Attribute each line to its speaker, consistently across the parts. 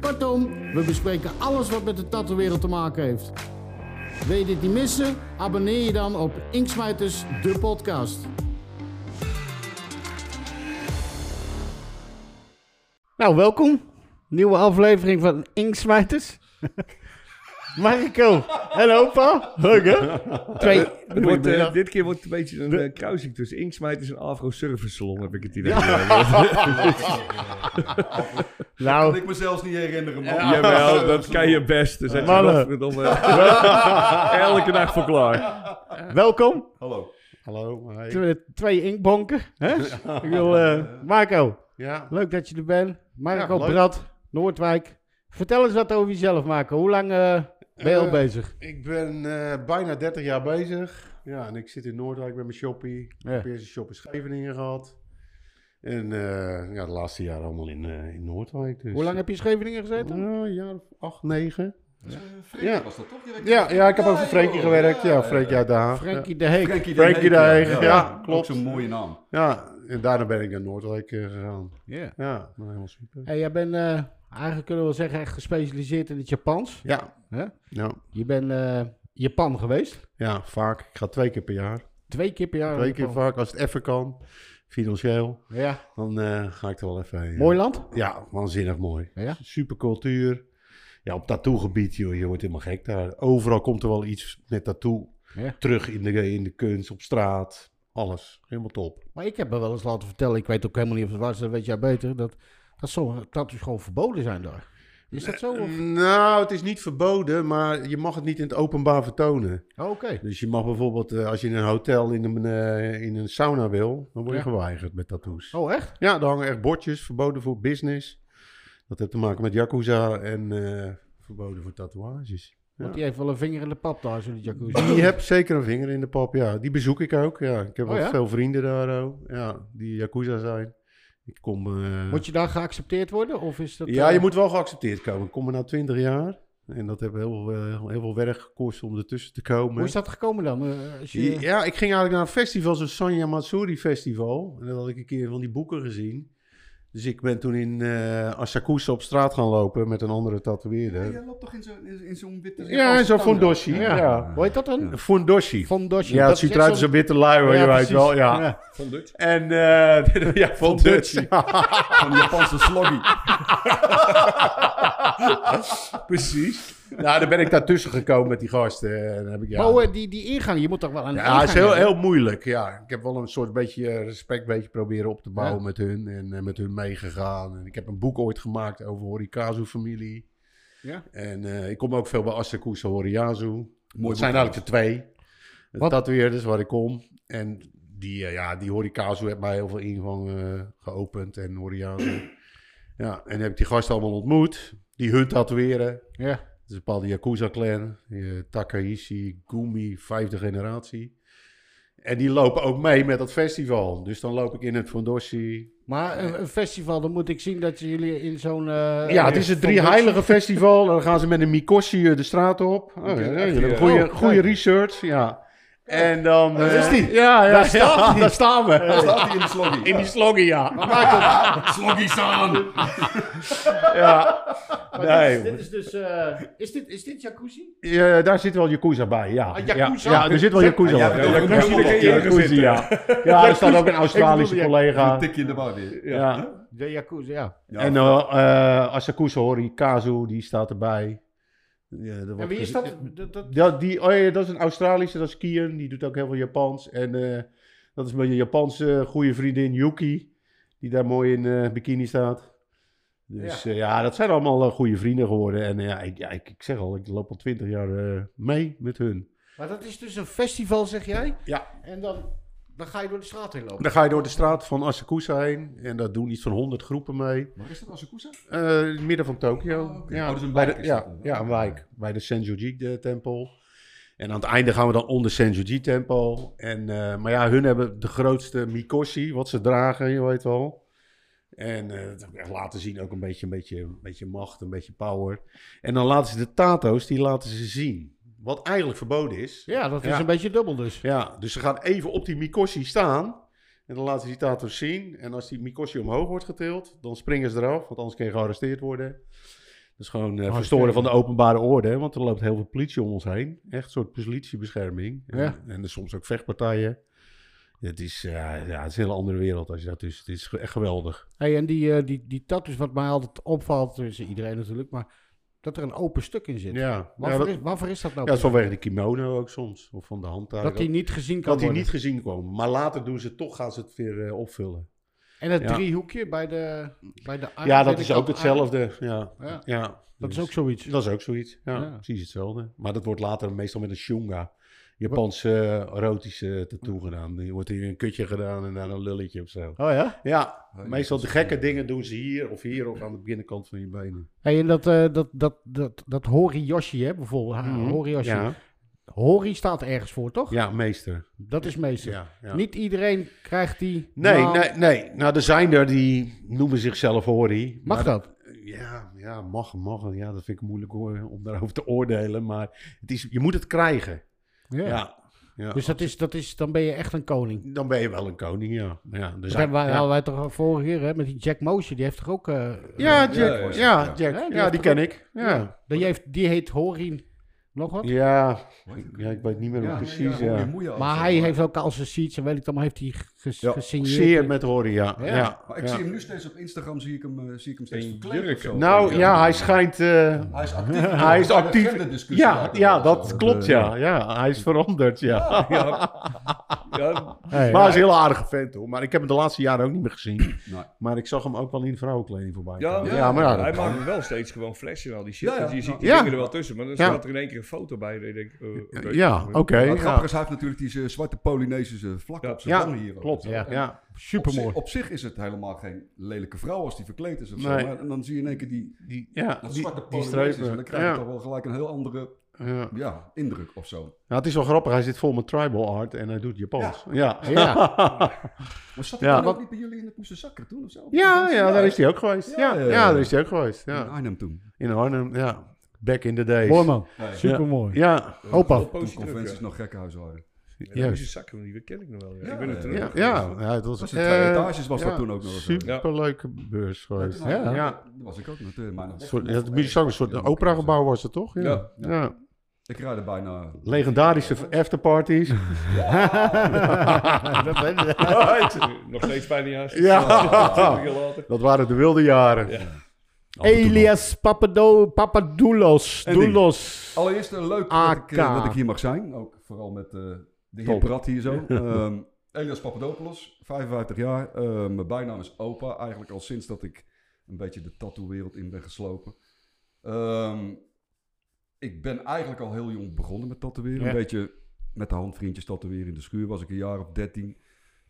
Speaker 1: Kortom, we bespreken alles wat met de tattoo-wereld te maken heeft. Wil je dit niet missen? Abonneer je dan op Inksmijters, de podcast. Nou, welkom. Nieuwe aflevering van Inksmijters. Marco en opa. Leuk, hè? Twee...
Speaker 2: Het wordt, eh, dit keer wordt het een beetje een eh, kruising tussen Inksmijters en Afro Service Salon, heb ik het idee.
Speaker 3: Kan
Speaker 1: Nou,
Speaker 3: ik me zelfs niet herinneren, man.
Speaker 2: Jawel, dat kan je best. Dan zijn ze
Speaker 1: Mannen.
Speaker 2: godverdomme elke dag voor klaar.
Speaker 1: welkom.
Speaker 3: Hallo.
Speaker 4: Hallo. Hey.
Speaker 1: Twee, twee inkbonken. Hè? Ik wil, eh, Marco,
Speaker 4: Ja.
Speaker 1: Leuk dat je er bent. Marco
Speaker 4: Ja, leuk.
Speaker 1: Brad, Noordwijk. Vertel eens wat over jezelf, Marco. Hoe lang eh, ben je al
Speaker 4: Eh,
Speaker 1: bezig?
Speaker 4: Ik ben eh, bijna 30 jaar bezig. Ja, en ik zit in Noordwijk met mijn shoppie. Ik heb eerst een shop in Scheveningen gehad. En eh, ja, de laatste jaren allemaal in, eh, in Noordwijk. Dus.
Speaker 1: Hoe lang heb je in Scheveningen gezeten?
Speaker 4: Ja, een jaar of acht, negen.
Speaker 3: Frenkie
Speaker 4: Ja.
Speaker 3: was dat toch? direct?
Speaker 4: Ja, ja ik heb ook voor
Speaker 3: joh.
Speaker 4: Frenkie gewerkt. Ja, Frenkie uit Den Haag.
Speaker 1: Frankie de Heek.
Speaker 3: Frenkie
Speaker 4: Frenkie de Heeg, ja, klopt.
Speaker 3: Ook zo'n mooie naam.
Speaker 4: Ja, en daarna ben ik naar Noordwijk eh, gegaan.
Speaker 1: Ja.
Speaker 4: Ja, nou, helemaal super.
Speaker 1: Hey, jij bent eh, eigenlijk kunnen we wel zeggen echt gespecialiseerd in het Japans.
Speaker 4: Ja.
Speaker 1: Hè?
Speaker 4: Ja.
Speaker 1: Je bent eh, Japan geweest.
Speaker 4: ja, vaak. Ik ga twee keer per jaar.
Speaker 1: Twee keer per jaar.
Speaker 4: Twee
Speaker 1: in
Speaker 4: keer
Speaker 1: Japan.
Speaker 4: vaak, als het even kan. Financieel.
Speaker 1: Ja.
Speaker 4: Dan eh, ga ik er wel even heen.
Speaker 1: Mooi land.
Speaker 4: Ja, waanzinnig mooi.
Speaker 1: Ja?
Speaker 4: Super cultuur. Ja, op tattoogebied, joh, je wordt helemaal gek daar. Overal komt er wel iets met tattoo
Speaker 1: Ja.
Speaker 4: terug in de, in de kunst, op straat. Alles. Helemaal top.
Speaker 1: Maar ik heb me wel eens laten vertellen, ik weet ook helemaal niet of het was, dat weet jij beter, dat, dat sommige tattoos gewoon verboden zijn daar. Is dat zo? of-
Speaker 4: Nou, het is niet verboden, maar je mag het niet in het openbaar vertonen.
Speaker 1: Oh, Oké.
Speaker 4: Dus je mag bijvoorbeeld, eh, als je in een hotel in een, eh, in een sauna wil, dan word
Speaker 1: Ja.
Speaker 4: je geweigerd met tattoos.
Speaker 1: Oh, echt?
Speaker 4: Ja, daar hangen echt bordjes, verboden voor business. Dat heeft te maken met Yakuza en eh, verboden voor tatoeages.
Speaker 1: Want
Speaker 4: Ja.
Speaker 1: die heeft wel een vinger in de pap daar, zo die jacuzzi.
Speaker 4: Die heb zeker een vinger in de pap, ja. Die bezoek ik ook, ja. Ik heb
Speaker 1: Oh,
Speaker 4: wel
Speaker 1: ja?
Speaker 4: veel vrienden daar ook, ja, die Yakuza zijn. Ik kom... eh,
Speaker 1: Moet je daar geaccepteerd worden? Of is dat,
Speaker 4: ja,
Speaker 1: eh,
Speaker 4: je moet wel geaccepteerd komen. Ik kom er na 20 jaar en dat heeft heel, veel, eh, heel veel werk gekost om ertussen te komen.
Speaker 1: Hoe is dat gekomen dan? Eh, als je,
Speaker 4: Ja, ik ging eigenlijk naar een festival, zo'n Sanya Matsuri festival. En dat had ik een keer van die boeken gezien. Dus ik ben toen in eh Asakusa op straat gaan lopen met een andere
Speaker 3: Ja,
Speaker 4: tatoeëerder.
Speaker 3: jij loopt toch in zo'n in in zo'n witte...
Speaker 4: Ja, en zo'n fondoshi.
Speaker 1: Ja.
Speaker 4: Ja.
Speaker 1: Hoe heet dat dan?
Speaker 4: Fondoshi.
Speaker 1: Fondoshi.
Speaker 4: Ja,
Speaker 1: Dat is
Speaker 4: het ziet
Speaker 1: echt
Speaker 4: eruit als
Speaker 1: zo'n-
Speaker 4: een witte lui, hoor,
Speaker 1: Ja,
Speaker 4: je weet
Speaker 1: precies.
Speaker 4: wel. Ja.
Speaker 1: Ja.
Speaker 3: Van Dutch.
Speaker 4: En eh ja, van Dutch.
Speaker 3: Dutch. Van Japanse sloggy.
Speaker 4: Precies. Nou, dan ben ik daartussen gekomen met die gasten. En dan heb ik, ja,
Speaker 1: Maar hoe, eh, die, die ingang, je moet toch wel een
Speaker 4: ja,
Speaker 1: ingang
Speaker 4: het is heel,
Speaker 1: hebben?
Speaker 4: heel moeilijk. Ja. Ik heb wel een soort beetje eh, respect beetje proberen op te bouwen met hun. En eh, met hun meegegaan. En ik heb een boek ooit gemaakt over Horikazu-familie.
Speaker 1: Ja.
Speaker 4: En eh, ik kom ook veel bij Asekusa Horiyazu.
Speaker 3: boek.
Speaker 4: Het zijn eigenlijk de twee.
Speaker 1: Wat-
Speaker 4: Dat Tatoeëerders waar ik kom. En die, eh, ja, die Horikazu heeft mij heel veel ingang eh, geopend. En Horiyazu. ja, en heb ik die gasten allemaal ontmoet. Die hun tatoeëren.
Speaker 1: Ja.
Speaker 4: Het is een bepaalde Yakuza-clan. eh, Takahishi, Gumi, vijfde generatie. En die lopen ook mee met dat festival. Dus dan loop ik in het Fondoshi.
Speaker 1: Maar een, een festival, dan moet ik zien dat ze jullie in zo'n... eh,
Speaker 4: ja, het is het Drie Heilige Festival. Dan gaan ze met een Mikoshi eh, de straat op. Oh, ja, jullie hebben goede,
Speaker 1: Oh,
Speaker 4: goede
Speaker 1: kijk.
Speaker 4: research. Ja. En dan... eh,
Speaker 3: is die.
Speaker 4: Ja, ja,
Speaker 1: Daar
Speaker 4: daar,
Speaker 1: staat
Speaker 4: ja,
Speaker 1: die.
Speaker 4: daar staan we.
Speaker 3: Daar staat hij in de sloggy.
Speaker 4: In die sloggy, ja.
Speaker 3: Sloggy-san.
Speaker 4: ja. Nee,
Speaker 1: Dit is dus... eh, is, dit, is dit jacuzzi?
Speaker 4: Ja, daar zit wel Yakuza bij, ja.
Speaker 1: Ah,
Speaker 4: ja,
Speaker 1: Yakuza.
Speaker 4: ja, er zit wel Yakuza
Speaker 3: Ja,
Speaker 4: bij.
Speaker 3: ja, Yakuza,
Speaker 4: Ja,
Speaker 3: daar kan je in gaan
Speaker 4: Yakuza, ja. Ja, er staat ook een Australische
Speaker 1: Ik bedoel,
Speaker 3: Een
Speaker 4: collega.
Speaker 3: tikje in de war weer.
Speaker 4: Ja.
Speaker 1: De jacuzzi, ja.
Speaker 3: Ja,
Speaker 4: En eh eh Asakusa Horikazu, die staat erbij. Ja, dat
Speaker 1: En
Speaker 4: wordt
Speaker 1: wie is
Speaker 4: gez- eh,
Speaker 1: dat? dat, dat
Speaker 4: Ja, die, oh ja, dat is een Australische, dat is Kian. Die doet ook heel veel Japans. En eh, dat is mijn Japanse eh, goede vriendin Yuki, die daar mooi in eh, bikini staat. Dus eh, ja, dat zijn allemaal eh, goede vrienden geworden. En eh, ja, ik, ja, ik, ik zeg al, ik loop al twintig jaar eh, mee met hun.
Speaker 1: maar dat is dus een festival, zeg jij?
Speaker 4: Ja.
Speaker 1: En dan... Dan ga je door de straat heen lopen.
Speaker 4: Dan ga je door de straat van Asakusa heen. En daar doen iets van 100 groepen mee.
Speaker 3: Waar is dat, Asakusa?
Speaker 4: Eh, in het midden van Tokio.
Speaker 3: Oh, oké.
Speaker 4: ja,
Speaker 3: Oh, dat is een
Speaker 4: bij
Speaker 3: wijk
Speaker 4: de-
Speaker 3: is
Speaker 4: ja,
Speaker 3: dat dan, hè?
Speaker 4: ja, een wijk. Bij de Senjuji-tempel. En aan het einde gaan we dan onder Senjuji-tempel. En, eh, maar ja, hun hebben de grootste mikoshi, wat ze dragen, je weet wel. En eh, dat heb ik echt laten zien, ook een beetje, een, beetje, een beetje macht, een beetje power. En dan laten ze de tato's, die laten ze zien. Wat eigenlijk verboden is.
Speaker 5: Ja, dat is
Speaker 4: Ja.
Speaker 5: een beetje dubbel dus.
Speaker 4: Ja, dus ze gaan even op die Mikoshi staan. En dan laten ze die tatoeage zien. En als die Mikoshi omhoog wordt getild, dan springen ze eraf. Want anders kun je gearresteerd worden. Dat is gewoon eh, verstoren van de openbare orde. hè, Want er loopt heel veel politie om ons heen. Echt een soort politiebescherming. En,
Speaker 5: Ja.
Speaker 4: en er soms ook vechtpartijen. Het is, ja, ja, het is een hele andere wereld als je dat dus. Het is ge- echt geweldig.
Speaker 5: Hey, en die, eh, die, die tattoos, wat mij altijd opvalt, eh, is iedereen natuurlijk, maar dat er een open stuk in zit.
Speaker 4: Ja, ja,
Speaker 5: Waarvoor,
Speaker 4: dat,
Speaker 5: is, waarvoor is dat nou?
Speaker 4: ja, dat is vanwege de kimono ook soms. Of van de handtaak.
Speaker 5: dat die niet gezien kan
Speaker 4: dat die
Speaker 5: worden.
Speaker 4: niet gezien kwam. Maar later doen ze toch, gaan ze het weer eh, opvullen.
Speaker 5: En het
Speaker 4: Ja.
Speaker 5: driehoekje bij de, bij de arm,
Speaker 4: Ja,
Speaker 5: bij
Speaker 4: dat
Speaker 5: de
Speaker 4: is
Speaker 5: kant
Speaker 4: ook hetzelfde. Ja.
Speaker 5: Ja.
Speaker 4: Ja.
Speaker 5: Ah, Dat is
Speaker 4: Dus
Speaker 5: ook zoiets.
Speaker 4: dat is ook zoiets. Ja,
Speaker 5: Ja.
Speaker 4: precies hetzelfde. Maar dat wordt later meestal met een shunga. Japanse eh, erotische tattoo gedaan. Die wordt hier een kutje gedaan en dan een lulletje of zo.
Speaker 5: Oh ja?
Speaker 4: Ja,
Speaker 3: Oh, ja,
Speaker 4: meestal
Speaker 3: dat
Speaker 4: de
Speaker 3: is-
Speaker 4: gekke dingen doen ze hier of hier of aan de binnenkant van je benen.
Speaker 5: Hey, en dat, eh, dat, dat, dat, dat Horiyoshi, hè, bijvoorbeeld. ha, Horiyoshi.
Speaker 4: Mhm, Ja,
Speaker 5: Hori staat ergens voor, toch?
Speaker 4: ja meester.
Speaker 5: Dat is meestal.
Speaker 4: Ja, ja.
Speaker 5: Niet iedereen krijgt die.
Speaker 4: Nee,
Speaker 5: naam.
Speaker 4: nee, nee. Nou, er zijn er die noemen zichzelf Hori.
Speaker 5: Mag
Speaker 4: maar-
Speaker 5: dat?
Speaker 4: Ja, ja, mag, mag. Ja, dat vind ik moeilijk hoor, om daarover te oordelen. Maar het is, je moet het krijgen.
Speaker 5: Ja.
Speaker 4: Ja. ja.
Speaker 5: Dus dat is, dat is, dan ben je echt een koning.
Speaker 4: Dan ben je wel een koning, ja. Ja, er
Speaker 5: Dat
Speaker 4: zijn-
Speaker 5: hebben wij,
Speaker 4: ja.
Speaker 5: hadden wij toch al vorige keer hè, met die Jack Motion, die heeft toch ook. eh,
Speaker 4: ja, Jack.
Speaker 3: Ja, ja,
Speaker 4: Ja,
Speaker 3: ja.
Speaker 4: Jack.
Speaker 5: Ja,
Speaker 4: Ja,
Speaker 5: die
Speaker 4: die,
Speaker 5: heeft
Speaker 4: ken ik. Ja.
Speaker 5: die, heeft, die heet Hori nog wat.
Speaker 4: Ja.
Speaker 3: Hoe heet het?
Speaker 4: ja, ik weet niet meer
Speaker 3: Ja,
Speaker 4: hoe
Speaker 3: nee,
Speaker 4: precies.
Speaker 3: ja,
Speaker 4: Ja.
Speaker 3: hoe je
Speaker 5: Maar
Speaker 3: al-
Speaker 5: hij heeft ook al zijn seats en weet ik dan, maar heeft hij ges-
Speaker 4: Ja,
Speaker 5: gesigneerd.
Speaker 4: Zeer met horen, ja.
Speaker 5: Ja.
Speaker 4: ja.
Speaker 3: Maar Oh, ik
Speaker 4: ja.
Speaker 3: zie hem nu steeds op Instagram, zie ik hem, eh, zie ik hem steeds
Speaker 2: In
Speaker 3: verkleed of
Speaker 2: jurken.
Speaker 3: zo.
Speaker 4: Nou ja, hij schijnt. eh,
Speaker 3: Hij is actief.
Speaker 4: hij is actief.
Speaker 3: Genderdiscussie
Speaker 4: Ja,
Speaker 3: maken
Speaker 4: ja,
Speaker 3: of zo.
Speaker 4: dat klopt, ja. ja. Hij is veranderd, ja.
Speaker 2: Ja, ja,
Speaker 5: Hey,
Speaker 4: Maar hij is een heel aardige vent, hoor. Maar ik heb hem de laatste jaren ook niet meer gezien.
Speaker 3: Nee.
Speaker 4: Maar ik zag hem ook wel in vrouwenkleding voorbij
Speaker 2: ja,
Speaker 4: komen. ja, maar ja,
Speaker 2: hij
Speaker 4: dat-
Speaker 2: maakt me wel steeds gewoon flashen en al die shit.
Speaker 3: Ja, ja.
Speaker 2: Dus je ziet die
Speaker 4: Ja.
Speaker 2: dingen er wel tussen, maar dan
Speaker 4: Ja.
Speaker 2: staat er in één keer een foto bij. En ik denk, eh, oké.
Speaker 4: ja oké.
Speaker 3: Maar het grappige
Speaker 4: ja.
Speaker 3: is, hij heeft natuurlijk die eh, zwarte Polynesische vlak
Speaker 2: Ja.
Speaker 3: op zijn
Speaker 4: Ja,
Speaker 3: tanden hier. ook.
Speaker 4: klopt.
Speaker 5: Ja.
Speaker 4: Ja. Ja.
Speaker 3: Op,
Speaker 5: supermooi.
Speaker 3: zich- op zich is het helemaal geen lelijke vrouw als die verkleed is of zo.
Speaker 4: Nee.
Speaker 3: Maar, en dan zie je in één keer die,
Speaker 4: Die, ja,
Speaker 3: dat
Speaker 4: die,
Speaker 3: zwarte
Speaker 4: die
Speaker 3: Polynesische. En dan
Speaker 4: strepen.
Speaker 3: krijg je toch
Speaker 4: Ja.
Speaker 3: wel gelijk een heel andere
Speaker 4: Ja.
Speaker 3: ja, indruk of zo.
Speaker 4: Nou, het is wel grappig. Hij zit vol met tribal art en hij doet Japans. Ja, ja.
Speaker 5: Ja.
Speaker 3: Maar zat
Speaker 4: Ja.
Speaker 3: hij dan ook
Speaker 4: Wat-
Speaker 3: niet bij jullie in het Moesenzakker toen of zo?
Speaker 4: ja, daar is hij ook geweest. Ja,
Speaker 3: Ja,
Speaker 4: ja,
Speaker 3: ja, ja.
Speaker 4: daar is hij ook geweest.
Speaker 3: In
Speaker 4: Ja.
Speaker 3: Arnhem toen.
Speaker 4: In Arnhem, ja. Back in the days.
Speaker 5: Mooi man.
Speaker 3: Nee.
Speaker 5: Supermooi.
Speaker 4: Ja,
Speaker 5: Opa.
Speaker 2: Op
Speaker 3: Toen
Speaker 2: positie druk,
Speaker 3: conventies
Speaker 2: ja.
Speaker 3: nog gekkenhuis waren.
Speaker 2: Ja,
Speaker 4: Juist.
Speaker 2: deze zakken, die ken ik nog wel. Ja.
Speaker 3: Ja,
Speaker 2: ik ben er
Speaker 3: ja,
Speaker 2: terug.
Speaker 4: ja, ja. ja, het was,
Speaker 3: Dat was in twee
Speaker 4: eh,
Speaker 3: etages was dat toen ook nog eens, hè?
Speaker 4: Superleuke beurs geweest.
Speaker 3: Nou,
Speaker 4: Ja, ja.
Speaker 3: Daar was ik ook nog. eh, maar nog
Speaker 4: Een
Speaker 3: weg.
Speaker 4: soort- ja, Het Muzikzang, een soort operagebouw was het toch? Ja.
Speaker 2: Ja.
Speaker 4: ja.
Speaker 3: Ik rijd er bijna.
Speaker 4: Legendarische afterparties.
Speaker 5: Dat weet ik.
Speaker 2: Nog steeds bijna juist.
Speaker 4: Ja.
Speaker 2: 20 jaar later.
Speaker 4: Dat waren de wilde jaren.
Speaker 2: Ja.
Speaker 4: Af en toe nog.
Speaker 5: Elias Papado, Papadoulos.
Speaker 3: En die.
Speaker 5: Doulos.
Speaker 3: Allereerst eh, leuk dat ik, eh,
Speaker 5: AK.
Speaker 3: dat ik hier mag zijn. Ook vooral met eh, de heer
Speaker 4: Top.
Speaker 3: Prat hier zo. Ehm, Elias Papadopoulos, 55 jaar. Eh, mijn bijnaam is Opa. Eigenlijk al sinds dat ik een beetje de tattoo-wereld in ben geslopen. Ehm, ik ben eigenlijk al heel jong begonnen met tatoeëren.
Speaker 4: Ja.
Speaker 3: Een beetje met de hand vriendjes tatoeëren in de schuur. Was ik een jaar of 13.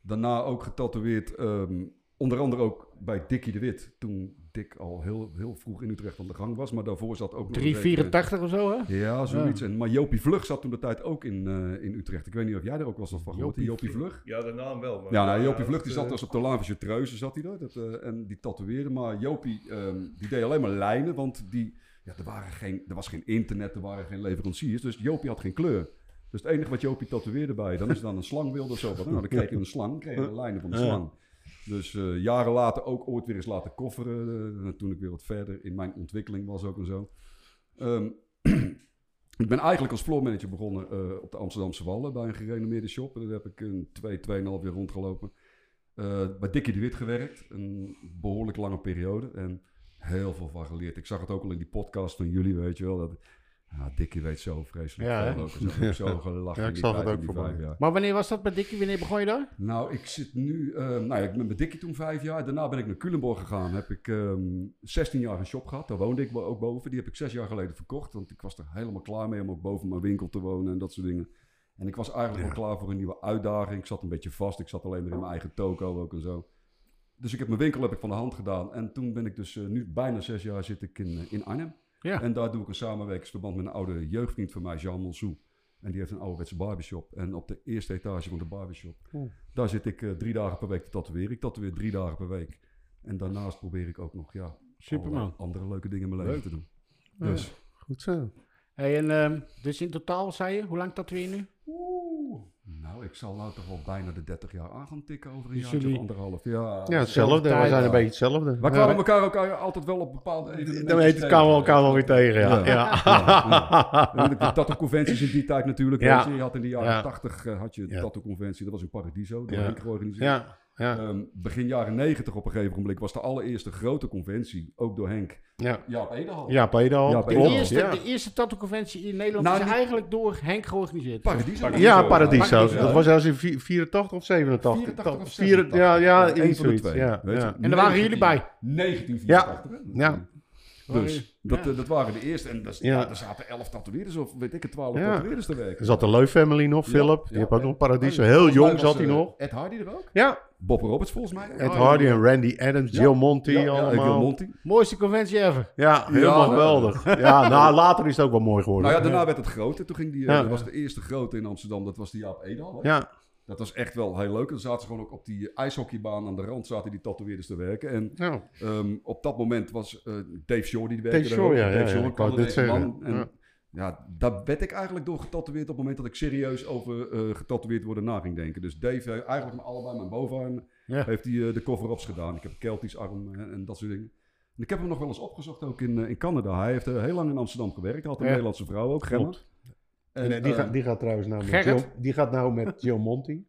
Speaker 3: Daarna ook getatoeëerd. ehm, onder andere ook bij Dickie de Wit. Toen Dick al heel, heel vroeg in Utrecht aan de gang was. Maar daarvoor zat ook nog... eens even-
Speaker 5: 384 of zo, hè?
Speaker 3: ja, zoiets. En, maar Jopie Vlug zat toen de tijd ook in, eh, in Utrecht. Ik weet niet of jij er ook wel eens wat van gehoord hebt. Jopie Vlug?
Speaker 2: Ja, de naam wel. Maar
Speaker 3: Ja, nou, Jopie Vlug die
Speaker 2: dat,
Speaker 3: zat
Speaker 2: eh,
Speaker 3: dus op de Laan van Chartreuse, zat hij daar. Dat, eh, en die tatoeëerde. Maar Jopie, ehm, die deed alleen maar lijnen, want die, ja, er, waren geen, er was geen internet, er waren geen leveranciers. Dus Jopie had geen kleur. Dus het enige wat Jopie tatoeëerde bij, dan is dan een slang wilde of zo. Wat. Nou, dan kreeg je een slang, kreeg je de lijnen van de slang. Dus eh, jaren later ook ooit weer eens laten kofferen. eh, toen ik weer wat verder in mijn ontwikkeling was ook en zo. Ehm, ik ben eigenlijk als floormanager begonnen eh, op de Amsterdamse Wallen bij een gerenommeerde shop. En daar heb ik een twee, tweeënhalf jaar rondgelopen. Eh, bij Dikkie de Wit gewerkt, een behoorlijk lange periode. En heel veel van geleerd. Ik zag het ook al in die podcast van jullie, weet je wel. Dat, ah, Dikkie weet zo vreselijk
Speaker 4: Ja, hè?
Speaker 3: veel. ook. Dus ik heb zo gelachen
Speaker 4: Ja,
Speaker 3: in
Speaker 4: ik
Speaker 3: die
Speaker 4: zag het
Speaker 3: tijd, in
Speaker 4: ook
Speaker 3: die
Speaker 4: voorbij.
Speaker 3: vijf jaar.
Speaker 5: Maar wanneer was dat bij Dikkie? Wanneer begon je daar?
Speaker 3: Nou, ik zit nu... eh nou ja, ik ben met Dikkie toen vijf jaar. Daarna ben ik naar Culemborg gegaan. Heb ik ehm 16 jaar een shop gehad. Daar woonde ik bo- ook boven. Die heb ik zes jaar geleden verkocht. Want ik was er helemaal klaar mee om ook boven mijn winkel te wonen en dat soort dingen. En ik was eigenlijk
Speaker 4: Ja.
Speaker 3: al klaar voor een nieuwe uitdaging. Ik zat een beetje vast. Ik zat alleen maar in mijn eigen toko ook en zo. Dus ik heb mijn winkel heb ik van de hand gedaan. En toen ben ik dus eh, nu bijna zes jaar zit ik in, eh, in Arnhem.
Speaker 4: Ja.
Speaker 3: En daar doe ik een samenwerkingsverband met een oude jeugdvriend van mij, Jean Monsou. En die heeft een ouderwetse barbershop. En op de eerste etage van de barbershop,
Speaker 4: Oeh.
Speaker 3: daar zit ik eh, drie dagen per week te tatoeëren. Ik tatoeëer drie dagen per week. En daarnaast probeer ik ook nog, ja,
Speaker 5: Superman.
Speaker 3: allerlei andere leuke dingen in mijn leven te doen. Dus,
Speaker 4: Goed zo.
Speaker 5: Hey, en, ehm, dus in totaal, zei je, hoe lang tatoeëer je nu?
Speaker 3: oeh, nou, ik zal nou toch wel bijna de 30 jaar aan gaan tikken over een
Speaker 5: Dus
Speaker 3: jaartje
Speaker 5: jullie-
Speaker 3: of anderhalf. Ja,
Speaker 4: Ja, hetzelfde. We zijn
Speaker 5: tijd.
Speaker 4: een beetje hetzelfde.
Speaker 3: We
Speaker 4: Ja.
Speaker 3: kwamen elkaar ook altijd wel op bepaalde evenementen
Speaker 4: Dan heet het kan wel,
Speaker 3: tegen.
Speaker 4: kan wel weer tegen, ja.
Speaker 3: Ja.
Speaker 4: ja.
Speaker 3: Natuurlijk, de tattoo-conventies in die tijd natuurlijk.
Speaker 4: Ja.
Speaker 3: weet Je Je had in de jaren
Speaker 4: Ja.
Speaker 3: 80 eh, had je de
Speaker 4: Ja.
Speaker 3: tattoo-conventie. Dat was in Paradiso, door
Speaker 4: Ja.
Speaker 3: Henk georganiseerd.
Speaker 4: Ja, ja,
Speaker 3: Ehm, begin jaren 90 op een gegeven moment was de allereerste grote conventie, ook door Henk.
Speaker 4: ja.
Speaker 3: Jaap Edehal.
Speaker 4: Ja, Pedal.
Speaker 3: Ja,
Speaker 5: De
Speaker 3: Klopt,
Speaker 5: eerste,
Speaker 4: ja.
Speaker 5: de eerste tattoo-conventie in Nederland
Speaker 3: Nou,
Speaker 5: is
Speaker 3: niet-
Speaker 5: eigenlijk door Henk georganiseerd.
Speaker 3: Paradiso.
Speaker 4: Ja, Paradiso.
Speaker 5: Paradiso.
Speaker 4: Dat was als in vier- 84 of 87.
Speaker 3: 84 of
Speaker 4: Vier-
Speaker 3: 86.
Speaker 4: Ja, ja,
Speaker 3: Eén
Speaker 4: iets
Speaker 3: van de
Speaker 4: zoiets.
Speaker 3: twee.
Speaker 4: Ja,
Speaker 3: weet je.
Speaker 4: ja.
Speaker 5: En daar waren jullie bij.
Speaker 3: 1984. hè?
Speaker 4: Ja.
Speaker 3: Dus, dat, eh, dat waren de eerste. En daar
Speaker 4: Ja.
Speaker 3: ja. daar zaten 11 tatoeëerders of weet ik het, 12
Speaker 4: Ja.
Speaker 3: tatoeëerders te werken.
Speaker 4: Er zat de Leu Family nog, Philip. Die
Speaker 3: ja,
Speaker 4: heb ook
Speaker 3: en-
Speaker 4: nog Paradiso. Heel
Speaker 3: Volgens mij
Speaker 4: jong
Speaker 3: was,
Speaker 4: zat hij
Speaker 3: eh,
Speaker 4: nog.
Speaker 3: Ed Hardy er ook?
Speaker 4: Ja,
Speaker 3: Bob Roberts volgens mij.
Speaker 4: Ed Hardy en Randy Adams, Jill Monty
Speaker 3: Ja, ja, ik wil
Speaker 4: allemaal.
Speaker 3: Monty.
Speaker 5: Mooiste conventie ever.
Speaker 4: Ja, helemaal
Speaker 3: Ja.
Speaker 4: geweldig. Ja, nou, later is het ook wel mooi geworden.
Speaker 3: Nou ja, daarna werd het groter. Toen ging die, eh,
Speaker 4: Ja.
Speaker 3: dat was de eerste grote in Amsterdam. Dat was die Jaap Edal. hè?
Speaker 4: ja.
Speaker 3: Dat was echt wel heel leuk. Dan zaten ze gewoon ook op die ijshockeybaan aan de rand zaten die tatoeëerders te werken. En
Speaker 4: Nou,
Speaker 3: ehm, op dat moment was eh, Dave Shore die werkte
Speaker 4: Dave
Speaker 3: daar ook.
Speaker 4: Shore, ja, ja,
Speaker 3: Dave
Speaker 4: ja,
Speaker 3: Shore,
Speaker 4: ik wou het net
Speaker 3: Canadese
Speaker 4: zeggen.
Speaker 3: man. En, ja. daar werd ik eigenlijk door getatoeëerd op het moment dat ik serieus over eh, getatoeëerd worden na ging denken. Dus Dave heeft eigenlijk met allebei mijn bovenarm
Speaker 4: Ja.
Speaker 3: heeft hij eh, de cover-ups gedaan. Ik heb een Keltisch arm eh, en, en dat soort dingen. En ik heb hem nog wel eens opgezocht ook in, eh, in Canada. Hij heeft eh, heel lang in Amsterdam gewerkt. Hij had een
Speaker 4: Ja.
Speaker 3: Nederlandse vrouw ook, Gemma.
Speaker 4: Klopt. en, eh, die,
Speaker 3: eh,
Speaker 4: gaat, die gaat trouwens nou met
Speaker 5: Gerrit?
Speaker 4: Jill, die gaat nou met Jill Monty.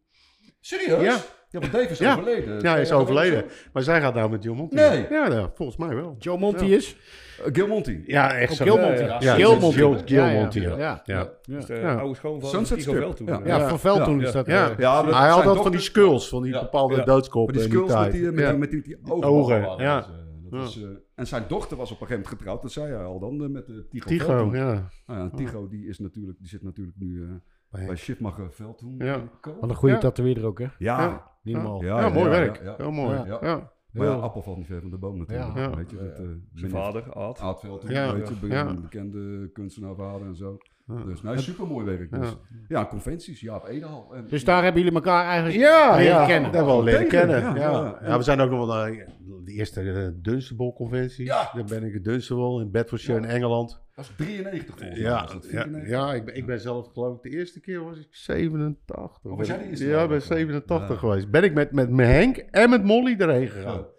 Speaker 3: Serieus?
Speaker 4: Ja.
Speaker 3: Ja. Ja, want Dave is
Speaker 4: Ja.
Speaker 3: overleden.
Speaker 4: Ja, hij is
Speaker 3: Twee jaar
Speaker 4: overleden.
Speaker 3: geleden of
Speaker 4: Maar zij gaat nou met Jill Monty.
Speaker 3: Nee.
Speaker 4: Ja, nou, volgens mij wel.
Speaker 5: Joe Monty
Speaker 4: Ja.
Speaker 5: is.
Speaker 3: zo. Eh, Gil Monty.
Speaker 4: Ja, echt
Speaker 5: Ook
Speaker 4: zo.
Speaker 5: Jill Monty.
Speaker 4: Ja,
Speaker 5: Jill
Speaker 4: Jill
Speaker 5: Monty.
Speaker 4: Monty.
Speaker 5: Ja, ja,
Speaker 4: Monty, ja.
Speaker 5: ja.
Speaker 4: Ja.
Speaker 2: Dus de
Speaker 4: Ja.
Speaker 2: oude schoonvader
Speaker 3: Sunset
Speaker 2: Sunset
Speaker 3: Strip,
Speaker 2: wel toen.
Speaker 3: ja.
Speaker 2: eh,
Speaker 5: Ja,
Speaker 4: Ja.
Speaker 5: van Veltoen
Speaker 3: Ja.
Speaker 5: is dat.
Speaker 4: Ja.
Speaker 5: eh.
Speaker 3: Ja, maar dat
Speaker 4: Hij had
Speaker 3: zijn
Speaker 4: dat
Speaker 3: toch-
Speaker 4: van die skulls, van die
Speaker 2: Ja.
Speaker 4: bepaalde
Speaker 2: Ja.
Speaker 4: doodskoppen
Speaker 3: Maar die skulls
Speaker 4: in die
Speaker 3: met
Speaker 4: tijd.
Speaker 3: die, met,
Speaker 4: ja.
Speaker 3: die, met die, die ogen.
Speaker 4: Ogen,
Speaker 3: waren
Speaker 4: ja.
Speaker 3: dat, eh, dat is, eh, en zijn dochter was op een gegeven moment getrouwd, dat zei hij al dan, eh, met eh, Tigo.
Speaker 4: Tigo,
Speaker 3: Veldhoen.
Speaker 4: ja.
Speaker 3: Nou ja, Tigo die, is natuurlijk, die zit natuurlijk nu eh,
Speaker 4: Nee.
Speaker 3: bij Schiffmacher Veldhoen.
Speaker 4: Ja.
Speaker 3: en Co.
Speaker 5: Wat een goede
Speaker 4: Ja.
Speaker 5: tatoeëerder ook, hè?
Speaker 3: Ja,
Speaker 5: Niet normaal.
Speaker 4: Ja,
Speaker 3: ja,
Speaker 4: mooi
Speaker 3: ja,
Speaker 4: werk.
Speaker 3: ja, ja.
Speaker 4: Heel mooi. Ja.
Speaker 3: Ja.
Speaker 4: Ja.
Speaker 3: maar ja, appel valt niet ver van de boom natuurlijk.
Speaker 4: Ja.
Speaker 3: Weet je, dat, eh,
Speaker 2: Zijn vader, Aad.
Speaker 3: Aad Veldhoen,
Speaker 4: Ja.
Speaker 3: weet je, be-
Speaker 4: Ja.
Speaker 3: bekende kunstenaar vader en zo.
Speaker 4: Ja.
Speaker 3: Dus nou, supermooi werk. Dus. Ja. conventies, Jaap Edehal. En,
Speaker 5: Dus daar hebben jullie elkaar eigenlijk
Speaker 4: Ja,
Speaker 5: leren
Speaker 4: ja,
Speaker 5: kennen.
Speaker 4: dat hebben we al leren
Speaker 3: Tegen,
Speaker 4: kennen. Ja,
Speaker 3: ja,
Speaker 4: ja.
Speaker 3: ja.
Speaker 4: we zijn ook nog wel naar de eerste eh, Dunstable-conventie.
Speaker 3: Ja.
Speaker 4: Daar ben ik in Dunstable, in Bedfordshire in Engeland.
Speaker 3: Dat is 93 volgens mij.
Speaker 4: Ja,
Speaker 3: was dat
Speaker 4: ja,
Speaker 3: 94?
Speaker 4: ja ik, ben, ik ben zelf geloof ik de eerste keer was ik 87.
Speaker 3: Of Oh, was jij de eerste
Speaker 4: Ja, ik
Speaker 3: keer?
Speaker 4: ben 87
Speaker 3: Ja.
Speaker 4: geweest. Ben ik met, met mijn Henk en met Molly erheen gegaan.
Speaker 3: Ja.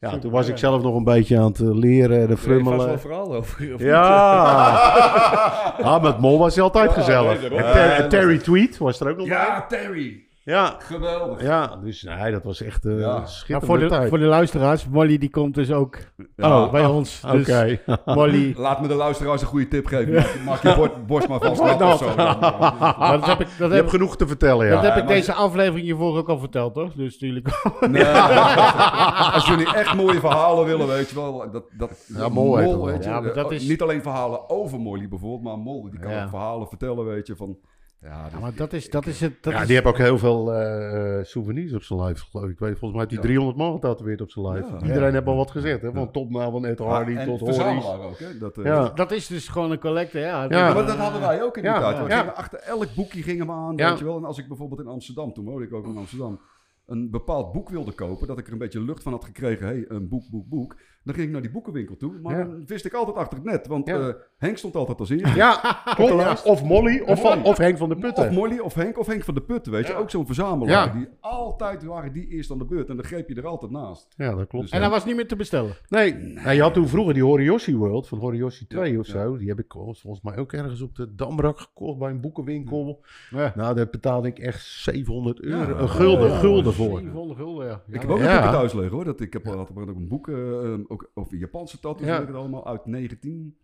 Speaker 4: Ja,
Speaker 5: Super,
Speaker 4: toen was ik
Speaker 5: ja.
Speaker 4: zelf nog een beetje aan het eh, leren, de
Speaker 2: Daar heb je vast wel een
Speaker 4: frummelen.
Speaker 2: verhaal over. of niet?
Speaker 4: Ja. ja, met Mol was hij altijd gezellig.
Speaker 2: nee,
Speaker 4: En,
Speaker 2: daarom.
Speaker 4: Ter-
Speaker 3: Ja,
Speaker 4: en
Speaker 3: dat-
Speaker 4: Terry Tweet was er ook nog bij.
Speaker 3: Ja, Terry.
Speaker 4: Ja,
Speaker 3: Geweldig.
Speaker 4: ja, dus nee, dat was echt eh
Speaker 3: Ja.
Speaker 5: Maar Nou, voor,
Speaker 4: schitterende
Speaker 5: de,
Speaker 4: tijd.
Speaker 5: voor de luisteraars, Molly die komt dus ook
Speaker 3: Ja.
Speaker 5: bij ons.
Speaker 4: Oh, Oké.
Speaker 5: Dus Molly.
Speaker 3: Laat me de luisteraars een goede tip geven. Maak- Maak je bord- borst maar vast nat of zo.
Speaker 5: Maar dat heb ik, dat
Speaker 4: nou? Je hebt
Speaker 5: heb,
Speaker 4: genoeg te vertellen,
Speaker 5: dat
Speaker 4: ja.
Speaker 5: heb ik
Speaker 3: maar-
Speaker 5: deze aflevering hiervoor ook al verteld, toch? Dus natuurlijk.
Speaker 3: Nee, als jullie echt mooie verhalen willen, weet je wel. Dat, dat,
Speaker 4: Ja, Mol heeft het wel.
Speaker 3: weet je,
Speaker 5: Ja, maar dat
Speaker 3: eh,
Speaker 5: is-
Speaker 3: Niet alleen verhalen over Molly bijvoorbeeld, maar Mol die kan
Speaker 5: Ja.
Speaker 3: ook verhalen vertellen, weet je. Van, ja,
Speaker 5: Ja,
Speaker 3: dat-
Speaker 5: maar dat is, dat is het. Dat
Speaker 4: ja,
Speaker 5: is-
Speaker 4: die hebben ook heel veel eh, eh, souvenirs op zijn lijf, geloof ik. Ik weet volgens mij heeft hij
Speaker 3: Ja.
Speaker 4: 300 man getatoeëerd op zijn lijf.
Speaker 3: Ja. Ah,
Speaker 4: Iedereen heeft al wat gezegd, hè? Van Topna, van Ed Hardy
Speaker 3: en
Speaker 4: tot Horries.
Speaker 3: verzamelaar ook, hè. Dat, eh,
Speaker 4: Ja.
Speaker 5: dat is dus gewoon een collector, ja.
Speaker 4: Ja.
Speaker 3: Maar dat hadden wij ook in die
Speaker 4: Ja,
Speaker 3: tijd. We
Speaker 4: ja.
Speaker 3: gingen achter elk boekje gingen we aan,
Speaker 4: Ja.
Speaker 3: weet je wel. En als ik bijvoorbeeld in Amsterdam, toen woonde ik ook in Amsterdam, een bepaald boek wilde kopen, dat ik er een beetje lucht van had gekregen, hey, een boek, boek, boek, dan ging ik naar die boekenwinkel toe. Maar
Speaker 4: Ja.
Speaker 3: dan vist ik altijd achter het net, want
Speaker 4: Ja.
Speaker 3: eh, Henk stond altijd als eerste.
Speaker 4: Ja, klopt. Ja, Of Molly, of, van,
Speaker 3: Molly.
Speaker 4: of Henk van der
Speaker 3: Of
Speaker 4: Putten.
Speaker 3: Molly, of Henk, of Henk van de Putten, weet je. Ook zo'n verzamelaar.
Speaker 4: Ja.
Speaker 3: Die altijd waren die eerst aan de beurt. En dan greep je er altijd naast.
Speaker 4: Ja, dat klopt.
Speaker 5: En hij was niet meer te bestellen.
Speaker 4: nee, nou, je had toen vroeger die Horiyoshi World van Horiyoshi 2
Speaker 3: Ja,
Speaker 4: of zo. Die heb ik oh, volgens mij ook ergens op de Damrak gekocht bij een boekenwinkel.
Speaker 5: Ja.
Speaker 4: Nou, daar betaalde ik echt 700 euro.
Speaker 3: Ja.
Speaker 4: een gulden,
Speaker 3: Ja.
Speaker 4: gulden voor.
Speaker 5: 700 gulden, ja. Ja,
Speaker 3: Ik heb ook
Speaker 4: Ja.
Speaker 3: een boekje thuis liggen hoor. Dat, ik heb had ook een boek eh, ook over ehm, Japanse tattoos.
Speaker 4: Ja.
Speaker 3: weet ik het allemaal uit 19...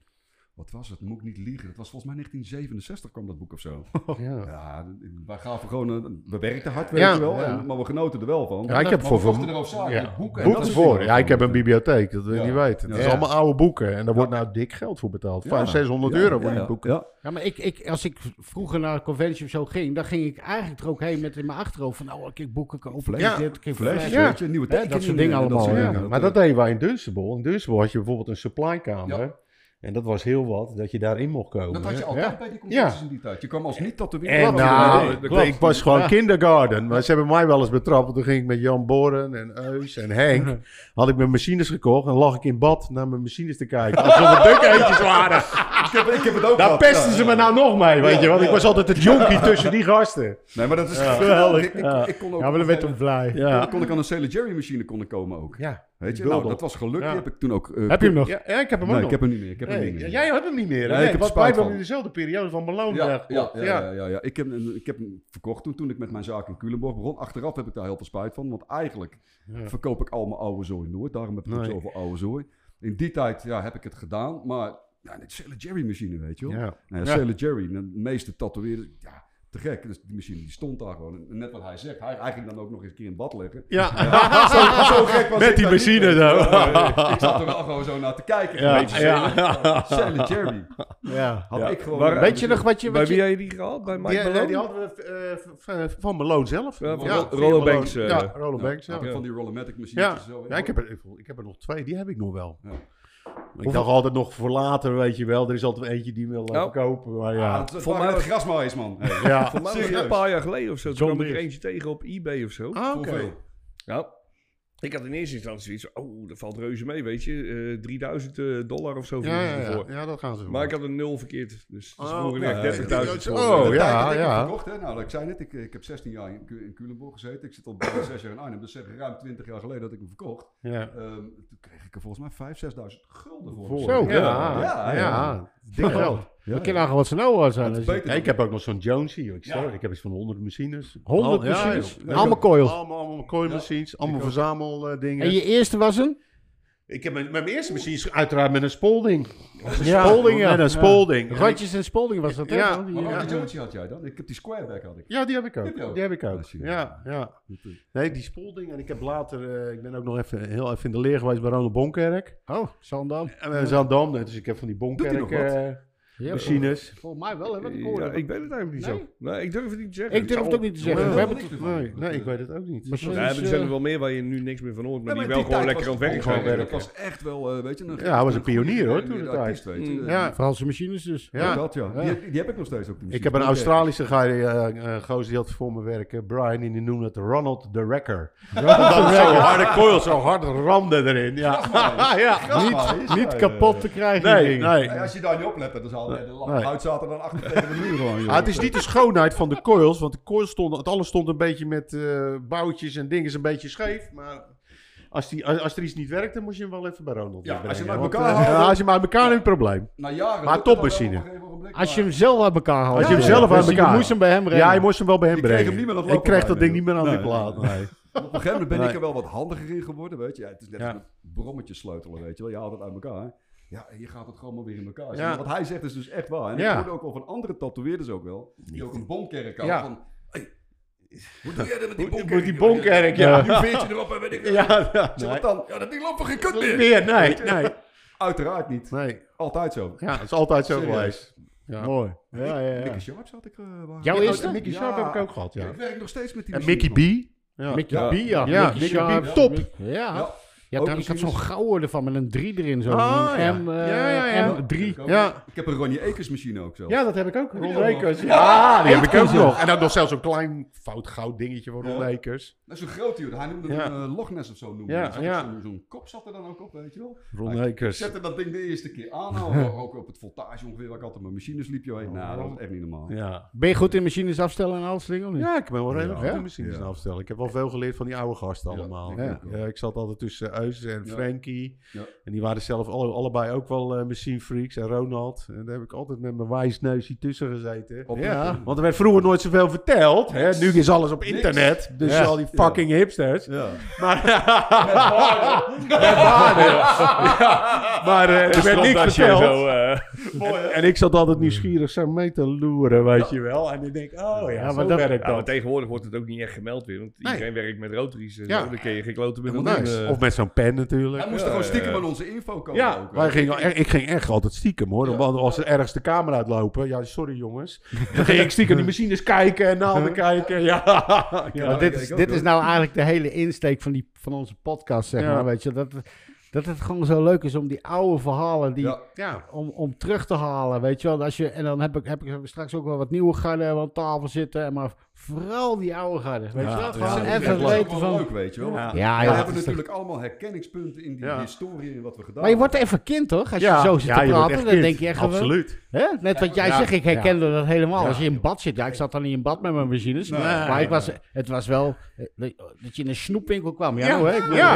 Speaker 3: Wat was het? Moet ik niet liegen. Het was volgens mij 1967 kwam dat boek of zo.
Speaker 4: Ja.
Speaker 3: Ja, wij gaven gewoon... een- we werkten hard, weet
Speaker 4: Ja,
Speaker 3: je wel.
Speaker 4: ja.
Speaker 3: en- maar we genoten er wel van.
Speaker 4: Ja, ik heb
Speaker 3: Maar
Speaker 4: voor-
Speaker 3: we kochten
Speaker 4: voor-
Speaker 3: er ook zaken,
Speaker 4: ja.
Speaker 3: boeken. en dat
Speaker 4: Boeken
Speaker 3: soort
Speaker 4: voor.
Speaker 3: dingen.
Speaker 4: Ja, ik heb een bibliotheek, dat wil je
Speaker 3: Ja.
Speaker 4: niet weten. Het
Speaker 3: Ja.
Speaker 4: is allemaal oude boeken en daar wordt nou dik geld voor betaald.
Speaker 3: Ja.
Speaker 4: 500, 600 euro voor die boeken.
Speaker 3: Ja,
Speaker 5: Ja, maar ik, ik, als ik vroeger naar een conventie of zo ging, dan ging ik eigenlijk er ook heen met in mijn achterhoofd van, oh, ik heb boeken kopen.
Speaker 3: Ja.
Speaker 5: dit, ik heb
Speaker 3: flesjes,
Speaker 5: fles.
Speaker 4: Ja.
Speaker 3: weet je, nieuwe
Speaker 5: Ja, dat
Speaker 3: tekeningen
Speaker 5: soort dingen
Speaker 3: en
Speaker 5: allemaal,
Speaker 3: soort
Speaker 5: ja.
Speaker 3: dingen.
Speaker 4: Maar dat deden wij in Dunstable. In Dunstable had je bijvoorbeeld een supplykamer. En dat was heel wat dat je daarin mocht komen.
Speaker 3: Dat had je
Speaker 4: hè?
Speaker 3: altijd
Speaker 4: Ja.
Speaker 3: bij die competities in die tijd. Je kwam als niet tot de wereld.
Speaker 4: En nou, ik-
Speaker 2: klopt.
Speaker 4: ik was gewoon kindergarten. Maar ze hebben mij wel eens betrapt. Toen ging ik met Jan Boren en Eus en Henk. Had ik mijn machines gekocht en lag ik in bad naar mijn machines te kijken. Alsof het dukheetjes waren.
Speaker 3: ik, heb, ik heb het ook
Speaker 4: Daar
Speaker 3: gehad,
Speaker 4: pesten
Speaker 3: ja,
Speaker 4: ze
Speaker 3: ja.
Speaker 4: me nou nog mee, weet je. Want ik was altijd het jonkie tussen die gasten.
Speaker 3: Nee, maar dat is geweldig. Ik, ik, ik kon ook...
Speaker 1: Ja, maar dan werd hem blij.
Speaker 3: Dan
Speaker 4: Ja.
Speaker 3: kon ik aan een Sailor Jerry machine kon ik komen ook.
Speaker 4: Ja.
Speaker 3: Weet je,
Speaker 4: Bulldog.
Speaker 3: nou, dat was geluk.
Speaker 4: Ja.
Speaker 3: Die heb ik toen ook... eh,
Speaker 1: Heb je hem nog?
Speaker 4: ja, ja, ik heb hem ook
Speaker 3: Nee, ik
Speaker 4: nog.
Speaker 3: heb hem niet meer. Ik heb hem
Speaker 4: Nee,
Speaker 3: niet meer.
Speaker 4: jij hebt hem niet meer.
Speaker 3: Nee,
Speaker 4: Nee,
Speaker 3: ik heb
Speaker 4: want
Speaker 3: spijt
Speaker 4: wij hebben
Speaker 3: van.
Speaker 4: in dezelfde periode van Malone. eh,
Speaker 3: Ja, ja,
Speaker 4: gekocht.
Speaker 3: ja, ja, ja, ja. Ik, heb, hem- ik heb hem verkocht toen, toen ik met mijn zaak in Culemborg begon. Achteraf heb ik daar heel veel spijt van, want eigenlijk
Speaker 4: Ja.
Speaker 3: verkoop ik al mijn oude zooi nooit. Daarom heb ik ook
Speaker 4: Nee.
Speaker 3: zoveel oude zooi. In die tijd ja, heb ik het gedaan, maar ja, de Sailor Jerry machine, weet je wel.
Speaker 4: Ja.
Speaker 3: Nou, ja, Sailor Jerry, de meeste tatoeëerders, ja, te gek. Dus die machine die stond daar gewoon. En net wat hij zegt, hij, hij ging dan ook nog eens een keer in bad leggen.
Speaker 4: Ja.
Speaker 3: Zo, zo gek was
Speaker 4: Ah, Met
Speaker 3: ik
Speaker 4: die
Speaker 3: daar niet
Speaker 4: machine
Speaker 3: in.
Speaker 4: zo.
Speaker 3: Ja, Ik zat er wel gewoon zo naar te kijken.
Speaker 4: Ja,
Speaker 3: Weet je,
Speaker 4: ja.
Speaker 3: Sailor- Sailor Jerry.
Speaker 4: ja.
Speaker 3: Had
Speaker 2: Ja.
Speaker 3: ik gewoon...
Speaker 2: Maar
Speaker 5: Weet je nog wat je...
Speaker 2: Bij
Speaker 5: Wat
Speaker 2: wie
Speaker 5: je
Speaker 2: heb je die gehaald? Bij
Speaker 3: eh,
Speaker 2: Mike
Speaker 4: Ja, nee,
Speaker 2: Malone?
Speaker 4: die hadden we eh, v- v- van Malone zelf.
Speaker 2: Ja, van Ro-
Speaker 4: via
Speaker 2: Rollo
Speaker 4: Malone.
Speaker 2: Banks, eh.
Speaker 4: ja, Rollo Banks, ja.
Speaker 3: Had ik
Speaker 4: Ja,
Speaker 3: Van die Rollermatic machines. en zo,
Speaker 4: Ja, ik, heb er, ik, ik heb er nog twee, die heb ik nog wel.
Speaker 3: Ja.
Speaker 4: Ik dacht altijd nog voor later, weet je wel. Er is altijd eentje die wil eh,
Speaker 2: Nou.
Speaker 4: verkopen, maar
Speaker 3: Ja,
Speaker 4: ja.
Speaker 3: dat is
Speaker 2: Voor
Speaker 3: waar
Speaker 2: mij-
Speaker 3: ah, het grasmaaiers, man. Hey,
Speaker 4: Ja,
Speaker 2: Voor mij was het
Speaker 3: Serieus?
Speaker 2: een paar jaar geleden of zo. Toen
Speaker 1: John
Speaker 2: kwam ik er
Speaker 1: Deere.
Speaker 2: eentje tegen op eBay of zo.
Speaker 4: Ah, oké.
Speaker 3: hoeveel?
Speaker 2: Ja. Ik had in eerste instantie zoiets van, oh, dat valt reuze mee, weet je. Eh, 3000 dollar of zo voor.
Speaker 4: Ja, ja, ja,
Speaker 2: voor.
Speaker 4: ja, dat gaan ze
Speaker 2: Maar
Speaker 4: doen.
Speaker 2: ik had een nul verkeerd. Dus dat is
Speaker 4: Oh,
Speaker 2: vroeger
Speaker 4: oké.
Speaker 2: echt 30.000 voor.
Speaker 4: Oh,
Speaker 3: De
Speaker 4: ja,
Speaker 3: tijd dat ik
Speaker 4: ja.
Speaker 3: heb verkocht, hè. Nou, ik zei net, ik, ik heb 16 jaar in, Cu- in Culemborg gezeten. Ik zit al bijna 6 jaar in Arnhem. Dus zeg, ruim 20 jaar geleden dat ik hem verkocht.
Speaker 4: Ja.
Speaker 3: Ehm, toen kreeg ik er volgens mij 5.000, 6.000 gulden voor.
Speaker 4: Voor.
Speaker 5: Zo.
Speaker 4: Ja, ja,
Speaker 3: Ja, ja.
Speaker 4: dik geld.
Speaker 5: we kennen eigenlijk wat ze nou al zijn.
Speaker 3: Dat
Speaker 5: Als
Speaker 3: is
Speaker 5: je-
Speaker 3: beter
Speaker 4: Ja,
Speaker 3: dan-
Speaker 4: ik heb ook nog zo'n Jonesy. joh. Ik, stel, ik heb iets van 100 machines.
Speaker 5: 100
Speaker 4: Al- ja,
Speaker 5: machines.
Speaker 4: joh.
Speaker 5: allemaal coils.
Speaker 4: Allemaal, allemaal coil machines, allemaal verzameldingen.
Speaker 5: En je eerste was een?
Speaker 4: Ik heb mijn, mijn eerste machine is uiteraard met een spolding.
Speaker 5: Ja.
Speaker 4: spolding, ja. Met een spolding. En ik-
Speaker 5: Rotjes en Spolding was dat, hè?
Speaker 4: Ja.
Speaker 5: Al die,
Speaker 3: Maar
Speaker 5: eh,
Speaker 3: welke Jonesy had jij dan? Ik heb die squareback had ik.
Speaker 4: Ja, die heb ik
Speaker 3: Heb je ook?
Speaker 4: ook. Die heb ik
Speaker 3: Dat
Speaker 4: ook.
Speaker 3: zie je.
Speaker 4: Ja, ja. Nee, die spoolding. En ik heb later, eh, ik ben ook nog even heel even in de leer geweest bij Ronald Bonkerk.
Speaker 5: Oh, Zandam.
Speaker 4: En eh, Zaandam. Dus ik heb van die
Speaker 3: Doet
Speaker 4: Bonkerk
Speaker 3: hij nog wat?
Speaker 4: eh,
Speaker 5: Ja,
Speaker 4: machines.
Speaker 5: Volgens mij wel, hè? Wat ik hoorde.
Speaker 2: Ja, ik weet het eigenlijk niet
Speaker 5: Nee?
Speaker 2: zo. Nee, ik durf het niet te zeggen.
Speaker 5: Ik durf het ook niet te zeggen.
Speaker 3: Nee,
Speaker 5: We hebben
Speaker 3: dat
Speaker 5: het
Speaker 3: is niet
Speaker 4: Nee,
Speaker 3: van.
Speaker 4: nee, ik weet het ook niet.
Speaker 5: Machines.
Speaker 2: Nee, maar er zijn er wel meer waar je nu niks meer van hoort, maar die
Speaker 3: Ja, maar
Speaker 2: wel
Speaker 3: in
Speaker 2: gewoon
Speaker 3: tijd
Speaker 2: lekker aan
Speaker 3: was
Speaker 2: het werk
Speaker 3: het gewoon
Speaker 2: zijn.
Speaker 3: werk. Dat was echt wel, eh, weet je...
Speaker 4: Ja, hij was een pionier, hoor, toen de tijd.
Speaker 3: Artiest, weet je.
Speaker 2: Mm.
Speaker 3: Eh,
Speaker 4: Ja,
Speaker 5: Franse machines dus.
Speaker 4: ja.
Speaker 3: Dat, ja. Die, heb- die heb ik nog steeds ook. die
Speaker 4: Ik
Speaker 3: machines.
Speaker 4: heb een
Speaker 3: Oké.
Speaker 4: Australische guy, eh, eh, gozer die had voor me werken, Brian, en die noemde het Ronald the Wrecker. Omdat het zo'n harde coil, zo hard ramde erin. Ja, ja.
Speaker 3: Grasmaaiers, ja,
Speaker 5: Niet
Speaker 3: ja,
Speaker 5: kapot te krijgen. die
Speaker 4: Nee,
Speaker 5: dingen.
Speaker 4: nee.
Speaker 3: Ja, als je daar niet oplet, dan zal de lamp
Speaker 4: Nee.
Speaker 3: uit zaten dan achter tegen de muur gewoon. joh.
Speaker 4: Ah, het is niet de schoonheid van de coils, want de coils stonden, het alles stond een beetje met eh, boutjes en dingen een beetje scheef. Maar als, die, als, als er iets niet werkte, moest je hem wel even bij Ronald
Speaker 3: Ja,
Speaker 4: weer
Speaker 3: als je hem
Speaker 4: brengen,
Speaker 3: uit
Speaker 4: want,
Speaker 3: elkaar
Speaker 4: eh,
Speaker 3: haalde-
Speaker 4: ja, als je hem uit elkaar neemt, probleem.
Speaker 3: Na jaren.
Speaker 4: Maar
Speaker 3: lukt het
Speaker 4: topmachine.
Speaker 3: dan wel op een gegeven ogenblik,
Speaker 5: Als je
Speaker 3: maar-
Speaker 5: hem zelf uit elkaar haalt.
Speaker 4: Als je hem
Speaker 5: Ja,
Speaker 4: zelf
Speaker 5: ja.
Speaker 4: uit
Speaker 5: Dus je
Speaker 4: elkaar
Speaker 5: moest hem bij hem
Speaker 4: Ja,
Speaker 5: brengen.
Speaker 4: hij moest hem wel bij hem
Speaker 3: Ik kreeg
Speaker 4: brengen.
Speaker 3: hem niet meer aan het
Speaker 4: ik kreeg
Speaker 3: lopen
Speaker 4: dat
Speaker 3: bij
Speaker 4: ding niet meer aan
Speaker 3: Nee,
Speaker 4: die plaat.
Speaker 3: nee,
Speaker 4: nee.
Speaker 3: Op een gegeven moment ben ik
Speaker 4: Nee.
Speaker 3: er wel wat handiger in geworden, weet je. Ja, het is net
Speaker 4: Ja.
Speaker 3: als met brommetjes sleutelen, weet je wel. Je haalt het uit elkaar. Ja, en je gaat het gewoon maar weer in elkaar.
Speaker 4: Ja.
Speaker 3: Wat hij zegt is dus echt waar. En
Speaker 4: Ja.
Speaker 3: ik hoorde ook al van andere tatoeëerders ook wel. Die ook een bonkerk hadden.
Speaker 4: Ja.
Speaker 3: Van, hey, hoe doe jij dat met die bonkerk?
Speaker 4: Moet die bonkerk, ja.
Speaker 3: Nu veert je erop en weet ik wat.
Speaker 4: Ja, ja,
Speaker 3: Zeg,
Speaker 4: nee.
Speaker 3: wat dan? Ja, dat ding loopt van geen kut
Speaker 4: Niet
Speaker 3: meer.
Speaker 4: meer, nee, nee.
Speaker 3: Uiteraard niet.
Speaker 4: Nee,
Speaker 3: Altijd zo.
Speaker 4: ja, het is altijd zo
Speaker 3: Serieus.
Speaker 4: geweest. Ja.
Speaker 5: Mooi. Ja, ja, ja.
Speaker 3: Mickey Sharps had ik... eh, waar-
Speaker 5: Jouw
Speaker 4: Oh,
Speaker 5: eerste?
Speaker 4: en Mickey Sharp
Speaker 3: Ja.
Speaker 4: heb ik ook gehad, ja.
Speaker 3: Ik werk nog steeds met die
Speaker 4: En
Speaker 3: machines,
Speaker 4: Mickey B. Ja.
Speaker 5: Mickey
Speaker 3: Ja.
Speaker 5: B, ja.
Speaker 4: Ja,
Speaker 5: Mickey
Speaker 4: Mickey
Speaker 5: Sharp.
Speaker 4: B, top.
Speaker 5: Ja.
Speaker 3: Ja.
Speaker 5: ja
Speaker 3: Ook
Speaker 5: dan, ik had zo'n
Speaker 3: machines.
Speaker 5: gouden ervan met een 3 erin. Zo'n
Speaker 4: Ah, ja.
Speaker 5: M, eh,
Speaker 4: Ja, ja, ja.
Speaker 5: M3.
Speaker 3: man.
Speaker 4: Ja.
Speaker 3: Ik heb een Ronnie Ekers machine ook zo.
Speaker 4: Ja, dat heb ik ook.
Speaker 3: die
Speaker 4: Ron
Speaker 3: ook nog?
Speaker 4: Lekers. Ja, die heb ik ook
Speaker 5: Eetkunst.
Speaker 4: nog. En dan nog zelfs een klein fout goud dingetje van Ron
Speaker 3: Ja.
Speaker 4: Lekers.
Speaker 3: Dat is een groot joh. Hij noemde
Speaker 4: Ja.
Speaker 3: hem eh, Loch Ness of zo noemen.
Speaker 4: Ja,
Speaker 3: Dus ook
Speaker 4: ja.
Speaker 3: Zo'n, zo'n kop zat er dan ook op, weet je wel.
Speaker 4: Ron
Speaker 3: Hij
Speaker 4: Lekers.
Speaker 3: zette dat ding de eerste keer aan. nou, ook op het voltage ongeveer waar ik altijd mijn machines liep. Joh.
Speaker 5: Oh.
Speaker 3: Nou, dat was echt niet normaal.
Speaker 4: Ja.
Speaker 5: Ben je goed in machines afstellen en alles dingen of niet?
Speaker 4: ja, ik ben wel redelijk
Speaker 5: Ja.
Speaker 4: goed in machines
Speaker 3: Ja.
Speaker 4: afstellen. Ik heb wel veel geleerd van die oude gasten allemaal.
Speaker 3: ik
Speaker 4: Ja.
Speaker 3: ook wel.
Speaker 4: Ja, ik zat altijd tussen Eus en
Speaker 3: Ja.
Speaker 4: Frankie.
Speaker 3: Ja.
Speaker 4: En die waren zelf alle, allebei ook wel eh machine freaks. En Ronald. En daar heb ik altijd met mijn wijsneus hier tussen gezeten.
Speaker 3: Op-
Speaker 4: Ja, want er werd vroeger nooit zoveel verteld. Hè? Nu is alles op
Speaker 3: Niks.
Speaker 4: internet. Dus
Speaker 3: Ja.
Speaker 4: al die fucking hipsters.
Speaker 3: Ja.
Speaker 4: Maar, Met baarden. Ja. maar eh, er werd niks
Speaker 1: Strandasje
Speaker 4: verteld.
Speaker 1: en zo, eh.
Speaker 4: En, en ik zat altijd nieuwsgierig zo mee te loeren, weet je wel. En ik denk, oh ja, maar dat werkt
Speaker 2: Ja, maar
Speaker 4: dat.
Speaker 2: tegenwoordig wordt het ook niet echt gemeld weer. Want
Speaker 4: Nee.
Speaker 2: iedereen werkt met rotaries. En
Speaker 4: Ja.
Speaker 2: zo, dan kun je geen kloten meer
Speaker 3: Helemaal
Speaker 2: doen.
Speaker 3: niks.
Speaker 2: Eh,
Speaker 4: Of met zo'n pen natuurlijk.
Speaker 3: Hij moest er gewoon stiekem aan onze info komen.
Speaker 4: Ja,
Speaker 3: ook, hè.
Speaker 4: wij gingen, er- ik ging echt altijd stiekem hoor.
Speaker 3: Ja.
Speaker 4: Want als er ergens de camera uitlopen, ja sorry jongens. Dan ging ik stiekem die machines kijken en naalden kijken. Ja,
Speaker 5: Maar
Speaker 4: ja.
Speaker 3: dat
Speaker 5: dit
Speaker 3: kijk
Speaker 5: is,
Speaker 3: ik ook,
Speaker 5: dit is
Speaker 3: hoor.
Speaker 5: nou eigenlijk de hele insteek van, die, van onze podcast, zeg
Speaker 4: Ja.
Speaker 5: maar. Weet je, dat, dat het gewoon zo leuk is om die oude verhalen die,
Speaker 3: Ja.
Speaker 4: ja.
Speaker 5: om, om terug te halen, weet je wel. Als je, en dan heb ik, heb ik straks ook wel wat nieuwe garden aan tafel zitten. en Maar vooral die oude garden, weet
Speaker 4: Ja,
Speaker 5: je wel. Gewoon
Speaker 4: ja, die
Speaker 3: Dat is
Speaker 5: nou even
Speaker 3: ook wel
Speaker 5: weten van...
Speaker 3: leuk, weet je wel.
Speaker 4: Ja.
Speaker 5: Ja,
Speaker 3: we
Speaker 5: ja,
Speaker 3: hebben
Speaker 5: het is
Speaker 3: natuurlijk allemaal herkenningspunten in die
Speaker 4: Ja.
Speaker 3: historie en wat we gedaan
Speaker 5: Maar je wordt even kind, toch? Als je zo zit te
Speaker 4: je wordt
Speaker 5: praten, dan
Speaker 4: echt kind.
Speaker 5: denk je echt... wel-
Speaker 4: Absoluut.
Speaker 5: Hè? Net wat jij
Speaker 4: Ja.
Speaker 5: zegt, ik herkende dat helemaal.
Speaker 4: Ja.
Speaker 5: Als je in bad zit, ja, ik zat dan niet in bad met mijn machines.
Speaker 3: Nee.
Speaker 5: maar ik was, het was wel eh, dat je in een snoepwinkel kwam. Ja,
Speaker 4: Ja.
Speaker 5: hoor, ik bedoel,
Speaker 4: Ja.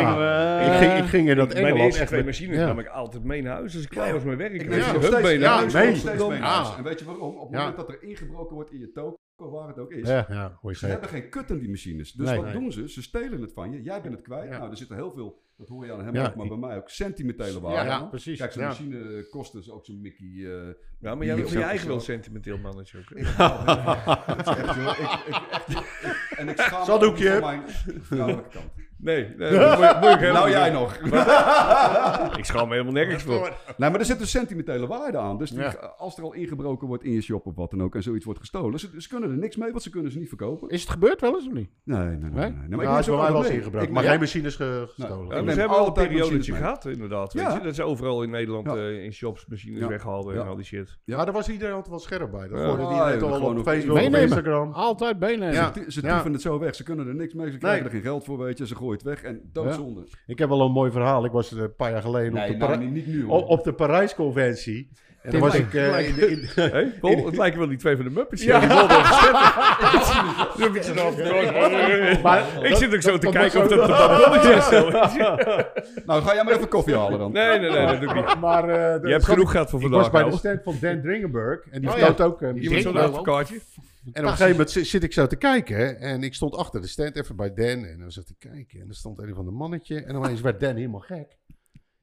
Speaker 5: ik, eh,
Speaker 4: ik, ging, ik ging in dat
Speaker 2: Mijn
Speaker 4: Engeland
Speaker 2: eerste
Speaker 4: echt
Speaker 2: twee
Speaker 4: met-
Speaker 2: machines
Speaker 4: ja.
Speaker 2: nam ik altijd mee naar huis als ik klaar was met werk.
Speaker 3: Ik
Speaker 2: Ik
Speaker 3: neem
Speaker 2: ja.
Speaker 3: ze nog steeds,
Speaker 2: mee
Speaker 3: ik
Speaker 2: naar huis.
Speaker 3: neem ze nog
Speaker 4: nee.
Speaker 3: steeds
Speaker 5: Ah.
Speaker 3: mee naar
Speaker 4: Ja.
Speaker 3: huis. En weet je waarom? Op het
Speaker 4: Ja.
Speaker 3: moment dat er ingebroken wordt in je toko, waar het ook is,
Speaker 4: Ja, ja, hoe je
Speaker 3: Ze
Speaker 4: zegt.
Speaker 3: hebben geen kut in die machines. Dus
Speaker 5: Nee.
Speaker 3: wat
Speaker 5: Nee.
Speaker 3: doen ze? Ze stelen het van je. Jij bent het kwijt. Nou, er zitten heel veel, dat hoor je aan hem
Speaker 4: Ja.
Speaker 3: ook, maar bij mij ook, sentimentele waarde.
Speaker 5: Ja, ja,
Speaker 3: aan.
Speaker 5: precies.
Speaker 3: Kijk, zo'n
Speaker 4: Ja.
Speaker 3: machine eh, kost dus ook zo'n Mickey. eh,
Speaker 2: Ja, maar jij bent
Speaker 3: Hier
Speaker 2: van je
Speaker 3: ook
Speaker 2: eigen wel
Speaker 3: zo.
Speaker 2: sentimenteel mannetje ook. hè?
Speaker 3: dat is echt, joh, ik, ik, echt, en ik schaam me ook
Speaker 4: Zakdoekje.
Speaker 3: niet van mijn vrouwelijke kant.
Speaker 2: Nee, nee dat moet, moet ik helemaal
Speaker 3: Nou
Speaker 2: niet
Speaker 3: jij
Speaker 2: doen.
Speaker 3: nog.
Speaker 2: Ik schaam me helemaal nergens voor.
Speaker 3: Nee, maar er zit een sentimentele waarde aan. Dus die-
Speaker 4: Ja.
Speaker 3: als er al ingebroken wordt in je shop of wat dan ook en zoiets wordt gestolen, ze, ze kunnen er niks mee, want ze kunnen ze niet verkopen.
Speaker 5: is het gebeurd wel eens of niet?
Speaker 3: Nee, nee, nee. nee, nee.
Speaker 5: Nee?
Speaker 3: Maar ik
Speaker 4: Nou,
Speaker 3: neem
Speaker 4: is
Speaker 3: ze
Speaker 4: bij
Speaker 3: ook
Speaker 4: mij wel eens
Speaker 3: mee.
Speaker 4: ingebruikt.
Speaker 3: Ik
Speaker 4: Maar
Speaker 3: neem-
Speaker 4: geen machines
Speaker 5: Nou,
Speaker 4: ge- gestolen.
Speaker 3: Nee.
Speaker 2: Ja,
Speaker 3: neem
Speaker 2: maar ze hebben al een
Speaker 3: altijd
Speaker 2: periodetje
Speaker 3: machines mee.
Speaker 2: gehad, inderdaad.
Speaker 3: Ja.
Speaker 2: Weet je? Dat ze overal in Nederland
Speaker 3: Ja.
Speaker 2: eh, in shops machines
Speaker 3: Ja.
Speaker 2: weghaalden en
Speaker 3: Ja.
Speaker 2: al die shit.
Speaker 4: Ja, daar was iedereen altijd wel scherp bij. Dat
Speaker 2: Ja.
Speaker 4: hoorde
Speaker 3: Ah,
Speaker 5: nou,
Speaker 4: iedereen
Speaker 3: ja,
Speaker 4: toch al
Speaker 3: gewoon
Speaker 4: op
Speaker 3: op
Speaker 4: Facebook, op
Speaker 5: meenemen.
Speaker 4: Instagram.
Speaker 5: Altijd benen.
Speaker 4: Ja.
Speaker 3: Ze, ze
Speaker 4: Ja.
Speaker 3: tieven het zo weg. Ze kunnen er niks mee. Ze krijgen
Speaker 4: Nee.
Speaker 3: er geen geld voor, weet je. Ze gooien het weg. En doodzonde.
Speaker 4: Ik heb wel een mooi verhaal. Ik was eh, een paar jaar geleden op, de
Speaker 3: Nee,
Speaker 4: Para-
Speaker 3: nou, niet, niet nu.
Speaker 4: op,
Speaker 3: hoor.
Speaker 4: op de Parijsconventie. En dan
Speaker 5: Tim
Speaker 4: was
Speaker 5: Lijn.
Speaker 4: ik... eh, in de- in-
Speaker 2: Hé, Paul, het lijken wel die twee van de Muppets. Ja. Die wilden even steppen. Zo een beetje zo.
Speaker 4: Maar-
Speaker 2: Ik zit ook zo
Speaker 4: dat-
Speaker 2: te
Speaker 4: dat
Speaker 2: kijken of
Speaker 4: was
Speaker 2: dat een ballonnetje is. zo.
Speaker 3: Nou, ga jij maar even koffie halen dan.
Speaker 2: Nee, nee, nee, dat doe ik niet.
Speaker 4: Maar eh, dat
Speaker 2: Je hebt
Speaker 4: zat ik-
Speaker 2: genoeg gehad voor
Speaker 4: Ik was
Speaker 2: vandaag.
Speaker 4: bij de
Speaker 2: ouwe.
Speaker 4: stand van Dan Dringenberg. En die
Speaker 5: Oh,
Speaker 4: verkoopt
Speaker 5: ja.
Speaker 4: ook...
Speaker 5: Die
Speaker 4: eh, muziek.
Speaker 2: Iemand zo'n
Speaker 5: Drinken wel.
Speaker 2: autokaartje.
Speaker 4: en op een gegeven moment zi- zit ik zo te kijken. En ik stond achter de stand even bij Dan. En dan zat ik te kijken. En er stond een van de mannetje. En opeens werd Dan helemaal gek.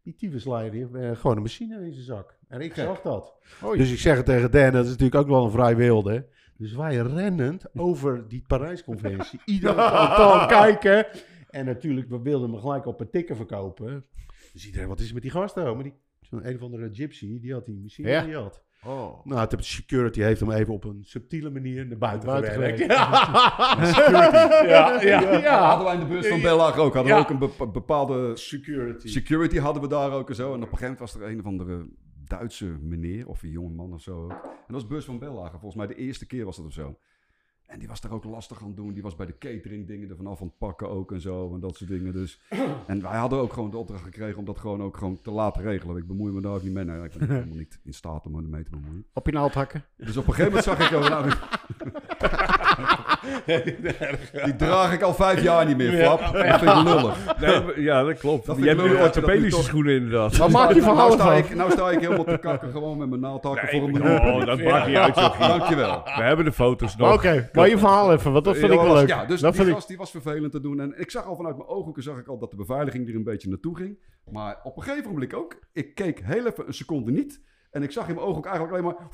Speaker 4: Die tyfusleider die heeft eh, gewoon een machine in zijn zak. En ik zag dat. Dus ik zeg het tegen Dan. Dat is natuurlijk ook wel een vrij wilde. Dus wij rennend over die Parijsconventie. Iedereen kan kijken. En natuurlijk, we wilden hem gelijk op een tikken verkopen. Dus iedereen, wat is er met die gasten? Maar die, zo'n een of andere gypsy, die had die machine
Speaker 5: Ja.
Speaker 4: die had.
Speaker 5: Oh.
Speaker 4: Nou, de security heeft hem even op een subtiele manier naar buiten,
Speaker 5: Buiten
Speaker 4: gewerkt.
Speaker 5: gewerkt.
Speaker 4: Ja, ja, ja.
Speaker 3: Hadden wij in de beurs van Bellag ook. Hadden
Speaker 4: Ja.
Speaker 3: we ook een bepa- bepaalde
Speaker 4: Security.
Speaker 3: security hadden we daar ook en zo. En op een gegeven moment was er een of andere Duitse meneer of een jongeman of zo ook. En dat was beurs van Bellagen. Volgens mij de eerste keer was dat of zo. En die was daar ook lastig aan doen. Die was bij de catering dingen ervan af aan het pakken ook en zo. En dat soort dingen dus. En wij hadden ook gewoon de opdracht gekregen om dat gewoon ook gewoon te laten regelen. Ik bemoei me daar ook niet mee. Nee, ik ben helemaal niet in staat om me ermee te bemoeien.
Speaker 5: Op je naald hakken.
Speaker 3: Dus op een gegeven moment zag ik ook... nou, die draag ik al vijf jaar niet meer, flap. Dat vind ik lullig.
Speaker 2: Nee, maar- ja, dat klopt.
Speaker 3: Dat
Speaker 2: je
Speaker 3: vind ik
Speaker 2: hebt nu
Speaker 3: leuk dat je dat nu
Speaker 2: orthopedische
Speaker 3: toch-
Speaker 2: schoenen inderdaad.
Speaker 5: Wat maak je
Speaker 3: Nou, nou
Speaker 5: verhalen
Speaker 3: sta,
Speaker 5: van?
Speaker 3: ik, nou sta ik helemaal te kakken gewoon met mijn naaldhakken voor een minuut.
Speaker 2: Oh, dat maakt niet uit, joh.
Speaker 3: Dankjewel.
Speaker 2: We hebben de foto's nog.
Speaker 5: Oké, maar je verhaal even, want dat vind ik wel leuk.
Speaker 3: Ja, dus
Speaker 5: dat
Speaker 3: die
Speaker 5: vind ik...
Speaker 3: gast die was vervelend te doen. En ik zag al vanuit mijn ooghoeken zag ik al dat de beveiliging er een beetje naartoe ging. Maar op een gegeven moment ook. Ik keek heel even een seconde niet. En ik zag in mijn ooghoek eigenlijk alleen maar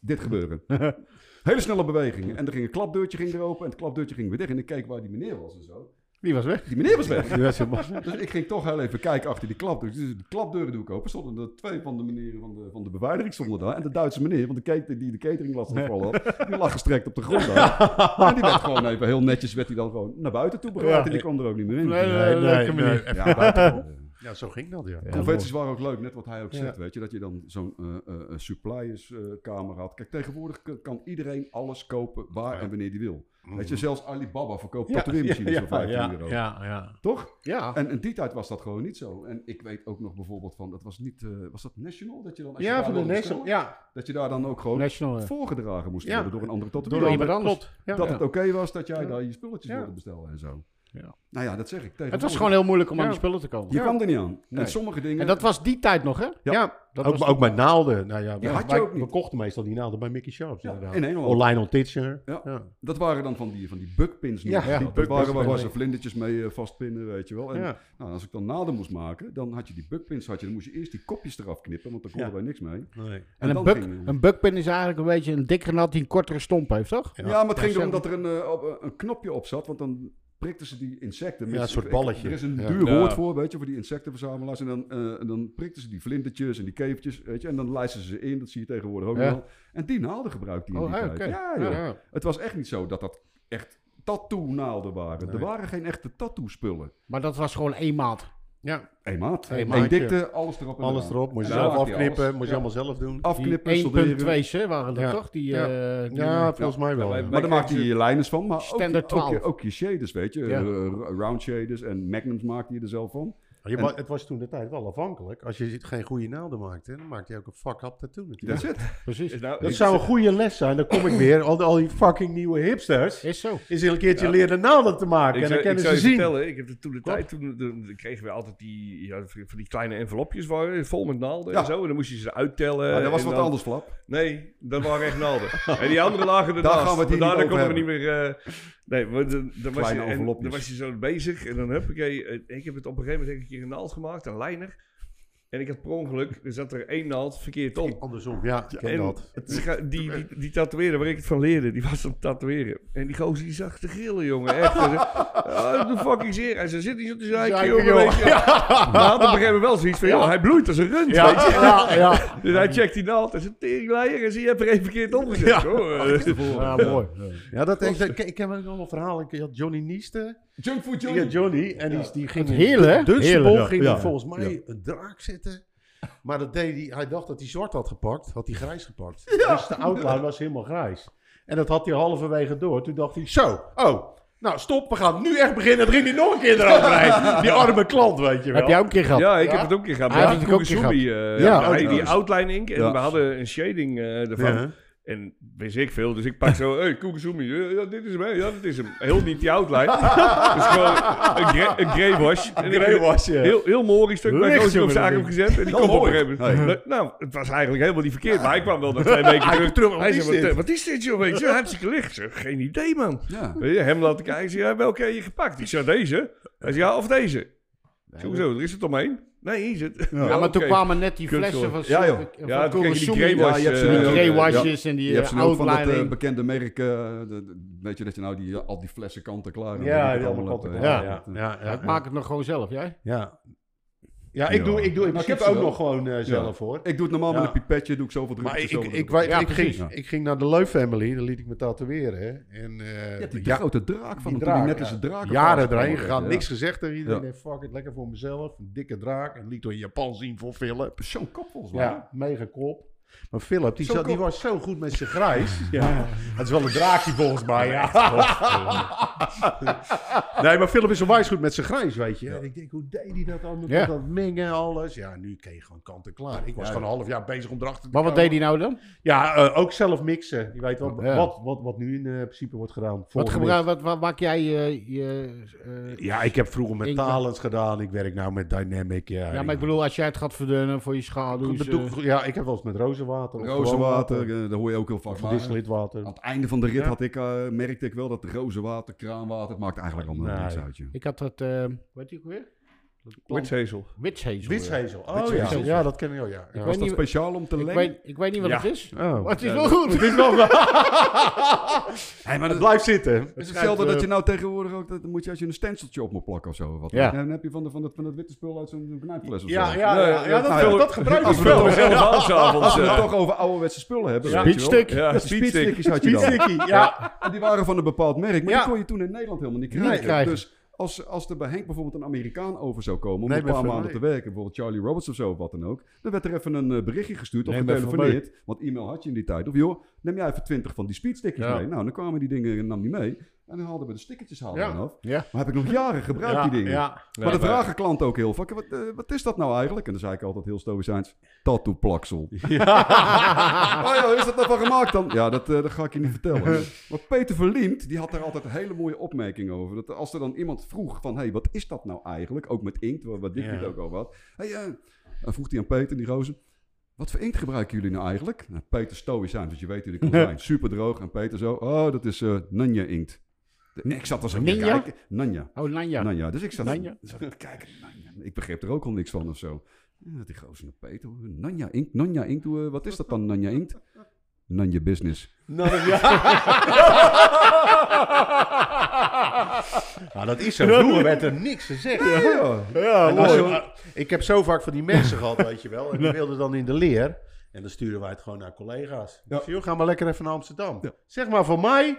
Speaker 3: dit gebeuren. Hele snelle beweging. En er ging een klapdeurtje ging er open. En het klapdeurtje ging weer dicht. En ik keek waar die meneer was en zo.
Speaker 5: Die was weg.
Speaker 3: Die meneer was weg.
Speaker 4: Ja, ze mag-
Speaker 3: Dus ik ging toch heel even kijken achter die klapdeur. Dus de klapdeuren doe ik open. Stonden er twee van de meneren van de, van de beveiliging stonden daar. En de Duitse meneer, want de catering, die de catering last gevallen had, die lag gestrekt op de grond daar. En die werd gewoon even heel netjes, werd hij dan gewoon naar buiten toe gebracht.
Speaker 5: Ja.
Speaker 3: En die kwam er ook niet meer in.
Speaker 5: Nee, nee,
Speaker 4: Nee,
Speaker 5: leuke
Speaker 4: nee,
Speaker 5: manier.
Speaker 4: nee.
Speaker 3: Ja, buitengewoon.
Speaker 4: Ja, zo ging dat, ja.
Speaker 5: Ja.
Speaker 3: Conventies waren ook leuk, net wat hij ook
Speaker 4: Ja.
Speaker 3: zegt, weet je. Dat je dan zo'n eh eh, supplierskamer had. Kijk, tegenwoordig k- kan iedereen alles kopen waar en wanneer die wil. Weet je, zelfs Alibaba verkoopt
Speaker 4: Mm. Ja,
Speaker 3: tatoeëermachines
Speaker 4: ja,
Speaker 3: voor 15
Speaker 4: ja,
Speaker 3: euro.
Speaker 5: Ja, ja.
Speaker 3: Toch?
Speaker 4: Ja.
Speaker 3: En in die tijd was dat gewoon niet zo. En ik weet ook nog bijvoorbeeld van, dat was niet, eh, was dat National? Dat je dan, als je
Speaker 4: Ja,
Speaker 3: daar
Speaker 4: van de
Speaker 3: wilde
Speaker 4: National.
Speaker 3: bestellen,
Speaker 4: Ja,
Speaker 3: Dat je daar dan ook gewoon
Speaker 5: National, ja.
Speaker 3: voorgedragen moest
Speaker 4: Ja.
Speaker 3: worden door een andere
Speaker 5: Door
Speaker 3: tatoeëerder.
Speaker 5: iemand anders.
Speaker 4: Ja.
Speaker 3: Dat het oké was dat jij
Speaker 4: Ja.
Speaker 3: daar je spulletjes
Speaker 4: Ja.
Speaker 3: wilde bestellen en zo.
Speaker 5: Ja.
Speaker 3: Nou ja, dat zeg ik.
Speaker 5: Het was gewoon heel moeilijk om aan
Speaker 4: Ja.
Speaker 5: die spullen te komen.
Speaker 3: Je kwam er niet aan.
Speaker 4: Nee.
Speaker 3: En sommige dingen...
Speaker 5: En dat was die tijd nog, hè?
Speaker 4: Ja,
Speaker 5: dat
Speaker 4: ook,
Speaker 5: was
Speaker 4: ook met naalden. Nou ja,
Speaker 3: Ja,
Speaker 4: wij,
Speaker 3: had je
Speaker 4: wij-
Speaker 3: ook niet.
Speaker 4: we kochten meestal die naalden bij Mickey Sharps.
Speaker 3: Ja,
Speaker 4: inderdaad.
Speaker 3: in Engeland.
Speaker 4: Lionel Titcher.
Speaker 3: Ja.
Speaker 4: Ja.
Speaker 3: Dat waren dan van die, van die bugpins.
Speaker 4: Ja,
Speaker 3: Ja,
Speaker 4: ja,
Speaker 3: die dat
Speaker 4: bugpins
Speaker 3: waren waar,
Speaker 4: met-
Speaker 3: waar ze vlindertjes mee eh, vastpinnen, weet je wel. En
Speaker 4: Ja.
Speaker 3: nou, als ik dan naden moest maken, dan had je die bugpins. Had je, dan moest je eerst die kopjes eraf knippen, want daar konden
Speaker 4: Ja.
Speaker 3: wij niks mee. En,
Speaker 4: Nee.
Speaker 5: En, een,
Speaker 3: dan
Speaker 5: buck,
Speaker 3: ging-
Speaker 5: een buckpin is eigenlijk een beetje een dikkere nat die een kortere stomp heeft, toch?
Speaker 3: ja, maar het ging
Speaker 5: zeg
Speaker 3: erom dat er een, eh, op- een knopje op zat, want dan prikten ze die insecten.
Speaker 4: Ja,
Speaker 3: met-
Speaker 4: een soort
Speaker 3: ik-
Speaker 4: balletje.
Speaker 3: Er is een
Speaker 4: Ja.
Speaker 3: duur
Speaker 2: Ja.
Speaker 3: woord voor, weet je, voor die insectenverzamelaars. En dan, eh, en dan prikten ze die vlindertjes en die kevertjes, weet je. En dan lijsten ze ze in, dat zie je tegenwoordig ook
Speaker 5: Ja.
Speaker 3: wel. En die naalden gebruikte hij in
Speaker 5: Oh,
Speaker 3: die
Speaker 5: ah,
Speaker 3: tijd.
Speaker 5: oké.
Speaker 3: Ja, joh. Het was echt niet zo dat dat echt tattoo-naalden waren.
Speaker 4: Nee.
Speaker 3: Er waren geen echte tattoo-spullen.
Speaker 5: Maar dat was gewoon één maat.
Speaker 4: Ja,
Speaker 3: Eén maat,
Speaker 4: Eén
Speaker 3: één
Speaker 4: maatje.
Speaker 3: dikte, alles erop en
Speaker 4: alles
Speaker 3: eraan.
Speaker 4: erop. Moest je
Speaker 3: En
Speaker 4: zelf
Speaker 3: daar had hij
Speaker 4: afknippen.
Speaker 3: alles. Oh,
Speaker 4: Moest je allemaal zelf doen.
Speaker 3: Afknippen, solderen.
Speaker 5: 1.2's hè, waren dat
Speaker 4: Ja.
Speaker 5: toch? Die,
Speaker 4: Ja.
Speaker 5: eh, die-
Speaker 4: Ja, volgens mij wel.
Speaker 2: wij-
Speaker 4: ja.
Speaker 3: Maar daar maakte hij je lijnen van. Maar ook,
Speaker 5: Standaard
Speaker 3: je- ook, je-
Speaker 5: 12.
Speaker 3: ook je shaders, weet je.
Speaker 5: Ja.
Speaker 3: eh, r- Round shaders en magnums maakte je er zelf van.
Speaker 4: Je wa- het was toen de tijd wel afhankelijk. Als je geen goede naalden maakte, dan maakte je ook een fuck-up tattoo natuurlijk.
Speaker 3: That's it.
Speaker 5: precies.
Speaker 2: Is nou-
Speaker 4: Dat
Speaker 2: is-
Speaker 4: zou een goede les zijn. Dan kom ik weer. Al, die- al die fucking nieuwe hipsters.
Speaker 5: Is zo.
Speaker 4: Is een keertje leren naalden te maken.
Speaker 2: Ik
Speaker 4: en
Speaker 2: zou,
Speaker 4: dan
Speaker 2: ik
Speaker 4: kennen
Speaker 2: zou
Speaker 4: ze
Speaker 2: je
Speaker 4: zien.
Speaker 2: vertellen, ik heb het toen de tijd, toen, toen kregen we altijd die, ja, van die kleine envelopjes waren, vol met naalden
Speaker 3: Ja.
Speaker 2: en zo. En dan moest je ze uittellen.
Speaker 3: Maar dat was
Speaker 2: en
Speaker 3: wat
Speaker 2: dan-
Speaker 3: anders, Flap.
Speaker 2: Nee, dat waren echt naalden. en die andere lagen ernaast.
Speaker 3: gaan we het hier
Speaker 2: Maar
Speaker 3: niet
Speaker 2: daarna
Speaker 3: over
Speaker 2: konden we niet meer... eh, nee, maar dan, dan, was je,
Speaker 3: Kleine
Speaker 2: en
Speaker 3: envelopjes.
Speaker 2: dan was je zo bezig. En dan heb ik... Ik heb het op een gegeven moment heb ik hier een naald gemaakt, een lijner. En ik had per ongeluk, er zat er één naald verkeerd om.
Speaker 4: Andersom, ja, ik ken
Speaker 2: En
Speaker 4: dat.
Speaker 2: het scha- die, die, die tatoeëerder waar ik het van leerde, die was aan het tatoeëren. En die gozer die zag te grillen, jongen. Echt. Hij zei, "Ah, doe fucking zeer. En ze zit hier zo te zeiken,
Speaker 4: Zeiken,
Speaker 2: jongen.
Speaker 4: joh."
Speaker 2: Weet je. Maar had op een gegeven moment wel zoiets van, joh, hij bloeit als een rund.
Speaker 4: Ja,
Speaker 2: weet je.
Speaker 4: ja, ja.
Speaker 2: Dus hij checkt die naald en zegt, teringleier, en zie je hebt er even verkeerd omgezet.
Speaker 4: Ja.
Speaker 2: hoor.
Speaker 5: Ja, mooi.
Speaker 4: ja dat heeft, ik, ik heb ook nog een verhaal. Ik had Johnny Nieste.
Speaker 3: Junkfood
Speaker 4: Ja, Johnny. En die, die ging in
Speaker 5: Heerlijk, hè?
Speaker 4: de Dunstable
Speaker 5: Heerlijk, ja.
Speaker 4: ging die
Speaker 5: Ja.
Speaker 4: volgens mij een draak zitten. Maar dat deed hij, hij dacht dat hij zwart had gepakt, had hij grijs gepakt. Dus de outline was helemaal grijs. En dat had hij halverwege door. Toen dacht hij, zo, oh, nou stop, we gaan nu echt beginnen. Dan ging hij nog een keer eroverheen. Die arme klant, weet je wel.
Speaker 5: Heb jij ook een keer gehad?
Speaker 2: Ja, ik
Speaker 4: Ja?
Speaker 2: heb het ook een keer gehad.
Speaker 5: Hij
Speaker 2: Ja,
Speaker 5: heeft het ook een keer
Speaker 2: Kurosawa, eh,
Speaker 5: Ja,
Speaker 2: hij
Speaker 5: ook
Speaker 2: die
Speaker 3: nog.
Speaker 2: outline ink en
Speaker 3: Ja.
Speaker 2: we hadden een shading eh ervan.
Speaker 4: Ja.
Speaker 2: En wist ik veel, dus ik pak zo, hey, Koekensumi, eh, ja, dit is hem, hè, ja, dit is hem. Heel niet die outline. dus gewoon een, gre- een grey wash. En ik-
Speaker 4: was je.
Speaker 2: Heel, heel mooi stuk bij
Speaker 4: Licht,
Speaker 2: Gozer op
Speaker 4: jongen,
Speaker 2: zaak
Speaker 4: dat
Speaker 2: heb gezet. En die
Speaker 3: Wel
Speaker 2: komt op een
Speaker 3: mooi.
Speaker 2: gegeven moment. Nou, het was eigenlijk helemaal niet verkeerd. Maar hij kwam wel na twee weken terug.
Speaker 4: terug, wat
Speaker 2: Hij
Speaker 4: is
Speaker 2: zei, wat,
Speaker 4: dit?
Speaker 2: eh, wat is dit joh? Weet je, hartstikke licht. Ik zeg, geen idee man.
Speaker 3: Ja.
Speaker 2: Weet je, hem laten kijken. Ik zei, ja, welke heb je gepakt? Ik zei, deze. Hij zei, ja, of deze. Ik zei, Hoezo, er is het omheen. Nee, hier
Speaker 3: Oh.
Speaker 2: zit.
Speaker 5: Ja, maar toen kwamen net die
Speaker 2: Kut,
Speaker 5: flessen van,
Speaker 2: sorry.
Speaker 3: Ja, joh.
Speaker 5: van
Speaker 2: Ja, toen kreeg je die
Speaker 5: Kurosumi.
Speaker 2: greywash,
Speaker 5: Ja, je hebt ze
Speaker 2: eh,
Speaker 5: nu die
Speaker 2: ook,
Speaker 3: eh,
Speaker 5: greywashes en
Speaker 3: Je
Speaker 5: die
Speaker 3: hebt
Speaker 5: eh,
Speaker 3: ze ook van dat eh,
Speaker 5: outlining.
Speaker 3: bekende merk, eh, de- de- weet je, dat je nou die, al die flessen kanten klaar hebt.
Speaker 4: Ja,
Speaker 3: Dat je
Speaker 4: ja,
Speaker 3: het allemaal op, eh,
Speaker 4: ja, ja,
Speaker 3: hebt.
Speaker 4: ja,
Speaker 5: Ja, ik maak het nog gewoon zelf, jij?
Speaker 4: ja. Ja, ik doe, ik doe, ik,
Speaker 3: Maar ik
Speaker 4: heb
Speaker 3: heb ze
Speaker 4: ook
Speaker 3: wel.
Speaker 4: nog gewoon eh, zelf hoor.
Speaker 3: Ik doe het normaal
Speaker 4: Ja.
Speaker 3: met een pipetje, doe ik zoveel
Speaker 4: Maar ik,
Speaker 3: drukjes.
Speaker 4: ik,
Speaker 3: zoveel
Speaker 4: ik,
Speaker 3: drukjes.
Speaker 5: Ja,
Speaker 4: ik, ging,
Speaker 5: precies.
Speaker 4: ik ging naar de Leu Family, daar liet ik me tatoeëren. hè. En, eh,
Speaker 3: Ja, die
Speaker 4: ja,
Speaker 3: grote draak van
Speaker 4: die
Speaker 3: hem, toen die
Speaker 4: draak,
Speaker 3: net
Speaker 4: ja.
Speaker 3: als een draak. op
Speaker 4: jaren
Speaker 3: was.
Speaker 4: erheen gegaan,
Speaker 3: Ja.
Speaker 4: niks gezegd tegen iedereen.
Speaker 3: Ja.
Speaker 4: Nee, fuck it, lekker voor mezelf. Een dikke draak. En liet door in Japan zien voor Philip.
Speaker 3: Zo'n kop volgens mij.
Speaker 4: Ja, mega kop. Maar Philip, die,
Speaker 3: Zo'n
Speaker 4: zat, die
Speaker 3: kop.
Speaker 4: was zo goed met zijn grijs. ja. Het is wel een draakje volgens mij, ja. nee, maar Philip is onwijs goed met zijn grijs, weet je. En ik denk, hoe deed hij dat dan? Met
Speaker 5: Ja.
Speaker 4: dat mengen en alles. Ja, nu kreeg je gewoon kant en klaar. Ik was gewoon een half jaar bezig om erachter te
Speaker 5: Maar wat
Speaker 4: komen.
Speaker 5: deed hij nou dan?
Speaker 4: Ja, eh, ook zelf mixen. Je weet wel,
Speaker 5: Ja.
Speaker 4: wat, wat, wat nu in eh, principe wordt gedaan.
Speaker 5: Wat,
Speaker 4: Volgemixt.
Speaker 5: gebruik, wat, wat maak jij eh, je... eh,
Speaker 4: Ja, ik heb vroeger met
Speaker 5: Ik-
Speaker 4: Talent gedaan. Ik werk nu met Dynamic. Ja,
Speaker 5: ja, maar ik bedoel, als jij het gaat verdunnen voor je eh, schaduw.
Speaker 4: Ik bedoel, ja, ik heb wel eens met rozenwater. of gewoon
Speaker 3: Rozenwater, eh, daar hoor je ook heel vaak.
Speaker 4: Of
Speaker 3: Maar
Speaker 4: distillitwater.
Speaker 3: aan het einde van de rit
Speaker 4: Ja.
Speaker 3: had ik, eh, merkte ik wel dat rozenwater, kraanwater, het maakt eigenlijk allemaal
Speaker 4: Nee.
Speaker 3: niks uit. joh.
Speaker 5: Ik had dat, eh weet je ook weer?
Speaker 2: Witsezel.
Speaker 5: Witshazel.
Speaker 4: Witshezel. Oh ja.
Speaker 3: Witshezel.
Speaker 4: ja, dat kennen we wel, ja. ja.
Speaker 5: weet
Speaker 3: Was dat
Speaker 5: niet-
Speaker 3: speciaal om te
Speaker 5: Ik
Speaker 3: lengen?
Speaker 5: weet, ik weet niet wat
Speaker 4: Ja.
Speaker 5: het is. Eh,
Speaker 4: Oh.
Speaker 5: Maar het is wel goed.
Speaker 4: Het is wel waar.
Speaker 3: Hey, maar
Speaker 4: Het eh,
Speaker 3: dat-
Speaker 4: blijft zitten.
Speaker 3: het is hetzelfde dat je nou tegenwoordig ook, dat moet je als je een stenciltje op moet plakken of zo. Wat
Speaker 5: Ja.
Speaker 3: En dan heb je van, de, van, dat, van dat witte spul uit zo'n knijpfles of
Speaker 4: Ja,
Speaker 3: zo.
Speaker 4: ja, ja, ja,
Speaker 3: Nee,
Speaker 4: dat,
Speaker 3: nou ja,
Speaker 4: dat gebruik ik
Speaker 3: als we het
Speaker 4: wel.
Speaker 3: toch-
Speaker 2: Helemaal s'avonds.
Speaker 3: Als we het
Speaker 2: eh,
Speaker 3: toch over ouderwetse spullen hebben. weet je wel.
Speaker 5: Speedstick.
Speaker 2: Ja,
Speaker 3: De
Speaker 2: speedstick.
Speaker 3: speedstickjes had je dan.
Speaker 4: Sticky, ja.
Speaker 3: En die waren van een bepaald merk, maar
Speaker 4: Ja.
Speaker 3: die kon je toen in Nederland helemaal niet krijgen.
Speaker 5: Nee, krijgen.
Speaker 3: Dus als, als er bij Henk bijvoorbeeld een Amerikaan over zou komen om
Speaker 4: Nee,
Speaker 3: een
Speaker 4: maar
Speaker 3: paar
Speaker 4: voor
Speaker 3: maanden
Speaker 4: mij-
Speaker 3: te werken, bijvoorbeeld Charlie Roberts of zo, of wat dan ook, dan werd er even een eh, berichtje gestuurd of
Speaker 5: Nee, maar voor
Speaker 3: getelefoneerd, want e-mail had je in die tijd. Of joh, neem jij even twintig van die speedstickers
Speaker 5: Ja.
Speaker 3: mee. Nou, dan kwamen die dingen en nam die mee. En dan haalden we de stickertjes haalden we
Speaker 4: Ja.
Speaker 3: af.
Speaker 4: Ja.
Speaker 3: Maar heb ik nog jaren gebruikt, die dingen.
Speaker 4: Ja.
Speaker 3: maar de
Speaker 2: wij-
Speaker 3: vragen klanten ook heel vaak, wat, eh, wat is dat nou eigenlijk? En dan zei ik altijd heel stoïcijns, tattoo plaksel. oh ja, hoe is dat nou van gemaakt dan? Ja, dat, eh, dat ga ik je niet vertellen. maar Peter Verliemt, die had daar altijd een hele mooie opmerking over. Dat als er dan iemand vroeg van, hé, hey, wat is dat nou eigenlijk? Ook met inkt, wat, wat Dick
Speaker 4: Ja.
Speaker 3: hier ook over had. Hey, eh, dan vroeg hij aan Peter, die rozen. Wat voor inkt gebruiken jullie nou eigenlijk? Nou, Peter stoïcijns, want je weet hoe die kan zijn. Super droog. En Peter zo, oh, dat is eh Nanja inkt. De- Ik zat als een
Speaker 5: Ninja?
Speaker 3: kijken. Nanja.
Speaker 5: Oh, Nanja.
Speaker 3: Nou ja, dus ik zat,
Speaker 5: Nanja.
Speaker 3: zat te kijken. Nanja. Ik begreep er ook al niks van of zo. Ja, dat die gozer naar Peter. hoor. Nanja Inkt, Nanja Inkt. hoe, eh, Wat is dat dan, Nanja Inkt? Nanja Business.
Speaker 4: Nou, dat- ja. Nou, dat is zo. Vroeger werd er niks gezegd. En als je- ah, ik heb zo vaak van die mensen gehad, weet je wel. En die wilden dan in de leer. En dan sturen wij het gewoon naar collega's. Dus joh, ga maar lekker even naar Amsterdam. Zeg maar voor mij.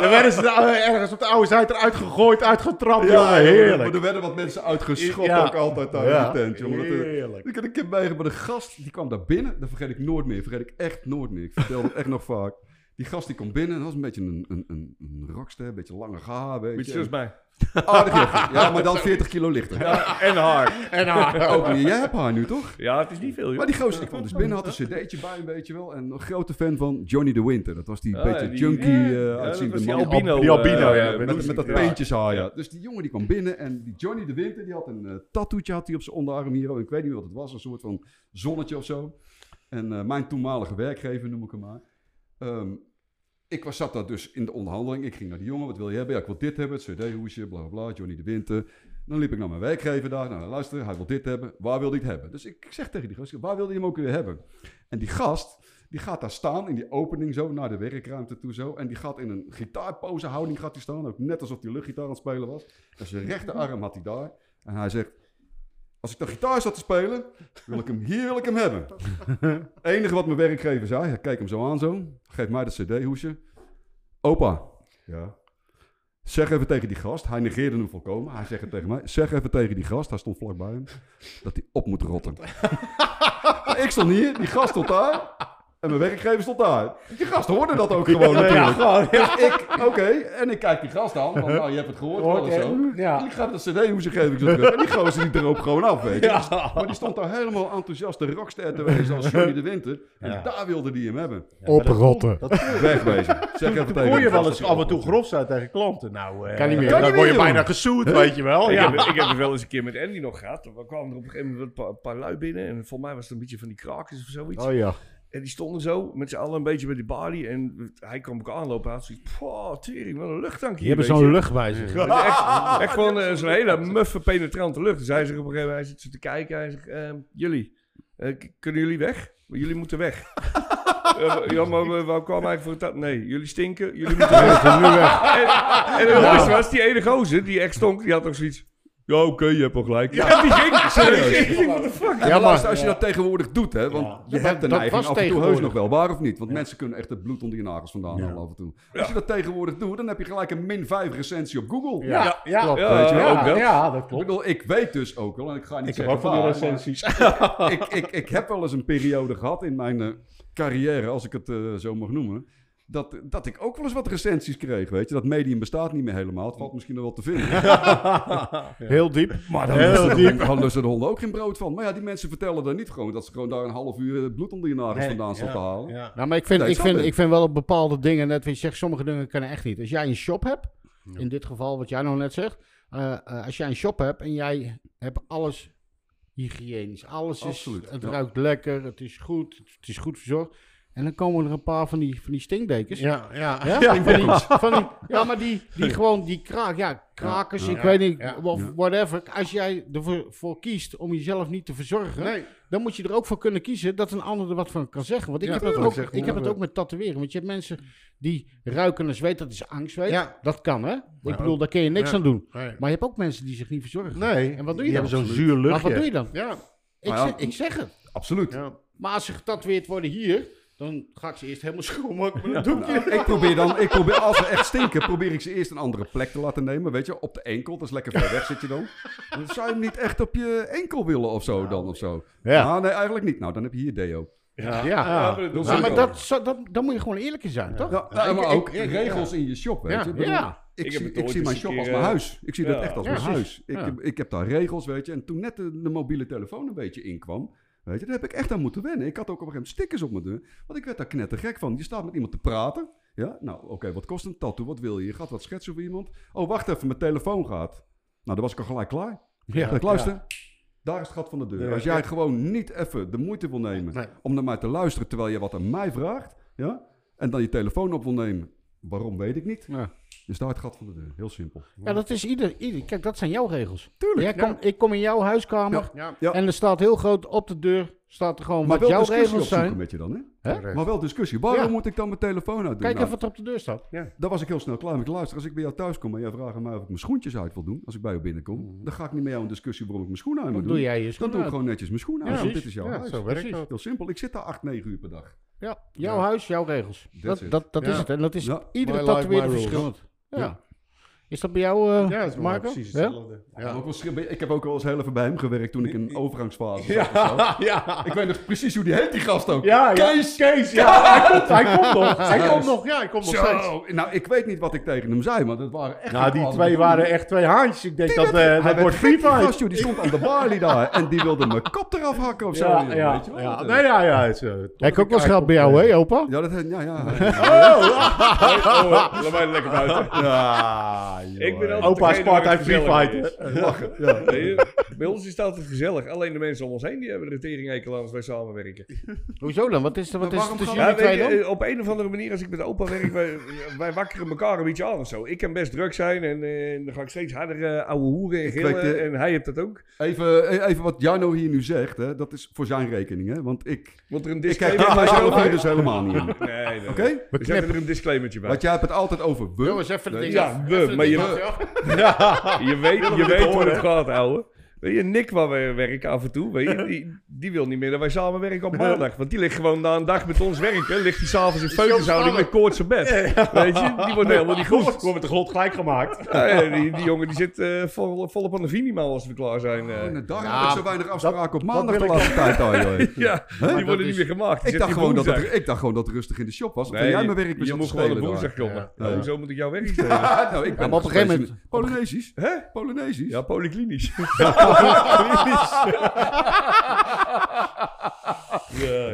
Speaker 4: dan werden ze nou ergens op de oude zijde eruit gegooid, uitgetrapt. Ja,
Speaker 3: Maar
Speaker 4: heerlijk.
Speaker 3: er werden wat mensen uitgeschopt
Speaker 4: Ja.
Speaker 3: ook altijd daar
Speaker 4: Ja.
Speaker 3: in de tent. Jongen. Dat, eh,
Speaker 4: Heerlijk.
Speaker 3: ik had een keer meegemaakt met een gast. Die kwam daar binnen. Dat vergeet ik nooit meer. Vergeet ik echt nooit meer. Ik vertel het echt nog vaak. Die gast die kwam binnen. Dat was een beetje een, een, een, een rockster. Een beetje lange haar. Weet
Speaker 2: Beetje
Speaker 3: je.
Speaker 2: zoals mij.
Speaker 3: Aardig jochie. Ja, maar dan 40 kilo lichter.
Speaker 2: Ja, en haar.
Speaker 4: En haar.
Speaker 3: Ook niet. Jij hebt haar nu toch?
Speaker 2: Ja, het is niet veel, joh.
Speaker 3: Maar die gozer, ik kwam dus binnen, had een cd'tje bij een beetje wel. En een grote fan van Johnny de Winter. Dat was die
Speaker 2: Ah,
Speaker 3: beetje
Speaker 2: die-
Speaker 3: junkie
Speaker 2: ja,
Speaker 3: eh,
Speaker 2: ja, dat
Speaker 3: uitziende
Speaker 2: was die
Speaker 3: man.
Speaker 2: albino,
Speaker 3: Die albino,
Speaker 2: eh,
Speaker 3: ja.
Speaker 2: eh,
Speaker 3: Met, met dat
Speaker 2: ja.
Speaker 3: peentjeshaar, ja. Dus die jongen die kwam binnen en die Johnny de Winter, die had een eh tattoetje had hij op zijn onderarm hier. Ik weet niet wat het was, een soort van zonnetje of zo. En eh, mijn toenmalige werkgever, noem ik hem maar. Ehm, ik was, zat daar dus in de onderhandeling. Ik ging naar die jongen, wat wil je hebben? Ja, ik wil dit hebben, het cd-hoesje, bla bla bla, Johnny de Winter. Dan liep ik naar mijn werkgever daar. Nou, luister, hij wil dit hebben. Waar wil hij het hebben? Dus ik zeg tegen die gast, waar wil hij hem ook weer hebben? En die gast, die gaat daar staan in die opening zo, naar de werkruimte toe zo. En die gaat in een gitaarposehouding gaat hij staan. Ook net alsof hij luchtgitaar aan het spelen was. En Dus zijn rechterarm had hij daar. En hij zegt, als ik de gitaar zat te spelen, wil ik hem hier wil ik hem hebben. Het enige wat mijn werkgever zei, hij keek hem zo aan zo. Geef mij dat cd-hoesje. Opa. Ja. Zeg even tegen die gast, hij negeerde hem volkomen. Hij zegt het tegen mij. Zeg even tegen die gast, hij stond vlakbij hem, dat hij op moet rotten. Maar ik stond hier, die gast stond daar. En mijn werkgever stond daar. Die gast hoorde dat ook gewoon natuurlijk. Dus ik, oké, en ik kijk die gast aan. Van, nou, je hebt het gehoord, wel of zo.
Speaker 4: Ja.
Speaker 3: En ik ga dat cd hoesje geef ik zo terug. En die gozer die erop gewoon af, weet je. Maar die stond daar helemaal enthousiast de rockster te wezen als Johnny de Winter. En
Speaker 4: Ja.
Speaker 3: daar wilde die hem hebben.
Speaker 5: Oprotten.
Speaker 3: Wegwezen. Zeg even tegen
Speaker 4: Hoor
Speaker 3: die
Speaker 4: je wel
Speaker 3: gast
Speaker 4: eens
Speaker 3: dat hij
Speaker 4: af en toe
Speaker 3: oprotte.
Speaker 4: grof zijn tegen klanten? Nou, eh,
Speaker 5: Kan niet meer.
Speaker 4: Dan
Speaker 3: Kan niet
Speaker 4: word je
Speaker 3: meer,
Speaker 4: bijna
Speaker 3: joh.
Speaker 4: gesoet, weet je wel.
Speaker 2: Ik,
Speaker 4: Ja.
Speaker 2: heb, ik heb het wel eens een keer met Andy nog gehad. We kwamen er op een gegeven moment een paar, paar lui binnen. En volgens mij was het een beetje van die krakers of zoiets.
Speaker 5: Oh ja.
Speaker 2: En die stonden zo met z'n allen een beetje bij die body. En hij kwam ook aanlopen. Hij had zoiets, "Pah, tering, wat een luchttank
Speaker 5: Die
Speaker 2: hier.
Speaker 5: hebben
Speaker 2: weet
Speaker 5: zo'n
Speaker 2: je."
Speaker 5: lucht bij zich.
Speaker 2: Het is Echt, echt gewoon eh, zo'n hele muffe, penetrante lucht. Dus hij zegt op een gegeven moment, hij zit zo te kijken. Hij zegt, "Ehm, jullie, eh, k- kunnen jullie weg? Maar Jullie moeten weg. Eh, ja, maar we, we kwamen eigenlijk voor het... ta- Nee, jullie stinken, jullie moeten weg. En, en het mooiste was, die ene gozer die echt stonk, die had ook zoiets... Ja, oké, je hebt wel gelijk. Ja, die ging. Die ging, die- what the fuck?
Speaker 5: Ja,
Speaker 3: Luister,
Speaker 5: maar
Speaker 3: als je dat tegenwoordig doet, hè, want je hebt een
Speaker 5: dat
Speaker 3: neiging
Speaker 5: was
Speaker 3: af en toe heus
Speaker 5: tegenwoordig.
Speaker 3: nog wel, waar of niet? Want mensen kunnen echt het bloed onder je nagels vandaan halen af en toe. Als je dat tegenwoordig doet, dan heb je gelijk een min 5 recensie op Google.
Speaker 4: Ja, ja, ja,
Speaker 5: klopt.
Speaker 2: Ja,
Speaker 3: Weet je wel,
Speaker 2: ook dat.
Speaker 4: ja, dat
Speaker 3: Ik
Speaker 4: klopt.
Speaker 3: bedoel, ik weet dus ook wel, en ik ga niet
Speaker 4: Ik heb
Speaker 3: zeggen
Speaker 4: ook van die
Speaker 3: waar,
Speaker 4: recensies.
Speaker 3: maar ik, ik, ik heb wel eens een periode gehad in mijn eh, carrière, als ik het eh, zo mag noemen, dat, dat ik ook wel eens wat recensies kreeg, weet je. Dat medium bestaat niet meer helemaal, het valt misschien nog wel te vinden.
Speaker 5: heel diep.
Speaker 3: Maar dan lusten, de honden- dan lusten de honden ook geen brood van. Maar ja, die mensen vertellen daar niet gewoon dat ze gewoon daar een half uur eh, bloed onder je nagels vandaan staan te halen.
Speaker 4: Ja.
Speaker 5: Nou, maar ik vind,
Speaker 3: Nee,
Speaker 5: ik,
Speaker 3: snap
Speaker 5: vind,
Speaker 3: ik.
Speaker 5: ik vind wel op bepaalde dingen, net wat je zegt, sommige dingen kunnen echt niet. Als jij een shop hebt, in dit geval wat jij nog net zegt, eh, eh, als jij een shop hebt en jij hebt alles hygiënisch, alles is,
Speaker 3: Absoluut,
Speaker 5: het
Speaker 3: ja.
Speaker 5: ruikt lekker, het is goed, het is goed verzorgd. En dan komen er een paar van die, van die stinkdekens.
Speaker 4: Ja, ja.
Speaker 5: Ja, van die, van die, ja, maar die, die gewoon, die kraak, ja, krakers, ik
Speaker 4: Ja.
Speaker 5: weet niet,
Speaker 4: Ja.
Speaker 5: of
Speaker 3: Ja.
Speaker 5: whatever. Als jij ervoor voor kiest om jezelf niet te verzorgen,
Speaker 4: Nee.
Speaker 5: dan moet je er ook voor kunnen kiezen dat een ander er wat van kan zeggen. Want ik
Speaker 4: Ja,
Speaker 5: heb dat
Speaker 4: tuurlijk,
Speaker 5: ook,
Speaker 4: zeg maar.
Speaker 5: ik heb het ook met tatoeëren. Want je hebt mensen die ruiken naar zweet, dat is angst,
Speaker 4: Ja.
Speaker 5: Dat kan, hè? ik bedoel,
Speaker 4: ook-
Speaker 5: daar kun je niks
Speaker 4: ja.
Speaker 5: aan doen.
Speaker 4: Nee.
Speaker 5: Maar je hebt ook mensen die zich niet verzorgen.
Speaker 4: Nee.
Speaker 5: En wat doe je
Speaker 4: Die
Speaker 5: dan?
Speaker 4: hebben zo'n zuur luchtje.
Speaker 5: Maar wat doe je dan?
Speaker 4: Ja.
Speaker 5: Ik,
Speaker 3: Maar ja.
Speaker 5: zeg, ik zeg het.
Speaker 3: Absoluut.
Speaker 4: ja.
Speaker 5: Maar als ze getatoeëerd worden hier, dan ga ik ze eerst helemaal schoonmaken met een doekje.
Speaker 3: Nou, ik probeer dan, ik probeer, als ze echt stinken, probeer ik ze eerst een andere plek te laten nemen. Weet je, op de enkel, dat is lekker ver weg zit je dan. Dan zou je hem niet echt op je enkel willen of zo dan of zo.
Speaker 5: Ja.
Speaker 3: Ah, nee, eigenlijk niet. Nou, dan heb je hier deo.
Speaker 4: Ja,
Speaker 2: Ja, maar dat-
Speaker 5: Ja, maar dat, zo- dat, dan moet je gewoon eerlijk in zijn, toch?
Speaker 3: Ja,
Speaker 4: Ja,
Speaker 3: maar
Speaker 4: ik-
Speaker 3: ook
Speaker 4: ik- ik-
Speaker 3: regels in je shop, weet
Speaker 5: Ja,
Speaker 3: je. Ik bedoel,
Speaker 5: ja.
Speaker 3: Ik,
Speaker 2: Ik heb
Speaker 3: zie,
Speaker 2: het
Speaker 3: ik
Speaker 2: ooit
Speaker 3: zie
Speaker 2: eens
Speaker 3: mijn
Speaker 2: een
Speaker 3: shop
Speaker 2: keer,
Speaker 3: als mijn
Speaker 2: eh,
Speaker 3: huis. Ik zie dat
Speaker 2: ja,
Speaker 3: echt als
Speaker 5: precies.
Speaker 3: mijn huis. Ik,
Speaker 5: Ja.
Speaker 3: heb- ik heb daar regels, weet je. En toen net de, de mobiele telefoon een beetje inkwam, weet je, daar heb ik echt aan moeten wennen. Ik had ook op een gegeven moment stickers op mijn deur, want ik werd daar knettergek van. Je staat met iemand te praten. Ja, nou oké, wat kost een tattoo? Wat wil je? Je gaat wat schetsen voor iemand. Oh, wacht even, mijn telefoon gaat. Nou, dan was ik al gelijk klaar.
Speaker 5: Ja,
Speaker 3: Kijk, luister. Daar is het gat van de deur.
Speaker 4: Ja.
Speaker 3: Als jij gewoon niet even de moeite wil nemen
Speaker 5: Nee.
Speaker 3: om naar mij te luisteren terwijl je wat aan mij vraagt, ja, en dan je telefoon op wil nemen, waarom weet ik niet.
Speaker 5: Ja.
Speaker 3: Dus daar het gat van de deur. Heel simpel.
Speaker 5: Ja, dat is ieder, ieder. Kijk, dat zijn jouw regels.
Speaker 3: Tuurlijk.
Speaker 5: Jij komt- Ik kom in jouw huiskamer
Speaker 4: Ja.
Speaker 3: Ja.
Speaker 5: en er staat heel groot op de deur, staat er gewoon
Speaker 3: Maar
Speaker 5: wat
Speaker 3: wel
Speaker 5: jouw
Speaker 3: discussie
Speaker 5: regels
Speaker 3: opzoeken
Speaker 5: zijn.
Speaker 3: met je dan, hè?
Speaker 5: Hè?
Speaker 3: Maar wel discussie. Waarom
Speaker 5: Ja.
Speaker 3: moet ik dan mijn telefoon uit doen?
Speaker 5: Kijk
Speaker 3: Nou,
Speaker 5: even wat er op de deur staat.
Speaker 3: Daar was ik heel snel klaar mee. Luister, als ik bij jou thuis kom en jij vraagt aan mij of ik mijn schoentjes uit wil doen, als ik bij jou binnenkom, dan ga ik niet met jou een discussie waarom ik mijn schoenen uit
Speaker 5: Mm. Dan
Speaker 3: moet
Speaker 5: doe
Speaker 3: doen.
Speaker 5: jij je
Speaker 3: Dan
Speaker 5: schoenen
Speaker 3: doe ik
Speaker 5: uit.
Speaker 3: gewoon netjes mijn schoenen uit.
Speaker 5: Ja,
Speaker 3: want
Speaker 5: precies.
Speaker 3: dit is jouw
Speaker 4: Ja,
Speaker 3: huis.
Speaker 4: zo werkt dat.
Speaker 3: Heel simpel. Ik zit daar 8, 9 uur per dag.
Speaker 5: Ja, jouw
Speaker 4: Ja.
Speaker 5: huis, jouw regels. Dat,
Speaker 3: it.
Speaker 5: dat, dat
Speaker 4: Ja.
Speaker 5: is het. En dat is
Speaker 3: Ja.
Speaker 5: iedere
Speaker 4: My life,
Speaker 5: tatoeëerder
Speaker 4: my rules.
Speaker 5: verschillend. Ja.
Speaker 3: Ja.
Speaker 5: Is dat bij jou, eh
Speaker 4: Ja, dat is maar
Speaker 5: Marco?
Speaker 4: precies
Speaker 5: Ja?
Speaker 4: hetzelfde.
Speaker 3: Ja.
Speaker 4: Ja.
Speaker 3: ook wel schri- ik heb ook wel eens heel even bij hem gewerkt toen ik in overgangsfase zat. of zo.
Speaker 4: Ja, ja.
Speaker 3: Ik weet nog precies hoe die heet, die gast ook.
Speaker 4: Ja, ja.
Speaker 3: Kees!
Speaker 4: Kees, ja, hij komt, hij komt nog. Hij komt nog, ja, hij komt nog steeds.
Speaker 3: Zo! Nou, ik weet niet wat ik tegen hem zei, maar dat waren echt...
Speaker 4: Nou, die
Speaker 3: bepaalde
Speaker 4: twee
Speaker 3: bedoelingen.
Speaker 4: waren echt twee haantjes. Ik denk
Speaker 3: Die
Speaker 4: dat
Speaker 3: werd-
Speaker 4: eh,
Speaker 3: hij
Speaker 4: dat
Speaker 3: werd
Speaker 4: wordt
Speaker 3: gek,
Speaker 4: free
Speaker 3: die
Speaker 4: fight.
Speaker 3: gast, joh, die stond aan de balie daar en die wilde mijn kop eraf hakken of zo.
Speaker 4: Ja,
Speaker 3: joh,
Speaker 4: ja,
Speaker 3: weet je wel.
Speaker 4: ja.
Speaker 3: Dat-
Speaker 4: Nee, ja, ja. Het is, eh,
Speaker 5: Heb ik ook wel geld bij
Speaker 4: eigenlijk
Speaker 5: jou, hè, opa?
Speaker 3: Ja, dat... Ja, ja.
Speaker 2: Oh, laat mij lekker buiten.
Speaker 3: ja
Speaker 2: Ik ben altijd
Speaker 4: Opa
Speaker 2: degene waar
Speaker 4: spart, hij
Speaker 2: het
Speaker 4: free
Speaker 2: gezellig
Speaker 4: fight.
Speaker 2: is.
Speaker 4: hè. Lachen.
Speaker 2: Nee, eh, bij ons is het altijd gezellig. Alleen de mensen om ons heen die hebben de tering ekel als wij samenwerken.
Speaker 5: Hoezo dan? Wat is er wat
Speaker 3: Maar
Speaker 5: is er
Speaker 3: waarom
Speaker 5: tussen
Speaker 3: gaan
Speaker 2: Ja,
Speaker 5: jullie twee
Speaker 2: weet je,
Speaker 5: dan?
Speaker 2: eh, op een of andere manier, als ik met opa werk, wij, wij wakkeren elkaar een beetje aan of zo. Ik kan best druk zijn en eh, dan ga ik steeds harder eh, ouwe hoeren en
Speaker 3: Ik
Speaker 2: gillen.
Speaker 3: weet, eh,
Speaker 2: en hij heeft dat ook.
Speaker 3: Even, e- even wat Jano hier nu zegt, hè, dat is voor zijn rekening. Hè, want ik,
Speaker 2: Want er een
Speaker 3: ik kijk daar
Speaker 2: disclaimer
Speaker 3: mijzelf
Speaker 2: bij.
Speaker 3: hier dus helemaal niet in. Oké?
Speaker 2: Nee, nee, nee. We zetten er een disclaimertje bij.
Speaker 3: Want jij hebt het altijd over we.
Speaker 5: Jongens, even de
Speaker 3: Nee,
Speaker 5: ding
Speaker 2: ja,
Speaker 5: af.
Speaker 2: we,
Speaker 5: Even de
Speaker 2: maar
Speaker 5: ding af,
Speaker 2: je-
Speaker 5: joh.
Speaker 2: Je weet, je
Speaker 4: het
Speaker 2: weet hoe
Speaker 4: horen,
Speaker 2: het gaat, ouwe. Weet je, Nick waar we werken af en toe, weet je, die, die wil niet meer dat wij samenwerken op maandag. Want die ligt gewoon na een dag met ons werken, ligt die s'avonds in feutushouding met koorts op bed. Weet je, die wordt helemaal niet goed.
Speaker 4: Wordt met de grond gelijk gemaakt.
Speaker 2: Ja, ja, die, die jongen die zit eh, vol, volop aan de minimaal als we klaar zijn. eh.
Speaker 3: En daar
Speaker 5: Ja,
Speaker 3: heb ik zo weinig afspraken op maandag de
Speaker 4: wil ik
Speaker 3: laatste tijd al, joh.
Speaker 2: ja, die
Speaker 5: dat
Speaker 2: worden niet
Speaker 5: is-
Speaker 2: meer gemaakt. Die
Speaker 3: Ik
Speaker 2: zit
Speaker 3: dacht,
Speaker 2: die
Speaker 3: gewoon dat het,
Speaker 2: woensdag.
Speaker 3: ik dacht gewoon dat het rustig in de shop was. Of
Speaker 2: Nee,
Speaker 3: dat jij
Speaker 2: je-
Speaker 3: mijn werk
Speaker 2: Je
Speaker 3: zat te
Speaker 2: moet gewoon op
Speaker 3: spelen
Speaker 2: woensdag
Speaker 3: daar.
Speaker 2: komen.
Speaker 4: Ja.
Speaker 2: Nou,
Speaker 3: Ja.
Speaker 2: Hoezo moet ik jouw werk stelen?
Speaker 3: nou, ik ben
Speaker 5: maar op een gegeven
Speaker 3: nog steeds- Polynesisch?
Speaker 2: Hè?
Speaker 3: Polynesisch?
Speaker 2: Ja, polyklinisch.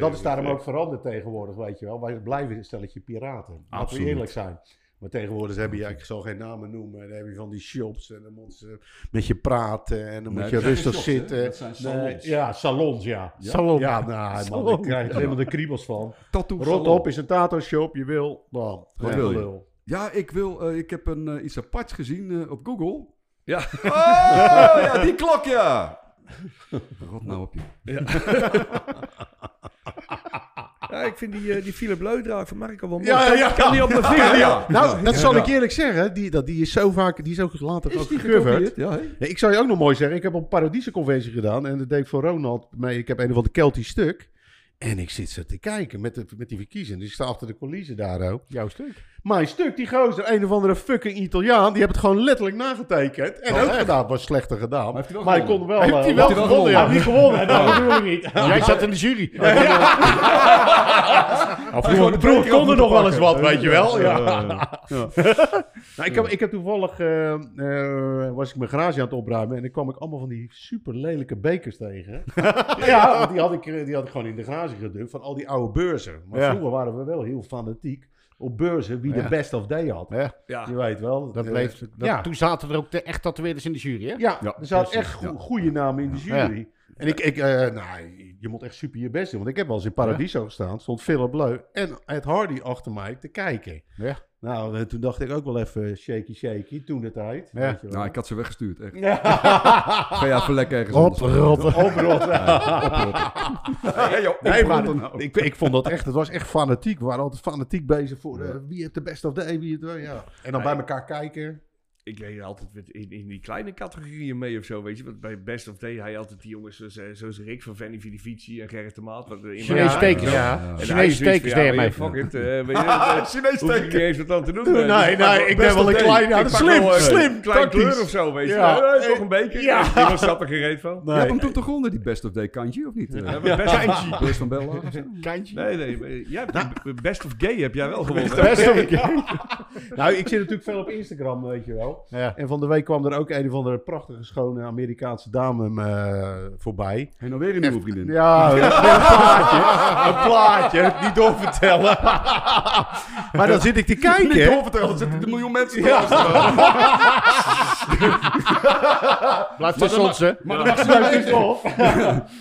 Speaker 4: Dat is daarom ook veranderd tegenwoordig, weet je wel. Wij blijven een stelletje piraten. Laten we
Speaker 3: Absoluut.
Speaker 4: eerlijk zijn. Maar tegenwoordig heb je, ja, ik zal geen namen noemen, dan heb je van die shops en dan moeten ze met je praten en dan
Speaker 3: Nee,
Speaker 4: moet je
Speaker 3: dat zijn
Speaker 4: rustig
Speaker 3: shops, hè?
Speaker 4: zitten.
Speaker 3: Dat zijn salons.
Speaker 4: Nee, ja, salons, ja.
Speaker 3: Ja?
Speaker 4: Salon. Ja, nou, man, daar
Speaker 5: Salon.
Speaker 4: krijg je helemaal de kriebels van.
Speaker 3: Tattoo
Speaker 4: Rot
Speaker 3: salon.
Speaker 4: op is een tato shop, je wil. Nou,
Speaker 3: Wat
Speaker 4: ja,
Speaker 3: wil je?
Speaker 4: lul.
Speaker 3: Ja, ik, wil, eh, ik heb een, eh, iets aparts gezien eh, op Google.
Speaker 2: Ja.
Speaker 3: Oh, ja, die klok, ja. Rot nou op je.
Speaker 2: Ja, ik vind die, eh, die Philip Leudraak van Marco wel mooi.
Speaker 4: Ja, ja,
Speaker 2: Kan die op mijn vinger?
Speaker 3: ja.
Speaker 4: Nou, dat zal
Speaker 3: Ja.
Speaker 4: ik eerlijk zeggen. Die, dat, die is zo vaak, die is ook later ook gecoverd.
Speaker 3: Ja, hè?
Speaker 4: Nee, ik zou je ook nog mooi zeggen, ik heb op een Paradisenconventie gedaan en dat deed ik voor Ronald mee. Ik heb een of ander Keltisch stuk. En ik zit zo te kijken met, de, met die verkiezingen. Dus ik sta achter de coulissen daar ook.
Speaker 5: Jouw stuk.
Speaker 4: Mijn stuk, die gozer, een of andere fucking Italiaan, die heeft het gewoon letterlijk nagetekend. En ook gedaan, was slechter gedaan. Maar,
Speaker 3: heeft hij wel
Speaker 4: ik kon
Speaker 3: gewonnen?
Speaker 4: wel...
Speaker 5: Heeft hij wel
Speaker 4: eh, had
Speaker 3: gewonnen?
Speaker 4: Ja, hij heeft niet gewonnen. Dat bedoel ik niet.
Speaker 5: Jij zat in de jury.
Speaker 4: Ja, vroeger vroeger kon er nog wel eens wat, weet je wel. Ja.
Speaker 3: ja.
Speaker 4: nou, ik, heb, ik heb toevallig, eh, eh, was ik mijn garage aan het opruimen en dan kwam ik allemaal van die super lelijke bekers tegen. ja, want die had, ik, eh, die had ik gewoon in de garage gedumpt van al die oude beurzen. Maar
Speaker 5: Ja.
Speaker 4: vroeger waren we wel heel fanatiek op beurzen wie de
Speaker 5: Ja.
Speaker 4: best of day had.
Speaker 5: Ja.
Speaker 2: Ja.
Speaker 4: Je weet wel.
Speaker 5: Dat
Speaker 4: eh,
Speaker 5: bleef, dat,
Speaker 4: ja.
Speaker 5: Toen zaten er ook de, echt tatoeëerders in de jury, hè?
Speaker 4: Ja,
Speaker 3: Ja,
Speaker 4: er zaten
Speaker 3: precies,
Speaker 4: echt
Speaker 3: ja.
Speaker 4: goede namen in de
Speaker 5: Ja.
Speaker 4: jury. En ik, ik eh, nou, je moet echt super je best doen. Want ik heb wel eens in Paradiso gestaan. Stond Philip Leu en Ed Hardy achter mij te kijken.
Speaker 5: Ja.
Speaker 4: Nou, eh, toen dacht ik ook wel even shaky shaky, toen de tijd.
Speaker 5: Ja.
Speaker 4: weet je wel.
Speaker 3: Nou, ik had ze weggestuurd, echt.
Speaker 4: Ja.
Speaker 3: Ga jij even lekker ergens
Speaker 5: Rot,
Speaker 3: anders.
Speaker 5: rot.
Speaker 4: Oprotten.
Speaker 3: Ja, joh,
Speaker 4: Nee, maar
Speaker 3: oprotten nou.
Speaker 4: ik, ik vond dat echt, het was echt fanatiek. We waren altijd fanatiek bezig voor eh, wie heeft de best of the day, wie het, ja. En dan bij elkaar kijken.
Speaker 2: ik deed altijd met- in, in die kleine categorieën mee of zo, weet je. Want bij Best of Day hij altijd die jongens zoals, eh, zoals Rick van Vanny Vidivici en Gerrit de Maat. Wat, eh, in
Speaker 4: Chinese
Speaker 2: mijn-
Speaker 4: stekers,
Speaker 2: En
Speaker 4: ja.
Speaker 2: hij
Speaker 4: Chinese
Speaker 2: zoiets van,
Speaker 4: stekers
Speaker 2: ja,
Speaker 4: deed
Speaker 2: weet
Speaker 4: mij.
Speaker 2: je, Fuck it, eh, weet je, dat, eh, hoef ik niet eens wat aan te doen.
Speaker 4: Nee,
Speaker 2: eh, dus
Speaker 4: nee,
Speaker 2: pak wel-
Speaker 4: ik ben
Speaker 2: best
Speaker 4: wel
Speaker 2: of
Speaker 4: een
Speaker 2: Day.
Speaker 4: klein-
Speaker 2: Ik
Speaker 4: ja, dat is
Speaker 2: pak wel,
Speaker 4: slim,
Speaker 2: eh,
Speaker 4: slim,
Speaker 2: Klein
Speaker 4: tactisch.
Speaker 2: kleur of zo, weet je.
Speaker 4: Ja.
Speaker 2: Ja, eh, toch een beetje.
Speaker 4: Ja.
Speaker 2: Ja. Niemand snap er geen reet van.
Speaker 3: Je hebt hem toen toch onder, die Best of Day kantje, of niet?
Speaker 2: Ja,
Speaker 3: Eh,
Speaker 2: maar best-
Speaker 3: Beurs van Bella.
Speaker 4: Kindje.
Speaker 2: Nee, nee. maar eh, Jij hebt de Best of Gay heb jij wel gewonnen. hè?
Speaker 4: Nou. Best of Nou, ik zit natuurlijk veel op Instagram, weet je wel.
Speaker 5: Ja.
Speaker 4: En van de week kwam er ook een of andere prachtige, schone Amerikaanse dame me voorbij.
Speaker 3: En dan weer een nieuwe vriendin.
Speaker 4: Ja, een plaatje. Een plaatje, niet doorvertellen. Maar dan zit ik te
Speaker 3: Niet
Speaker 4: kijken.
Speaker 3: doorverteld, er zitten een miljoen mensen te
Speaker 4: Ja.
Speaker 3: luisteren.
Speaker 4: Blijf tussen ons, hè.
Speaker 3: Maar dat mag
Speaker 4: Blijf tussen ons.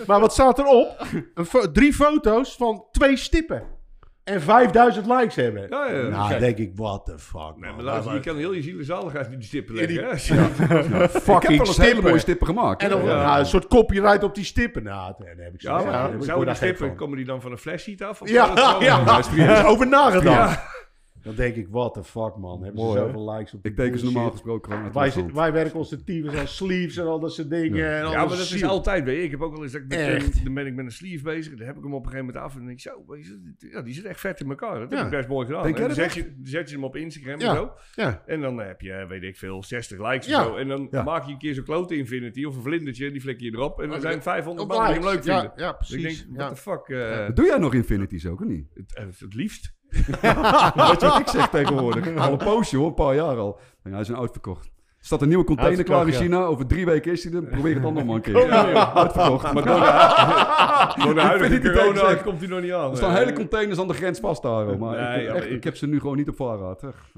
Speaker 4: Maar wat staat erop? Een fo- drie foto's van twee stippen. En 5000 likes hebben.
Speaker 2: Ja, ja.
Speaker 4: nou,
Speaker 2: Kijk.
Speaker 4: denk ik, what the fuck,
Speaker 2: Nee, maar
Speaker 4: man.
Speaker 2: luister, je kan heel je zielenzaligheid in die stippen leggen.
Speaker 4: die-
Speaker 2: hè? Als je-
Speaker 3: Ik heb
Speaker 4: fucking
Speaker 3: wel eens hele mooie
Speaker 4: stippen.
Speaker 3: stippen gemaakt.
Speaker 4: En dan
Speaker 3: Ja.
Speaker 4: nou, een soort copyright op die stippen. Nou, daar heb ik zo.
Speaker 2: Ja, maar
Speaker 4: daar word ik
Speaker 2: zouden
Speaker 4: daar
Speaker 2: die
Speaker 4: gek
Speaker 2: stippen,
Speaker 4: van.
Speaker 2: komen die dan van een flesheat af? Of
Speaker 4: Ja,
Speaker 2: zou dat wel-
Speaker 4: ja.
Speaker 2: Nou,
Speaker 4: Er is over nagedacht.
Speaker 2: Ja.
Speaker 4: Dan denk ik, what the fuck, man. Hebben
Speaker 3: Mooi,
Speaker 4: ze
Speaker 3: hè?
Speaker 4: zoveel likes op die
Speaker 3: Ik teken ze
Speaker 4: bullshit.
Speaker 3: normaal gesproken gewoon uit de
Speaker 4: Wij,
Speaker 3: hand.
Speaker 4: zit- wij werken onze tyfus aan sleeves en al dat soort dingen. En
Speaker 2: Ja,
Speaker 4: al
Speaker 2: maar
Speaker 4: onze
Speaker 2: dat is
Speaker 4: ziel.
Speaker 2: altijd, weet je. Ik heb ook wel eens dat ik met,
Speaker 4: Echt.
Speaker 2: dan ben ik met een sleeve bezig. Dan heb ik hem op een gegeven moment af. En dan denk ik, zo, weet je, dit- ja, die zit echt vet in elkaar. Dat
Speaker 4: Ja.
Speaker 2: heb ik best mooi gedaan.
Speaker 3: Denk
Speaker 2: En
Speaker 3: jij
Speaker 2: dan
Speaker 3: dat
Speaker 2: zet, je, dan zet je hem op Instagram
Speaker 4: Ja.
Speaker 2: en zo.
Speaker 4: Ja.
Speaker 2: En dan heb je, weet ik veel, 60 likes
Speaker 4: Ja.
Speaker 2: of zo. En dan
Speaker 3: Ja.
Speaker 2: maak je een keer zo'n klote Infinity of een vlindertje. En die flik je erop. En
Speaker 4: Maar
Speaker 2: dan zijn
Speaker 4: dat-
Speaker 2: 500
Speaker 4: Op
Speaker 2: man die hem
Speaker 4: likes.
Speaker 2: leuk vinden.
Speaker 4: Ja, ja,
Speaker 2: Dus ik
Speaker 4: precies.
Speaker 2: denk, what
Speaker 4: Ja.
Speaker 2: the fuck. eh,
Speaker 3: Doe jij nog Infinities ook, of niet?
Speaker 2: het, het, het liefst.
Speaker 3: Weet je wat ik zeg tegenwoordig? Al een poosje hoor, een paar jaar al. En hij is een uitverkocht. Er staat een nieuwe container
Speaker 4: Uitverkocht,
Speaker 3: klaar in
Speaker 4: ja.
Speaker 3: China. Over drie weken is hij er. Probeer het dan nog maar een keer.
Speaker 2: Ja, joh.
Speaker 3: Uitverkocht.
Speaker 2: Maar door
Speaker 4: Ah,
Speaker 2: de, door de
Speaker 3: vind
Speaker 2: huidige
Speaker 3: het niet
Speaker 2: corona
Speaker 3: exact.
Speaker 2: komt hij nog niet aan.
Speaker 3: Er staan
Speaker 2: Eh,
Speaker 3: hele containers aan de grens vast daar. Maar
Speaker 2: Nee,
Speaker 3: ik, heb
Speaker 2: ja,
Speaker 3: echt,
Speaker 2: ik-
Speaker 3: ik heb ze nu gewoon niet op voorraad. echt.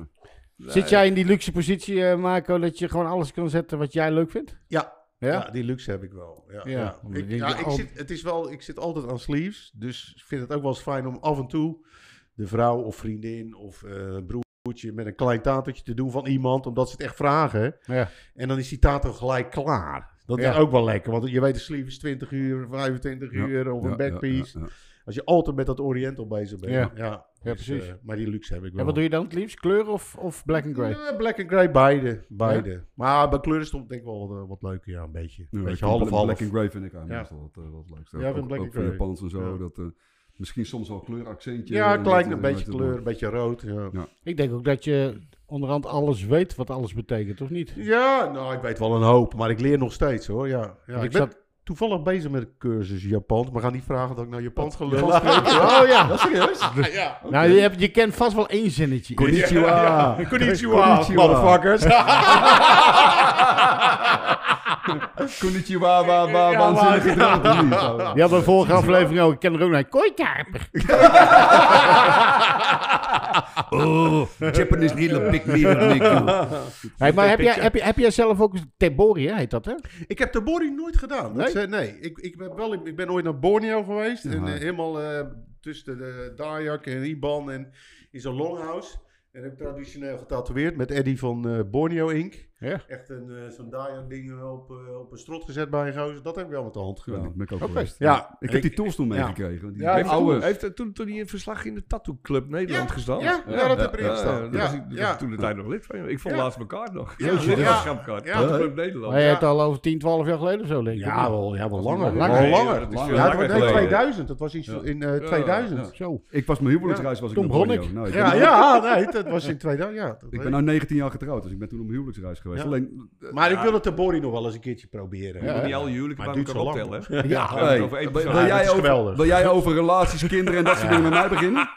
Speaker 5: Zit jij in die luxe positie, eh, Marco, dat je gewoon alles kan zetten wat jij leuk vindt?
Speaker 4: Ja.
Speaker 5: Ja?
Speaker 4: Ja, die luxe heb ik wel. Ja,
Speaker 5: Ja.
Speaker 4: ja.
Speaker 5: Want
Speaker 4: Ik,
Speaker 5: ik-
Speaker 4: ja, ik
Speaker 5: al-
Speaker 4: zit, het is wel, ik zit altijd aan sleeves, dus ik vind het ook wel eens fijn om af en toe de vrouw of vriendin of eh, een broertje met een klein tatertje te doen van iemand, omdat ze het echt vragen.
Speaker 5: Ja.
Speaker 4: En dan is die tater gelijk klaar. Dat
Speaker 5: Ja.
Speaker 4: is ook wel lekker, want je weet de sleeve is 20 uur, 25
Speaker 3: Ja,
Speaker 4: uur of
Speaker 3: Ja,
Speaker 4: een backpiece.
Speaker 3: ja, ja,
Speaker 4: Als je altijd met dat oriental bezig bent.
Speaker 5: Ja.
Speaker 4: Ja,
Speaker 5: Ja,
Speaker 4: dus,
Speaker 5: precies.
Speaker 4: eh, maar die luxe heb ik wel.
Speaker 5: En wat doe je dan het liefst? Kleur of, of black and grey?
Speaker 4: Ja, Eh, black and grey, beide. beide. Maar bij kleuren stond denk ik wel eh, wat, wat leuker, ja, een beetje.
Speaker 3: ja.
Speaker 4: een
Speaker 3: Ja, ik
Speaker 4: beetje
Speaker 3: vind
Speaker 4: half-half.
Speaker 3: Black and Grey vind ik eigenlijk
Speaker 4: Ja.
Speaker 3: meestal wat, eh, wat leukste.
Speaker 4: Ja, ik vind
Speaker 3: ook,
Speaker 4: Black
Speaker 3: ook
Speaker 4: and
Speaker 3: voor
Speaker 4: Grey.
Speaker 3: Japans en zo.
Speaker 4: Ja.
Speaker 3: Dat, eh, misschien soms wel kleuraccentje.
Speaker 4: Ja,
Speaker 3: eh,
Speaker 4: klein,
Speaker 3: dat,
Speaker 4: een
Speaker 3: eh,
Speaker 4: beetje
Speaker 3: weet je
Speaker 4: kleur,
Speaker 3: wel.
Speaker 4: een beetje rood. Ja.
Speaker 5: Ik denk ook dat je onderhand alles weet wat alles betekent, of niet?
Speaker 4: ja, nou, ik weet wel een hoop, maar ik leer nog steeds hoor. Ja, ja
Speaker 5: ik
Speaker 4: ik ben
Speaker 5: zat-
Speaker 4: toevallig bezig met een cursus Japans, maar ga niet vragen dat ik naar Japans ga lullen.
Speaker 5: Oh ja.
Speaker 3: Ja, serieus?
Speaker 4: ja.
Speaker 5: Nou, je, hebt, je kent vast wel één zinnetje.
Speaker 3: Konnichiwa.
Speaker 4: Konnichiwa,
Speaker 3: Konnichiwa.
Speaker 4: motherfuckers.
Speaker 3: Konnichiwa, wa, wa, waanzinnig gedrag. of niet? Oh, Zo.
Speaker 5: Je had een vorige aflevering ook. Ik ken er ook naar. Kooikarper.
Speaker 3: Japanese little pick me up, Nick.
Speaker 5: Hey, maar heb jij, heb, je- heb jij zelf ook... Tebori, hè, heet dat, hè?
Speaker 4: Ik heb Tabori nooit gedaan. Dat
Speaker 5: Nee?
Speaker 4: zei- nee. Ik, ik, ben wel, ik ben ooit naar Borneo geweest. En,
Speaker 3: Ja.
Speaker 4: eh, helemaal eh, tussen de Dayak en Iban en in zo'n longhouse. En heb ik traditioneel getatoeëerd met Eddie van eh, Borneo Inc.
Speaker 5: Ja.
Speaker 4: Echt een, eh, zo'n Dayak ding op, eh, op een strot gezet bij een gozer. Dat heb ik wel met de hand
Speaker 3: Ja,
Speaker 4: gedaan.
Speaker 3: ben ik ook
Speaker 5: Oké.
Speaker 3: geweest.
Speaker 4: Ja.
Speaker 3: Ik heb die
Speaker 4: Ik-
Speaker 3: toolstoel
Speaker 4: ja.
Speaker 3: meegekregen. Die
Speaker 4: Ja, oh, die
Speaker 3: die
Speaker 2: Heeft,
Speaker 3: oude.
Speaker 2: heeft er toen, toen hij een verslag in de Tattoo Club Nederland
Speaker 4: Ja,
Speaker 2: gestaan?
Speaker 4: ja, ja, dat heb ik erin gestaan.
Speaker 2: dat
Speaker 4: Ja,
Speaker 2: was ik- dat
Speaker 4: ja.
Speaker 2: was toen de tijd nog lid van. Ik vond
Speaker 4: Ja.
Speaker 2: laatst mijn kaart nog.
Speaker 4: Ja,
Speaker 2: Ja,
Speaker 4: ja.
Speaker 2: lidmaatschapkaart.
Speaker 4: Ja.
Speaker 2: Tattoo Club Nederland.
Speaker 5: Maar je
Speaker 4: Ja.
Speaker 5: hebt al over 10, 12 jaar geleden of zo, denk ik.
Speaker 4: Ja, wel, ja, wel langer.
Speaker 5: Langer.
Speaker 4: Wel
Speaker 2: Nee,
Speaker 4: langer.
Speaker 2: dat is veel
Speaker 4: Ja, het was
Speaker 2: langer
Speaker 4: nee,
Speaker 2: geleden.
Speaker 4: 2000. Dat was iets in eh,
Speaker 2: Ja,
Speaker 4: 2000.
Speaker 3: ja.
Speaker 5: Zo.
Speaker 3: Ik was mijn huwelijksreis was ik
Speaker 5: Toen
Speaker 3: naar
Speaker 5: begon
Speaker 3: Borneo.
Speaker 5: ik.
Speaker 3: Nou, ik,
Speaker 4: Ja,
Speaker 3: ben,
Speaker 4: ja, nee, dat was in 2000. Ja, dat
Speaker 3: ik
Speaker 4: weet
Speaker 3: ben nou 19 jaar getrouwd, dus ik ben toen op mijn huwelijksreis geweest.
Speaker 4: Ja.
Speaker 3: Alleen, eh,
Speaker 4: Maar ik wil het Tabori nog wel eens een keertje proberen.
Speaker 2: Ik
Speaker 5: Ja,
Speaker 2: moet niet
Speaker 4: ja.
Speaker 2: al je huwelijken
Speaker 4: Maar
Speaker 2: bij
Speaker 4: het duurt
Speaker 2: elkaar
Speaker 4: zo lang.
Speaker 2: optellen. hè?
Speaker 3: ja,
Speaker 2: we hebben
Speaker 3: hey,
Speaker 2: het over één
Speaker 3: wil,
Speaker 2: persoon.
Speaker 3: wil
Speaker 4: Ja, dat
Speaker 3: jij
Speaker 4: is
Speaker 3: over,
Speaker 4: geweldig.
Speaker 3: wil jij over relaties, kinderen en dat soort dingen met mij beginnen?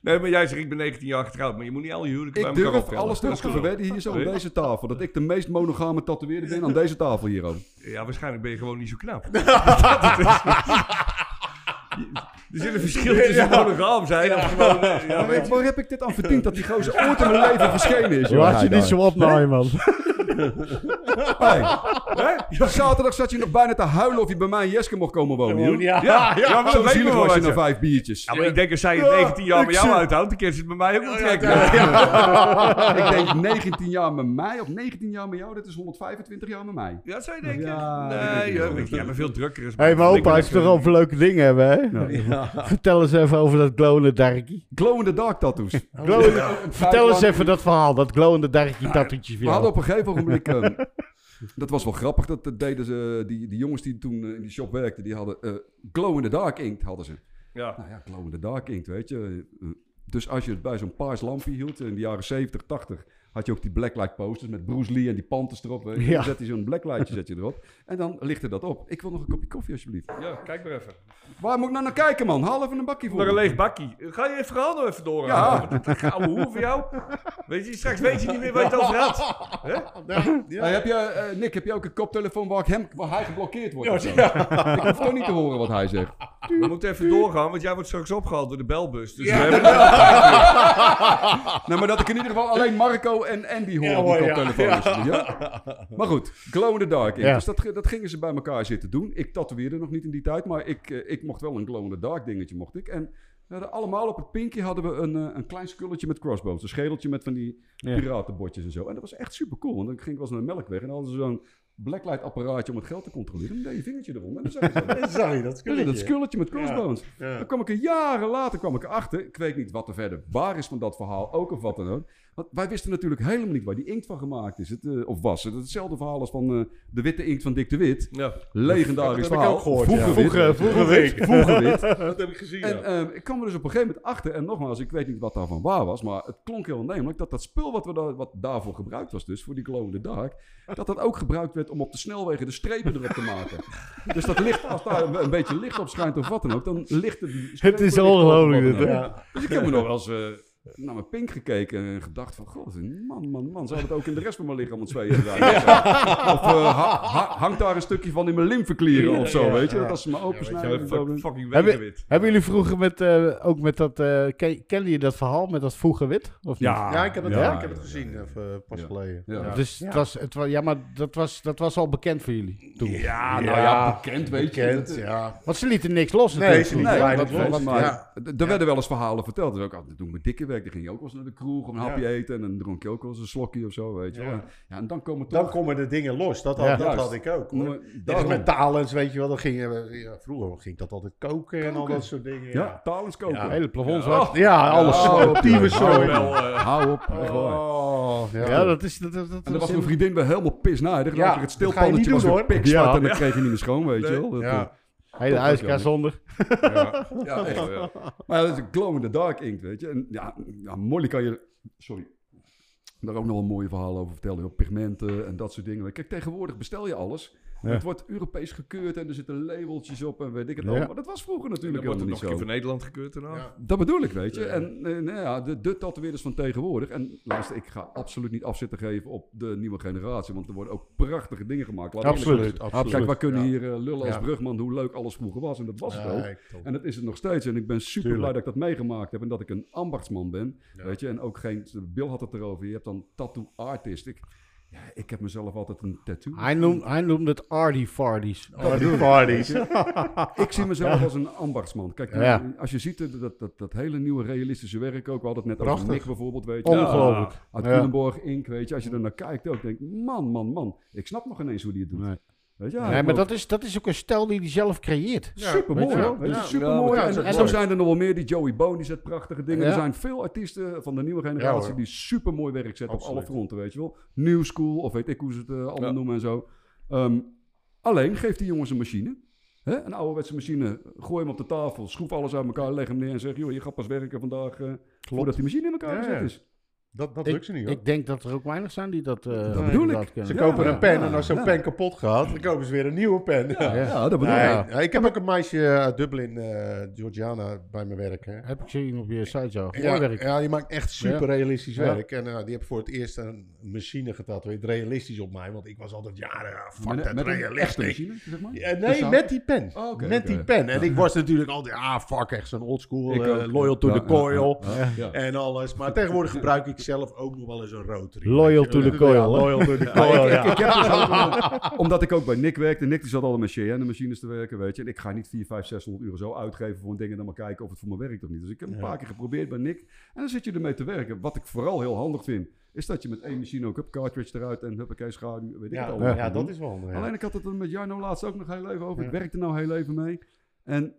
Speaker 2: Nee, maar jij zegt ik ben 19 jaar getrouwd. Maar je moet niet al je huwelijken
Speaker 3: Ik
Speaker 2: bij elkaar
Speaker 3: durf
Speaker 2: optellen.
Speaker 3: alles terug te verwedden hier zo aan
Speaker 2: Nee.
Speaker 3: deze tafel. Dat ik de meest monogame tatoeëerder ben aan deze tafel hierom.
Speaker 2: Ja, waarschijnlijk ben je gewoon niet zo knap. Dat is- er zit een verschil tussen monogaam zijn of gewoon... eh, Ja, weet je.
Speaker 3: Waar heb ik dit aan verdiend dat die gozer ooit in mijn leven verschenen is? joh? Hij daar.
Speaker 5: opnaaien, man.
Speaker 3: Hey. Hè? Zaterdag zat je nog bijna te huilen of je bij mij in Jeske mocht komen wonen. joh.
Speaker 2: Ja, ja, maar
Speaker 3: Zo
Speaker 2: dat weet ik
Speaker 3: zielig
Speaker 2: wel
Speaker 3: was je
Speaker 2: wat
Speaker 3: na
Speaker 2: je.
Speaker 3: vijf biertjes.
Speaker 2: Ja, maar ik denk als zij het 19 jaar
Speaker 3: ik
Speaker 2: met jou
Speaker 3: zie-
Speaker 2: uithoudt, dan kan ze het bij mij ook wel trekken.
Speaker 3: Ik denk 19 jaar met mij of 19 jaar met jou, dat is 125 jaar met mij.
Speaker 2: Ja, dat zou je denken?
Speaker 3: Ja, dat
Speaker 2: nee,
Speaker 3: denk ik
Speaker 2: joh,
Speaker 3: wel.
Speaker 2: ik- jij bent veel drukker. is-
Speaker 5: Hé, hey, maar
Speaker 2: Ik ben
Speaker 5: opa, heeft
Speaker 2: echt,
Speaker 5: toch
Speaker 2: eh,
Speaker 5: over leuke dingen hebben, hè? Vertel eens even over dat glowende darkie.
Speaker 3: Glow in the dark tattoos.
Speaker 5: Glow in the- Vertel eens even dat verhaal, dat glowende darkie tattoetje
Speaker 3: We
Speaker 5: van
Speaker 3: hadden
Speaker 5: jou.
Speaker 3: op een gegeven ogenblik. ehm, dat was wel grappig. Dat eh, deden ze, die, die jongens die toen eh, in die shop werkten, die hadden eh, glow in the dark inkt hadden ze.
Speaker 2: Ja.
Speaker 3: Nou ja, glow in the dark inkt, weet je. Eh, Dus als je het bij zo'n paars lampje hield eh, in de jaren 70, 80, had je ook die blacklight posters met Bruce Lee en die panthers erop. Weet je.
Speaker 4: Ja.
Speaker 3: Dan zet je zo'n blacklightje zet je erop en dan lichtte dat op. Ik wil nog een kopje koffie alsjeblieft.
Speaker 2: ja, kijk maar even.
Speaker 3: Waar moet ik nou naar kijken man? Haal even een bakje voor.
Speaker 2: Naar een
Speaker 3: me.
Speaker 2: leeg bakkie. Ga je het verhaal nog even
Speaker 3: Ja.
Speaker 2: doorhalen? Ja. Gouden hoer voor jou. Weet je, straks weet je niet meer waar je het over had.
Speaker 3: Hey, heb je, eh, Nick, heb je ook een koptelefoon waar, ik hem, waar hij geblokkeerd wordt? of zo? Ik hoef toch niet te horen wat hij zegt.
Speaker 2: We moeten even doorgaan, want jij wordt straks opgehaald door de belbus. Dus we
Speaker 4: Ja.
Speaker 2: hebben...
Speaker 3: Nou, maar dat ik in ieder geval alleen Marco en Andy hoor
Speaker 4: Ja,
Speaker 3: op die
Speaker 4: hoor, ja.
Speaker 3: koptelefoon. Ja. Maar goed, glow in the dark. ink.
Speaker 4: Ja.
Speaker 3: Dus dat, ge- dat gingen ze bij elkaar zitten doen. Ik tatoeëerde nog niet in die tijd, maar ik, eh, ik mocht wel een glow in the dark dingetje. Mocht ik. En we hadden allemaal op het pinkje hadden we een, eh, een klein skulletje met crossbones. Een schedeltje met van die
Speaker 4: Ja.
Speaker 3: piratenbotjes en zo. En dat was echt super cool. Want dan ging ik wel eens naar de melkweg en dan hadden ze zo'n blacklight apparaatje om het geld te controleren. Dan deed je vingertje eronder en dan zag je zo.
Speaker 4: Sorry, dat
Speaker 3: Ja, dat skulletje met crossbones.
Speaker 4: Ja.
Speaker 3: Dan kwam ik er jaren later kwam ik erachter. Ik weet niet wat er verder waar is van dat verhaal, ook of wat dan ook. Want wij wisten natuurlijk helemaal niet waar die inkt van gemaakt is. Het, eh, of was. Het is hetzelfde verhaal als van eh, de witte inkt van Dick de Wit.
Speaker 2: Ja,
Speaker 3: Legendarisch
Speaker 4: Dat heb ik
Speaker 3: verhaal.
Speaker 4: ook gehoord,
Speaker 3: Vroeger
Speaker 4: ja.
Speaker 3: wit.
Speaker 4: Vroeger- vroeger wit.
Speaker 3: Vroeger wit.
Speaker 2: dat heb ik gezien.
Speaker 3: En
Speaker 2: ja.
Speaker 3: ehm, ik kwam er dus op een gegeven moment achter, en nogmaals, ik weet niet wat daarvan waar was, maar het klonk heel aannemelijk dat dat spul wat, we daar, wat daarvoor gebruikt was, dus voor die glow in the dark, dat dat ook gebruikt werd om op de snelwegen de strepen erop te maken. dus dat licht, als daar een, een beetje licht op schijnt of wat dan ook, dan ligt het. die strepen
Speaker 1: Het is
Speaker 3: licht op of
Speaker 1: ongelooflijk,
Speaker 3: wat
Speaker 1: dit,
Speaker 3: dan ook.
Speaker 1: hè?
Speaker 4: Ja.
Speaker 3: Dus ik heb me nog wel eens eh, naar mijn pink gekeken en gedacht van, god, man, man, man, zou het ook in de rest van mijn lichaam ontzweeën zijn? Of eh, ha- ha- hangt daar een stukje van in mijn lymfeklieren of zo,
Speaker 4: Ja,
Speaker 3: weet je?
Speaker 4: ja.
Speaker 3: Dat als ze me opensnijden.
Speaker 2: Ja,
Speaker 3: en zo, dan-
Speaker 2: fuck- fucking
Speaker 1: Hebben-
Speaker 2: wegenwit.
Speaker 1: Hebben jullie vroeger met, eh, ook met dat, eh ken, kennen jullie dat verhaal met dat vroege wit? Of niet?
Speaker 4: Ja, ik heb het,
Speaker 3: Ja,
Speaker 4: ja, ik heb het
Speaker 3: ja,
Speaker 4: gezien, of, eh, pas
Speaker 3: Ja.
Speaker 4: geleden.
Speaker 3: Ja.
Speaker 1: Dus Het was, het was, ja, maar dat was, dat was al bekend voor jullie toen.
Speaker 4: Ja,
Speaker 3: nou ja, bekend, weet je.
Speaker 4: Bekend,
Speaker 3: Dat-
Speaker 4: ja.
Speaker 1: Want ze lieten niks los
Speaker 4: Nee,
Speaker 1: natuurlijk.
Speaker 4: ze lieten
Speaker 3: Nee,
Speaker 4: weinig
Speaker 3: dat
Speaker 4: los.
Speaker 3: weet ik, maar
Speaker 4: Ja.
Speaker 3: d- er werden wel eens verhalen verteld. Dus ook, ah, dat doe ik mijn dikke werk. Dan ging je ook wel eens naar de kroeg om een
Speaker 4: Ja.
Speaker 3: hapje eten. En dan dronk je ook wel eens een slokje of zo, weet je
Speaker 4: Ja.
Speaker 3: wel. Ja, en dan komen
Speaker 4: Dan
Speaker 3: toch...
Speaker 4: komen de dingen los. Dat had,
Speaker 1: Ja.
Speaker 4: dat
Speaker 3: Juist.
Speaker 4: had ik ook. Hoor.
Speaker 3: Maar
Speaker 4: Dit is
Speaker 3: daarom-
Speaker 4: met talens, weet je wel. Dan ging, je- ja, vroeger ging dat altijd koken, en al
Speaker 3: Koken.
Speaker 4: dat soort dingen.
Speaker 3: ja, talens koken.
Speaker 4: Ja.
Speaker 1: Hele plafond
Speaker 2: Ja.
Speaker 1: zwart.
Speaker 2: Oh.
Speaker 4: Ja, alles
Speaker 3: Ja,
Speaker 4: zo. Tieve
Speaker 3: oh, tuurlijk.
Speaker 4: zo.
Speaker 3: Ja.
Speaker 2: Wel, eh,
Speaker 3: Hou op, echt waar.
Speaker 4: Oh, ja.
Speaker 1: Ja, dat is... Dat, dat, dat
Speaker 3: En dan was
Speaker 1: in-
Speaker 3: mijn vriendin weer helemaal pisnaardig. Dan
Speaker 4: Ja,
Speaker 3: had ik het
Speaker 4: dat ga je niet
Speaker 3: stilpannetje was
Speaker 4: doen,
Speaker 3: weer
Speaker 4: hoor.
Speaker 3: pikzwart.
Speaker 1: Ja.
Speaker 3: En dan kreeg je niet meer schoon, weet je
Speaker 2: Nee.
Speaker 3: wel. Dat, eh,
Speaker 4: Ja.
Speaker 1: Hele
Speaker 3: Dat was wel
Speaker 1: ijskast
Speaker 3: niet.
Speaker 1: zonder.
Speaker 2: ja. eh.
Speaker 3: Ja, echt.
Speaker 2: Ja.
Speaker 3: Maar ja, dat is een glow in the dark inkt, weet je. En ja, ja Molly kan je... Sorry. Daar ook nog wel mooie verhalen over vertellen. Op pigmenten en dat soort dingen. Kijk, tegenwoordig bestel je alles.
Speaker 1: Ja.
Speaker 3: Het wordt Europees gekeurd en er zitten labeltjes op en weet ik het
Speaker 1: Ja.
Speaker 3: allemaal. Maar dat was vroeger natuurlijk
Speaker 2: Dan wordt
Speaker 3: helemaal
Speaker 2: het
Speaker 3: niet
Speaker 2: nog een keer
Speaker 3: zo.
Speaker 2: van Nederland gekeurd daarna.
Speaker 4: Ja.
Speaker 3: Dat bedoel ik, weet je. En eh, nou ja, de, de tatoeëerders van tegenwoordig. En luister, ik ga absoluut niet afzitten geven op de nieuwe generatie. Want er worden ook prachtige dingen gemaakt. Laat ik eerlijk
Speaker 1: Absoluut,
Speaker 3: zijn.
Speaker 1: absoluut.
Speaker 3: Kijk, wij kunnen
Speaker 4: Ja.
Speaker 3: hier eh, lullen als
Speaker 4: Ja.
Speaker 3: brugman hoe leuk alles vroeger was. En dat was het ook.
Speaker 4: Nee, top.
Speaker 3: En dat is het nog steeds. En ik ben super blij dat ik dat meegemaakt heb. En dat ik een ambachtsman ben.
Speaker 4: Ja.
Speaker 3: Weet je, en ook geen. Bill had het erover. Je hebt dan tattoo artist. Ik, ja, ik heb mezelf altijd een tattoo.
Speaker 1: Hij noemde, hij noemde het Ardy Fardies.
Speaker 4: Oh, die parties.
Speaker 3: Ik zie mezelf als een ambachtsman. Kijk,
Speaker 1: Ja.
Speaker 3: als je ziet eh, dat, dat, dat hele nieuwe realistische werk ook. We hadden het net over
Speaker 1: Prachtig.
Speaker 3: Nick bijvoorbeeld. Weet je.
Speaker 1: Ongelooflijk.
Speaker 3: Ja, Uit
Speaker 1: Ja.
Speaker 3: Culemborg, Ink, weet je. Als je er naar kijkt ook. Denk ik, man, man, man. Ik snap nog ineens hoe die het doet.
Speaker 1: Nee.
Speaker 3: Weet je, ja,
Speaker 1: nee,
Speaker 3: ik
Speaker 1: maar
Speaker 3: loop-
Speaker 1: dat is, dat is ook een stijl die hij zelf creëert.
Speaker 3: Super mooi,
Speaker 1: Weet je wel?
Speaker 3: hoor.
Speaker 1: Ja.
Speaker 3: Super
Speaker 2: Ja,
Speaker 3: mooi.
Speaker 1: dat is
Speaker 3: en,
Speaker 1: ook
Speaker 3: en zo
Speaker 1: mooi.
Speaker 3: zijn er nog wel meer. Die Joey Bone die zet prachtige dingen.
Speaker 1: Ja.
Speaker 3: Er zijn veel artiesten van de nieuwe generatie
Speaker 4: hoor.
Speaker 3: die super mooi werk zetten op alle
Speaker 4: Absoluut.
Speaker 3: fronten, weet je wel. New School of weet ik hoe ze het eh, allemaal
Speaker 2: Ja.
Speaker 3: noemen en zo. Ehm, alleen geef die jongens een machine. Hè? Een ouderwetse machine. Gooi hem op de tafel, schroef alles uit elkaar, leg hem neer en zeg: joh, je gaat pas werken vandaag. eh voordat die machine in elkaar
Speaker 4: Ja,
Speaker 3: gezet
Speaker 4: ja.
Speaker 3: is.
Speaker 4: Dat, dat
Speaker 1: Ik-
Speaker 4: lukt ze niet hoor.
Speaker 1: Ik denk dat er ook weinig zijn die dat... eh,
Speaker 3: Dat bedoel
Speaker 1: die
Speaker 3: ik.
Speaker 1: dat kennen.
Speaker 4: Ze
Speaker 3: Ja,
Speaker 4: kopen
Speaker 3: ja,
Speaker 4: een pen
Speaker 3: ja,
Speaker 4: en als zo'n
Speaker 3: ja.
Speaker 4: pen kapot gaat, dan kopen ze weer een nieuwe pen.
Speaker 3: Ja,
Speaker 1: Ja.
Speaker 3: dat bedoel
Speaker 4: Nee,
Speaker 3: ik.
Speaker 1: Ja.
Speaker 4: Ik heb ook een meisje uit Dublin, eh, Georgiana, bij me werken.
Speaker 1: Heb ik gezien op je site zo. Mooi
Speaker 4: Ja,
Speaker 1: werk.
Speaker 4: ja, die maakt echt super realistisch
Speaker 1: Ja.
Speaker 4: werk. En eh, die heb voor het eerst een machine getatoeëerd, realistisch op mij. Want ik was altijd jaren, ah, fuck
Speaker 3: Met,
Speaker 4: dat
Speaker 3: met een echte
Speaker 4: realistisch.
Speaker 3: machine, zeg maar.
Speaker 4: Ja,
Speaker 3: Dat
Speaker 4: nee,
Speaker 3: zou-
Speaker 4: met die pen.
Speaker 3: Oh, oké,
Speaker 4: met
Speaker 3: oké.
Speaker 4: die pen. En ik was natuurlijk altijd, ah fuck, echt zo'n oldschool,
Speaker 3: Ik
Speaker 4: eh,
Speaker 3: ook.
Speaker 4: loyal to
Speaker 3: Ja,
Speaker 4: the
Speaker 3: ja,
Speaker 4: coil
Speaker 3: ja, ja. Ja.
Speaker 4: en alles. Maar tegenwoordig gebruik ik zelf ook nog wel eens een rotary. eh,
Speaker 1: Loyal to the coil, hè?
Speaker 4: loyal to the
Speaker 3: Maar
Speaker 4: coil,
Speaker 3: ik,
Speaker 4: ja.
Speaker 3: ik, ik heb dus ook, eh, omdat ik ook bij Nick werkte. Nick die zat al met CN machines te werken, weet je. En ik ga niet 4, 5, 600 euro zo uitgeven voor een ding en dan maar kijken of het voor me werkt of niet. Dus ik heb een paar keer geprobeerd bij Nick. En dan zit je ermee te werken. Wat ik vooral heel handig vind, is dat je met één machine ook een cartridge eruit en huppakee schaduw, weet ik het
Speaker 4: Ja,
Speaker 3: allemaal.
Speaker 4: ja,
Speaker 3: kan doen.
Speaker 4: dat is wel handig. ja.
Speaker 3: Alleen ik had het er met Jarno laatst ook nog heel even over. Ik
Speaker 4: Ja.
Speaker 3: werkte nou heel even mee. En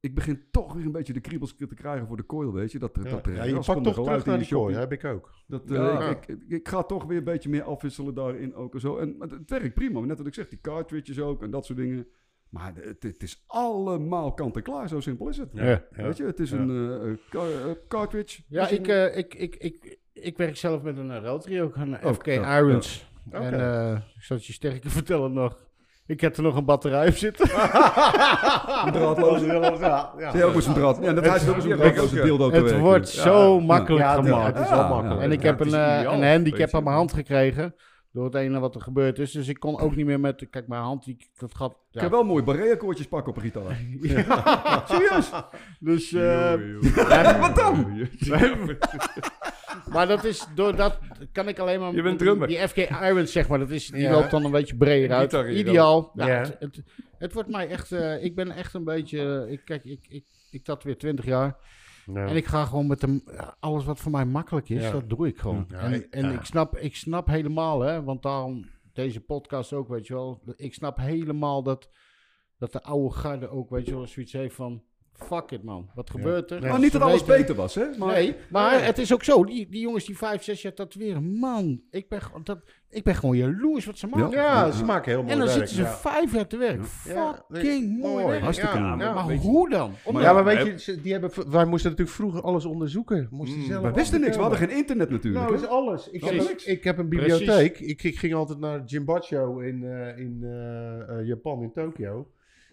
Speaker 3: ik begin toch weer een beetje de kriebels te krijgen voor de koil, weet je. Dat,
Speaker 4: Ja,
Speaker 3: dat
Speaker 4: ja, je pakt
Speaker 3: raspende
Speaker 4: toch
Speaker 3: geluid
Speaker 4: terug
Speaker 3: in
Speaker 4: naar
Speaker 3: die
Speaker 4: die kooi,
Speaker 3: shopping.
Speaker 4: heb ik ook.
Speaker 3: Dat, eh,
Speaker 2: Ja.
Speaker 3: ik, ik, ik ga toch weer een beetje meer afwisselen daarin ook en zo. En maar het werkt prima. maar Net wat ik zeg, die cartridges ook en dat soort dingen. Maar het, het is allemaal kant en klaar, zo simpel is het.
Speaker 4: Ja, ja.
Speaker 3: Weet je, het is
Speaker 4: Ja.
Speaker 3: een eh, eh, car- eh, cartridge.
Speaker 1: Ja,
Speaker 3: Dus een-
Speaker 1: ik, eh, ik, ik, ik, ik werk zelf met een eh, Rotary ook, een
Speaker 3: Oh,
Speaker 1: FK
Speaker 3: ja,
Speaker 1: Irons.
Speaker 4: ja.
Speaker 1: En
Speaker 4: Oké.
Speaker 1: eh, ik zal het je sterker vertellen nog. Ik heb er nog een batterij op zitten.
Speaker 3: een draadloze.
Speaker 4: Ja, ja.
Speaker 3: Ja, ook eens een draad. Ja, dat hij zit ook eens een
Speaker 2: Ja, ik ook,
Speaker 3: draadloze
Speaker 2: ja.
Speaker 3: dildo te
Speaker 1: het
Speaker 3: werken.
Speaker 1: wordt
Speaker 3: Ja.
Speaker 1: zo
Speaker 3: Ja.
Speaker 1: makkelijk
Speaker 4: Ja, het-
Speaker 1: gemaakt.
Speaker 4: het is
Speaker 3: Ja,
Speaker 4: wel
Speaker 3: ja.
Speaker 4: makkelijk.
Speaker 1: En ik
Speaker 4: Ja,
Speaker 1: heb
Speaker 4: het
Speaker 1: een,
Speaker 4: is
Speaker 1: eh,
Speaker 4: ideaal,
Speaker 1: een handicap
Speaker 4: weet
Speaker 1: aan
Speaker 4: je.
Speaker 1: mijn hand gekregen. Door het ene wat er gebeurd is. Dus ik kon ook niet meer met... Kijk, mijn hand, die, dat gat...
Speaker 3: Ik
Speaker 1: Ja.
Speaker 3: kan wel mooie barré-akkoordjes pakken op een gitaar. Nou,
Speaker 1: Dus... eh,
Speaker 3: Wat dan?
Speaker 1: maar dat is... Door dat kan ik alleen maar...
Speaker 2: Je bent drummer.
Speaker 1: Die FK Irons, zeg maar. Dat is, die
Speaker 4: Ja.
Speaker 1: loopt dan een beetje breder uit.
Speaker 2: Gitaar hier
Speaker 1: Ideaal. Ja,
Speaker 4: Ja.
Speaker 1: Het, het, het wordt mij echt... eh, ik ben echt een beetje... eh, ik, kijk, ik, ik, ik dat weer 20 jaar.
Speaker 4: Ja.
Speaker 1: En ik ga gewoon met hem, ja, alles wat voor mij makkelijk is,
Speaker 4: Ja.
Speaker 1: dat doe ik gewoon.
Speaker 4: Ja,
Speaker 1: en en
Speaker 4: ja.
Speaker 1: ik, snap, ik snap helemaal, hè, want daarom deze podcast ook, weet je wel. Ik snap helemaal dat, dat de oude garde ook, weet je wel, zoiets heeft van, fuck it man, wat gebeurt er?
Speaker 3: Nou, niet dat alles
Speaker 1: Ze weten-
Speaker 3: beter was, hè? Maar
Speaker 1: nee, maar het is ook zo, die, die jongens die vijf, zes jaar tatoeëren, man, ik ben, gewoon- dat, ik ben gewoon jaloers wat ze maken.
Speaker 4: Ja, ze maken heel mooi
Speaker 1: En dan
Speaker 4: werk,
Speaker 1: zitten ze
Speaker 4: ja.
Speaker 1: vijf jaar te werk. Fucking mooi werk.
Speaker 3: Hartstikke
Speaker 4: ja, nou,
Speaker 3: mooi.
Speaker 4: ja.
Speaker 1: Maar hoe dan?
Speaker 3: Maar
Speaker 4: ja,
Speaker 3: ja,
Speaker 4: maar weet je, ze- die hebben, v- wij moesten natuurlijk vroeger alles onderzoeken. Moesten zelf
Speaker 3: we wisten niks. We hadden
Speaker 4: alles
Speaker 3: geen internet natuurlijk.
Speaker 4: Mm. Nou,
Speaker 3: hè?
Speaker 4: is alles. Ik, heb,
Speaker 1: Precies.
Speaker 4: een- ik heb een bibliotheek. Ik, ik ging altijd naar Jimbacho in, eh, in eh, eh, Japan, in Tokio.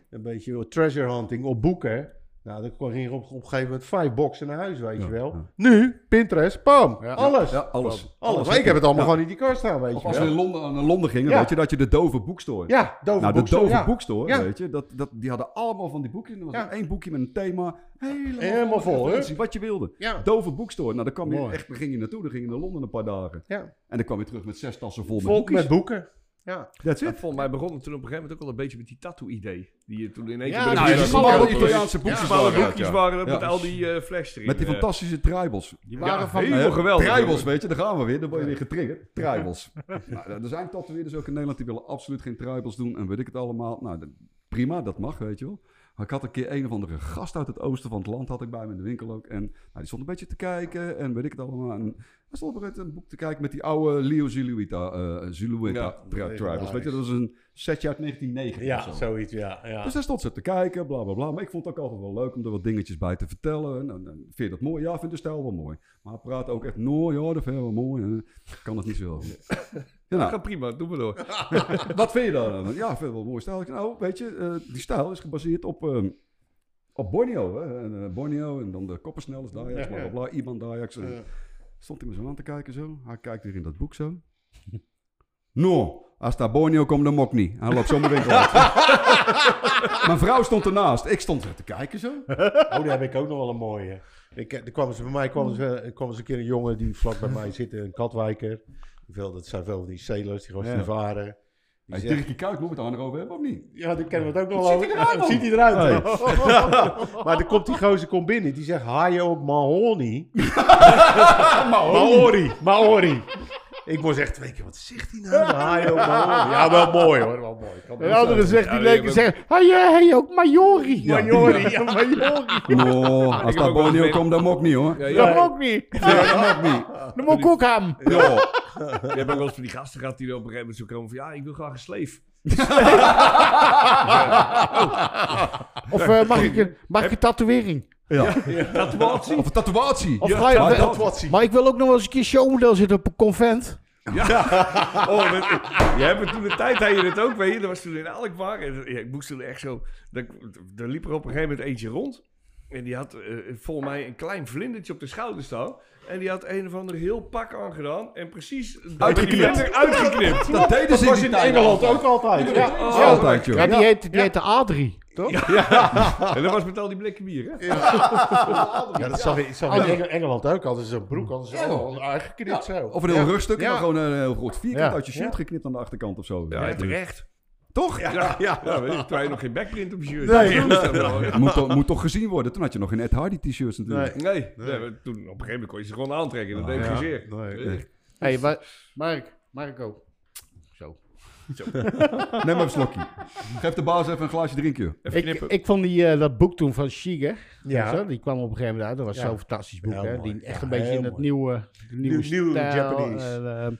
Speaker 4: Een beetje treasure hunting op boeken. Nou, dan kwam- ging er op, op een gegeven moment vijf boxen naar huis, weet je wel.
Speaker 3: ja.
Speaker 4: Nu, Pinterest, pam,
Speaker 1: Ja.
Speaker 4: alles.
Speaker 3: Ja, alles.
Speaker 4: alles. Maar ik heb het allemaal
Speaker 3: Ja.
Speaker 4: gewoon in die kast staan, weet
Speaker 3: Of
Speaker 4: je
Speaker 3: als we in
Speaker 4: wel.
Speaker 3: Londen, eh, naar Londen gingen,
Speaker 4: Ja.
Speaker 3: weet je, dat je de dove boekstore.
Speaker 4: Ja, dove
Speaker 3: nou, de
Speaker 4: boekstore,
Speaker 3: dove
Speaker 4: ja.
Speaker 3: boekstore,
Speaker 4: Ja.
Speaker 3: weet je, dat, dat, die hadden allemaal van die boekjes. Er was
Speaker 4: Ja.
Speaker 3: maar één boekje met een thema, helemaal,
Speaker 4: Helemaal vol, hè?
Speaker 3: referentie, Wat je wilde.
Speaker 4: Ja.
Speaker 3: Dove boekstore. Nou, daar kwam je
Speaker 1: Mooi.
Speaker 3: echt, daar ging je naartoe, daar ging je naar Londen een paar dagen.
Speaker 4: Ja.
Speaker 3: En dan kwam je terug met zes tassen vol met
Speaker 4: Vol
Speaker 3: boekjes.
Speaker 4: met boeken. Ja.
Speaker 3: That's
Speaker 2: Ja,
Speaker 3: it.
Speaker 2: volgens mij begon het toen op een gegeven moment ook al een beetje met die tattoo-idee. Die je toen in één
Speaker 1: Ja,
Speaker 2: keer... bij de
Speaker 1: nou, ja,
Speaker 2: buren had.
Speaker 1: die smalle
Speaker 2: Alle
Speaker 3: Italiaanse boekjes
Speaker 2: smalle
Speaker 3: waren,
Speaker 2: boekjes
Speaker 3: ja.
Speaker 2: waren dat
Speaker 3: Ja.
Speaker 2: met al die eh flash erin.
Speaker 3: Met die
Speaker 2: eh.
Speaker 3: fantastische tribals.
Speaker 2: Die
Speaker 1: waren
Speaker 2: waren
Speaker 1: van-
Speaker 2: helemaal geweldig.
Speaker 3: Tribals, weet je, daar gaan we weer. Dan word je weer getriggerd. Tribals. nou, er zijn tatoeëerders ook in Nederland die willen absoluut geen tribals doen en weet ik het allemaal. Nou, dat- prima, dat mag, weet je wel. Maar ik had een keer een of andere gast uit het oosten van het land, had ik bij me in de winkel ook. En nou, die stond een beetje te kijken en weet ik het allemaal. En hij stond op een gegeven moment een boek te kijken met die oude Leo Zuluita, eh Zulueta
Speaker 2: Ja,
Speaker 3: tri- tribals. Weet je, dat was een setje uit 1990 of zo.
Speaker 4: zoiets, ja. ja.
Speaker 3: Dus daar stond ze te kijken, bla bla bla. Maar ik vond het ook altijd wel leuk om er wat dingetjes bij te vertellen. En, en, en, vind je dat mooi? Ja, ik vind de stijl wel mooi. Maar hij praat ook echt, nou ja, dat vind ik wel mooi. En, eh, kan het niet zo. Ja, nou,
Speaker 2: Gaat prima, doe maar door.
Speaker 3: wat vind je daar dan? Ja, ik vind het wel een mooi stijl. Ik, Nou, weet je, eh, die stijl is gebaseerd op, ehm, op Borneo. Hè? En, eh, Borneo en dan de koppersnellers, Dajax, bla bla bla, Iban Dajax. En,
Speaker 4: Ja.
Speaker 3: Stond hij me zo aan te kijken zo. Hij kijkt weer in dat boek zo. No, als daar Borneo komt, dan mok niet. Hij loopt zomaar winkel uit. Mijn vrouw stond ernaast. Ik stond er te kijken zo.
Speaker 4: Oh, daar heb ik ook nog wel een mooie. Ik, eh, er kwam ze, bij mij kwam ze, er kwam ze een keer een jongen die vlak bij mij zit, een Katwijker. Veel, dat zijn veel van die sailors, die gasten
Speaker 3: Ja.
Speaker 4: varen. Die
Speaker 3: Hij
Speaker 4: zegt-
Speaker 3: Dirkie Kuyt, moeten we het daar nog over hebben of niet?
Speaker 4: ja, die kennen we het ook nog wel.
Speaker 3: ziet hij eruit, man?
Speaker 4: ziet hij eruit.
Speaker 3: Hey.
Speaker 4: man. maar dan komt die gozer komt binnen, die zegt haaien op Mahoney. Maori, Maori. Ik moest echt twee keer, wat zegt hij nou? Haaien op Mahoney. Ja, wel mooi hoor, wel mooi. Kan
Speaker 1: En
Speaker 4: wel
Speaker 1: anderen
Speaker 4: zijn.
Speaker 1: zegt die
Speaker 2: Ja, die
Speaker 1: leken, zeggen, hey, eh, hey, ook Majori.
Speaker 3: Ja.
Speaker 1: Majori, ja, Majori.
Speaker 3: No,
Speaker 2: heb
Speaker 3: Nou, als
Speaker 2: ook wel
Speaker 3: daar Borneo
Speaker 2: eens
Speaker 3: komt, dan mok niet hoor.
Speaker 2: Ja,
Speaker 1: Dat
Speaker 2: ja,
Speaker 1: mag ook niet.
Speaker 3: Nee, dat mok niet. Nou,
Speaker 1: Dat moet ik ook aan.
Speaker 3: Ja.
Speaker 2: Je hebt ook wel eens van die gasten gehad die er op een gegeven moment zo komen van... Ja, ik wil graag een sleef.
Speaker 1: Of eh, mag, ik een, mag ik een tatoeëring?
Speaker 2: Tatoeatie.
Speaker 3: Of een tatoeatie.
Speaker 1: Of ga je-
Speaker 3: maar
Speaker 1: eh,
Speaker 3: dat-
Speaker 1: Maar ik wil ook nog wel eens een keer showmodel zitten op een convent.
Speaker 2: Oh, dat, je hebt het toen de tijd, had je dat ook, weet je. Dat was toen in Alkmaar. En ja, ik moest toen echt zo... Dan, er liep er op een gegeven moment eentje rond. En die had eh, volgens mij een klein vlindertje op de schouder staan. En die had een of ander heel pak aangedaan. En precies...
Speaker 3: Uitgeknipt.
Speaker 2: Die werd er uitgeknipt.
Speaker 3: Dat deden ze
Speaker 4: was in
Speaker 3: tijd
Speaker 4: Engeland ook altijd. Ja,
Speaker 3: al.
Speaker 2: Ja.
Speaker 3: Altijd, joh.
Speaker 1: Ja, die heette die heet de Adrie.
Speaker 2: En dat was met al die blikken bier, hè?
Speaker 4: Ja, dat zag, ik- zag ik in Eng- Engeland ook. Hadden ze zo'n broek, hadden ze allemaal aangeknipt zo.
Speaker 3: Of een heel
Speaker 4: Ja.
Speaker 3: rugstuk, maar
Speaker 4: Ja.
Speaker 3: gewoon eh, een heel groot vierkant
Speaker 4: Ja.
Speaker 3: uit je shirt
Speaker 4: Ja.
Speaker 3: geknipt aan de achterkant of zo.
Speaker 2: Ja, terecht.
Speaker 3: Toch?
Speaker 2: Ja, ja. weet je, terwijl je nog geen backprint op je shirt
Speaker 3: Nee.
Speaker 2: had. Dat is wel-
Speaker 3: Moet, toch- moet toch gezien worden. Toen had je nog geen Ed Hardy t-shirts natuurlijk.
Speaker 2: Nee, nee, maar toen op een gegeven moment kon je ze gewoon aantrekken. Dat
Speaker 3: Ah,
Speaker 2: deed
Speaker 3: ja.
Speaker 2: geen zeer.
Speaker 4: Nee.
Speaker 2: Weet je.
Speaker 1: Hé, hey, wa- Mark, Marco. Zo.
Speaker 3: Neem maar een slokje. Geef de baas even een glaasje drinken.
Speaker 2: Even
Speaker 1: Ik,
Speaker 2: knippen.
Speaker 1: ik vond die, eh, dat boek toen van Schieger,
Speaker 4: Ja.
Speaker 1: die kwam op een gegeven moment uit. Dat was
Speaker 4: Ja.
Speaker 1: zo'n fantastisch boek.
Speaker 4: Heel
Speaker 1: hè?
Speaker 4: mooi.
Speaker 1: Die echt
Speaker 4: Ja,
Speaker 1: een beetje
Speaker 4: heel
Speaker 1: in het
Speaker 4: mooi.
Speaker 1: nieuwe, de nieuwe,
Speaker 4: Nieuw- nieuw
Speaker 1: stijl,
Speaker 4: Japanese.
Speaker 1: En, ehm,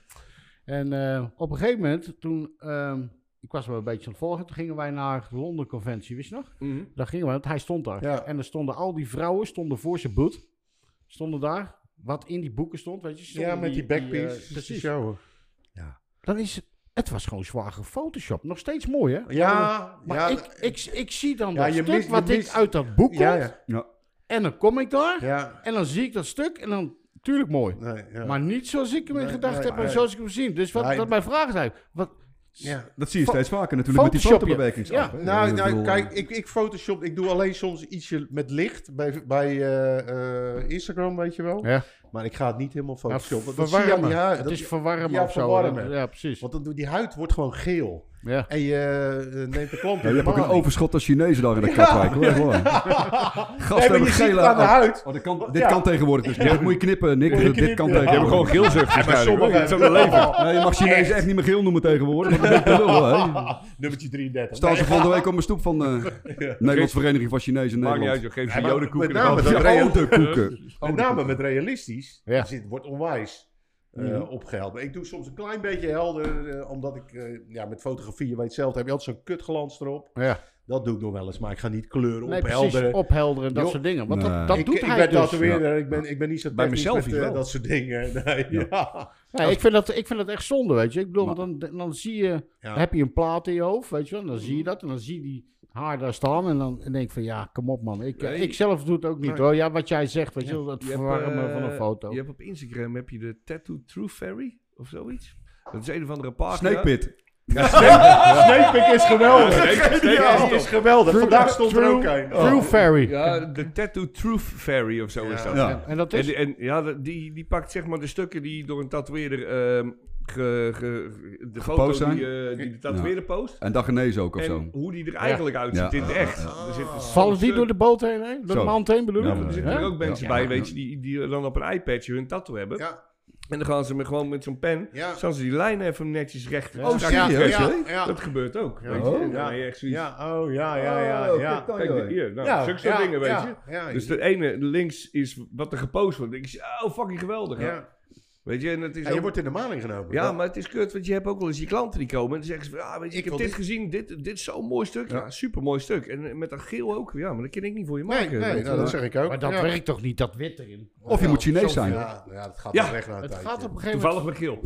Speaker 1: en, eh, op een gegeven moment, toen, ehm, ik was wel een beetje aan het volgen, toen gingen wij naar de Londen Conventie, wist je nog?
Speaker 2: Mhm.
Speaker 1: Daar gingen we, want hij stond daar.
Speaker 4: Ja.
Speaker 1: En er stonden al die vrouwen, stonden voor zijn boet, stonden daar. Wat in die boeken stond, weet je. stonden
Speaker 4: Ja, met die
Speaker 1: eh,
Speaker 4: backpiece.
Speaker 1: precies.
Speaker 4: Showen.
Speaker 1: Dan is het, het was gewoon zwaar gefotoshopt. Nog steeds mooi, hè?
Speaker 4: Ja,
Speaker 1: Maar
Speaker 4: ja,
Speaker 1: ik, ik, ik zie dan
Speaker 4: Ja,
Speaker 1: dat
Speaker 4: je
Speaker 1: stuk
Speaker 4: mist- je
Speaker 1: wat ik
Speaker 4: mist-
Speaker 1: uit dat boek
Speaker 4: ja,
Speaker 1: komt.
Speaker 4: ja.
Speaker 3: Ja.
Speaker 1: En dan kom ik daar.
Speaker 4: ja,
Speaker 1: En dan zie ik dat stuk. En dan, tuurlijk mooi.
Speaker 4: nee, ja.
Speaker 1: Maar niet zoals ik hem in
Speaker 4: Nee,
Speaker 1: gedacht
Speaker 4: nee,
Speaker 1: heb. En
Speaker 4: nee.
Speaker 1: zoals ik hem zie. Dus wat,
Speaker 4: Nee.
Speaker 1: wat mijn vraag is eigenlijk. Wat,
Speaker 4: ja.
Speaker 3: Dat zie je
Speaker 1: Fo-
Speaker 3: steeds vaker natuurlijk met die
Speaker 1: Photoshop je.
Speaker 3: fotobewerkingsapp.
Speaker 1: Ja.
Speaker 3: hè.
Speaker 4: Nou,
Speaker 3: Ik
Speaker 4: nou
Speaker 3: bedoel,
Speaker 4: kijk, ik, ik Photoshop, ik doe alleen soms ietsje met licht bij, bij eh, eh, Instagram, weet je wel.
Speaker 1: Ja. Nou,
Speaker 4: Maar ik ga het niet helemaal
Speaker 1: ja,
Speaker 4: photoshoppen. dat zie je aan
Speaker 1: verwarmen.
Speaker 4: die huid.
Speaker 1: het
Speaker 4: dat-
Speaker 1: is verwarmen
Speaker 4: ja,
Speaker 1: of zo.
Speaker 4: verwarmen.
Speaker 1: Ja, precies.
Speaker 4: Want dan, die huid wordt gewoon geel.
Speaker 1: Ja.
Speaker 4: En je eh, neemt de klant
Speaker 3: Ja, je hebt ook een overschot aan Chinezen daar in de
Speaker 4: Ja.
Speaker 3: Katwijk. hoor. Gewoon. Gasten
Speaker 4: Nee, maar je
Speaker 3: hebben
Speaker 4: ziet het
Speaker 3: gele...
Speaker 4: aan de
Speaker 3: Oh,
Speaker 4: huid.
Speaker 3: oh, dit kan, dit
Speaker 4: Ja.
Speaker 3: kan tegenwoordig dus. Dit moet je knippen, Nick.
Speaker 4: Moet je
Speaker 3: Dit- Dit
Speaker 4: knippen.
Speaker 3: kan
Speaker 4: Ja,
Speaker 2: Die hebben
Speaker 3: tegenwoordig.
Speaker 2: gewoon geelzucht waarschijnlijk. hoor. Dat is ook een leven.
Speaker 3: Nee, je mag Chinezen echt niet meer geel noemen tegenwoordig. want Dat ben ik wel, hè.
Speaker 4: Ah, Nummertje 33.
Speaker 3: Staan ze volgende week op mijn stoep van eh Nederlandse Vereniging van Chinezen in
Speaker 2: Maakt niet uit,
Speaker 3: Nederland.
Speaker 2: joh. Geef ze
Speaker 4: Ja, maar
Speaker 2: jodenkoeken.
Speaker 4: met name
Speaker 2: ervan.
Speaker 4: dat-
Speaker 3: Ja, oude koeken.
Speaker 1: Oh,
Speaker 4: Met name met realistisch
Speaker 1: Ja. Mhm.
Speaker 4: zit, wordt onwijs eh opgehaald. Maar ik doe soms een klein beetje helder, eh, omdat ik eh, ja, met fotografie, je weet zelf, heb je altijd zo'n kutglans erop.
Speaker 1: Ja.
Speaker 4: Dat doe ik nog wel eens, maar ik ga niet kleuren
Speaker 1: Nee, precies.
Speaker 4: ophelderen.
Speaker 1: Ophelderen. Dat
Speaker 4: Jo,
Speaker 1: soort dingen. Want
Speaker 3: nee.
Speaker 1: dat, dat
Speaker 4: ik,
Speaker 1: doet
Speaker 4: ik
Speaker 1: hij
Speaker 4: ben
Speaker 1: dus.
Speaker 4: tatoeëerder, ik, ben, ik ben niet zo
Speaker 2: Bij
Speaker 4: technisch
Speaker 2: mezelf
Speaker 4: met,
Speaker 2: is
Speaker 4: eh,
Speaker 2: wel.
Speaker 4: dat soort dingen. Nee, ja. Ja.
Speaker 1: Nee, ik, vind dat, ik vind dat echt zonde, weet je. Ik bedoel, want dan, dan zie je,
Speaker 4: Ja. Mm.
Speaker 1: dan heb je een plaat in je hoofd, weet je wel. En Dan zie je dat en dan zie je die haar daar staan. En dan en denk ik van, ja, kom op man. Ik,
Speaker 2: Nee.
Speaker 1: ik zelf doe het ook niet
Speaker 2: Nee.
Speaker 1: hoor. Ja, wat jij zegt, weet je
Speaker 4: Ja.
Speaker 1: wel. Het
Speaker 2: Je hebt,
Speaker 1: verwarmen
Speaker 2: eh,
Speaker 1: van een foto.
Speaker 2: Je hebt op Instagram heb je de Tattoo True Fairy of zoiets. Dat is een of andere pagina.
Speaker 3: Snake Pit.
Speaker 4: Snakepick is geweldig.
Speaker 2: Snake- Snake-
Speaker 4: Ja, die is geweldig. Vandaag stond er ook een. Oh.
Speaker 1: True Fairy.
Speaker 2: Ja, de Tattoo Truth Fairy of zo is dat.
Speaker 3: Ja.
Speaker 1: En dat
Speaker 2: En,
Speaker 1: is...
Speaker 2: en ja, de- die, die pakt zeg maar de stukken die door een tatoeëerder ehm, ge, ge- de foto
Speaker 3: zijn.
Speaker 2: die, eh, die de tatoeëerder post.
Speaker 3: En Dagenees ook of zo.
Speaker 2: En hoe die er eigenlijk uitziet
Speaker 3: Ja.
Speaker 2: in het echt. Er zit een
Speaker 1: Ah. Vallen die
Speaker 2: stuk-
Speaker 1: door de boot heen, hè? Door
Speaker 3: Zo.
Speaker 1: de mand heen bedoel
Speaker 3: Ja,
Speaker 1: ik?
Speaker 3: maar
Speaker 2: Er
Speaker 1: Hè?
Speaker 2: zitten er ook mensen
Speaker 3: Ja.
Speaker 2: bij, weet je, die, die dan op een iPadje hun tattoo hebben.
Speaker 4: Ja.
Speaker 2: En dan gaan ze met, gewoon met zo'n pen,
Speaker 4: Ja.
Speaker 2: staan ze die lijnen even netjes recht.
Speaker 1: Oh,
Speaker 2: strak
Speaker 3: ja,
Speaker 2: recht.
Speaker 3: ja,
Speaker 2: Dat gebeurt ook, weet je.
Speaker 3: Oh.
Speaker 2: En dan heb je echt zoiets,
Speaker 4: Ja, oh ja, ja, ja.
Speaker 3: Oh,
Speaker 4: ja.
Speaker 3: kijk dan,
Speaker 2: Kijk,
Speaker 3: joh.
Speaker 2: hier, nou,
Speaker 4: Ja,
Speaker 2: zulke soort
Speaker 4: ja,
Speaker 2: dingen, weet
Speaker 4: ja,
Speaker 2: je.
Speaker 4: ja.
Speaker 2: Dus de ene links is wat er gepost wordt. Ik zeg, oh, fucking geweldig.
Speaker 4: ja.
Speaker 2: Weet je, en het is
Speaker 4: Ja, je
Speaker 2: ook-
Speaker 4: wordt in de maling genomen.
Speaker 2: Ja,
Speaker 4: Dat-
Speaker 2: maar het is kut, want je hebt ook wel eens die klanten die komen en dan zeggen ze van, ah, weet je, ik,
Speaker 4: Ik
Speaker 2: heb
Speaker 4: wil
Speaker 2: dit gezien, dit, dit is zo'n mooi stuk. Ja, super mooi stuk. En eh, met dat geel ook, ja, maar dat kan ik niet voor je
Speaker 4: nee, nee,
Speaker 2: maken. weet je
Speaker 4: nou,
Speaker 2: wel.
Speaker 4: dat zeg ik ook.
Speaker 1: Maar dat
Speaker 4: ja.
Speaker 1: werkt toch niet, dat wit erin?
Speaker 3: Of je moet Chinees
Speaker 4: Ja,
Speaker 3: zijn.
Speaker 4: ja, dat gaat
Speaker 2: Ja.
Speaker 4: wel weg na een
Speaker 1: Het
Speaker 4: tijdje.
Speaker 1: gaat op een gegeven
Speaker 2: Toevallig met geel.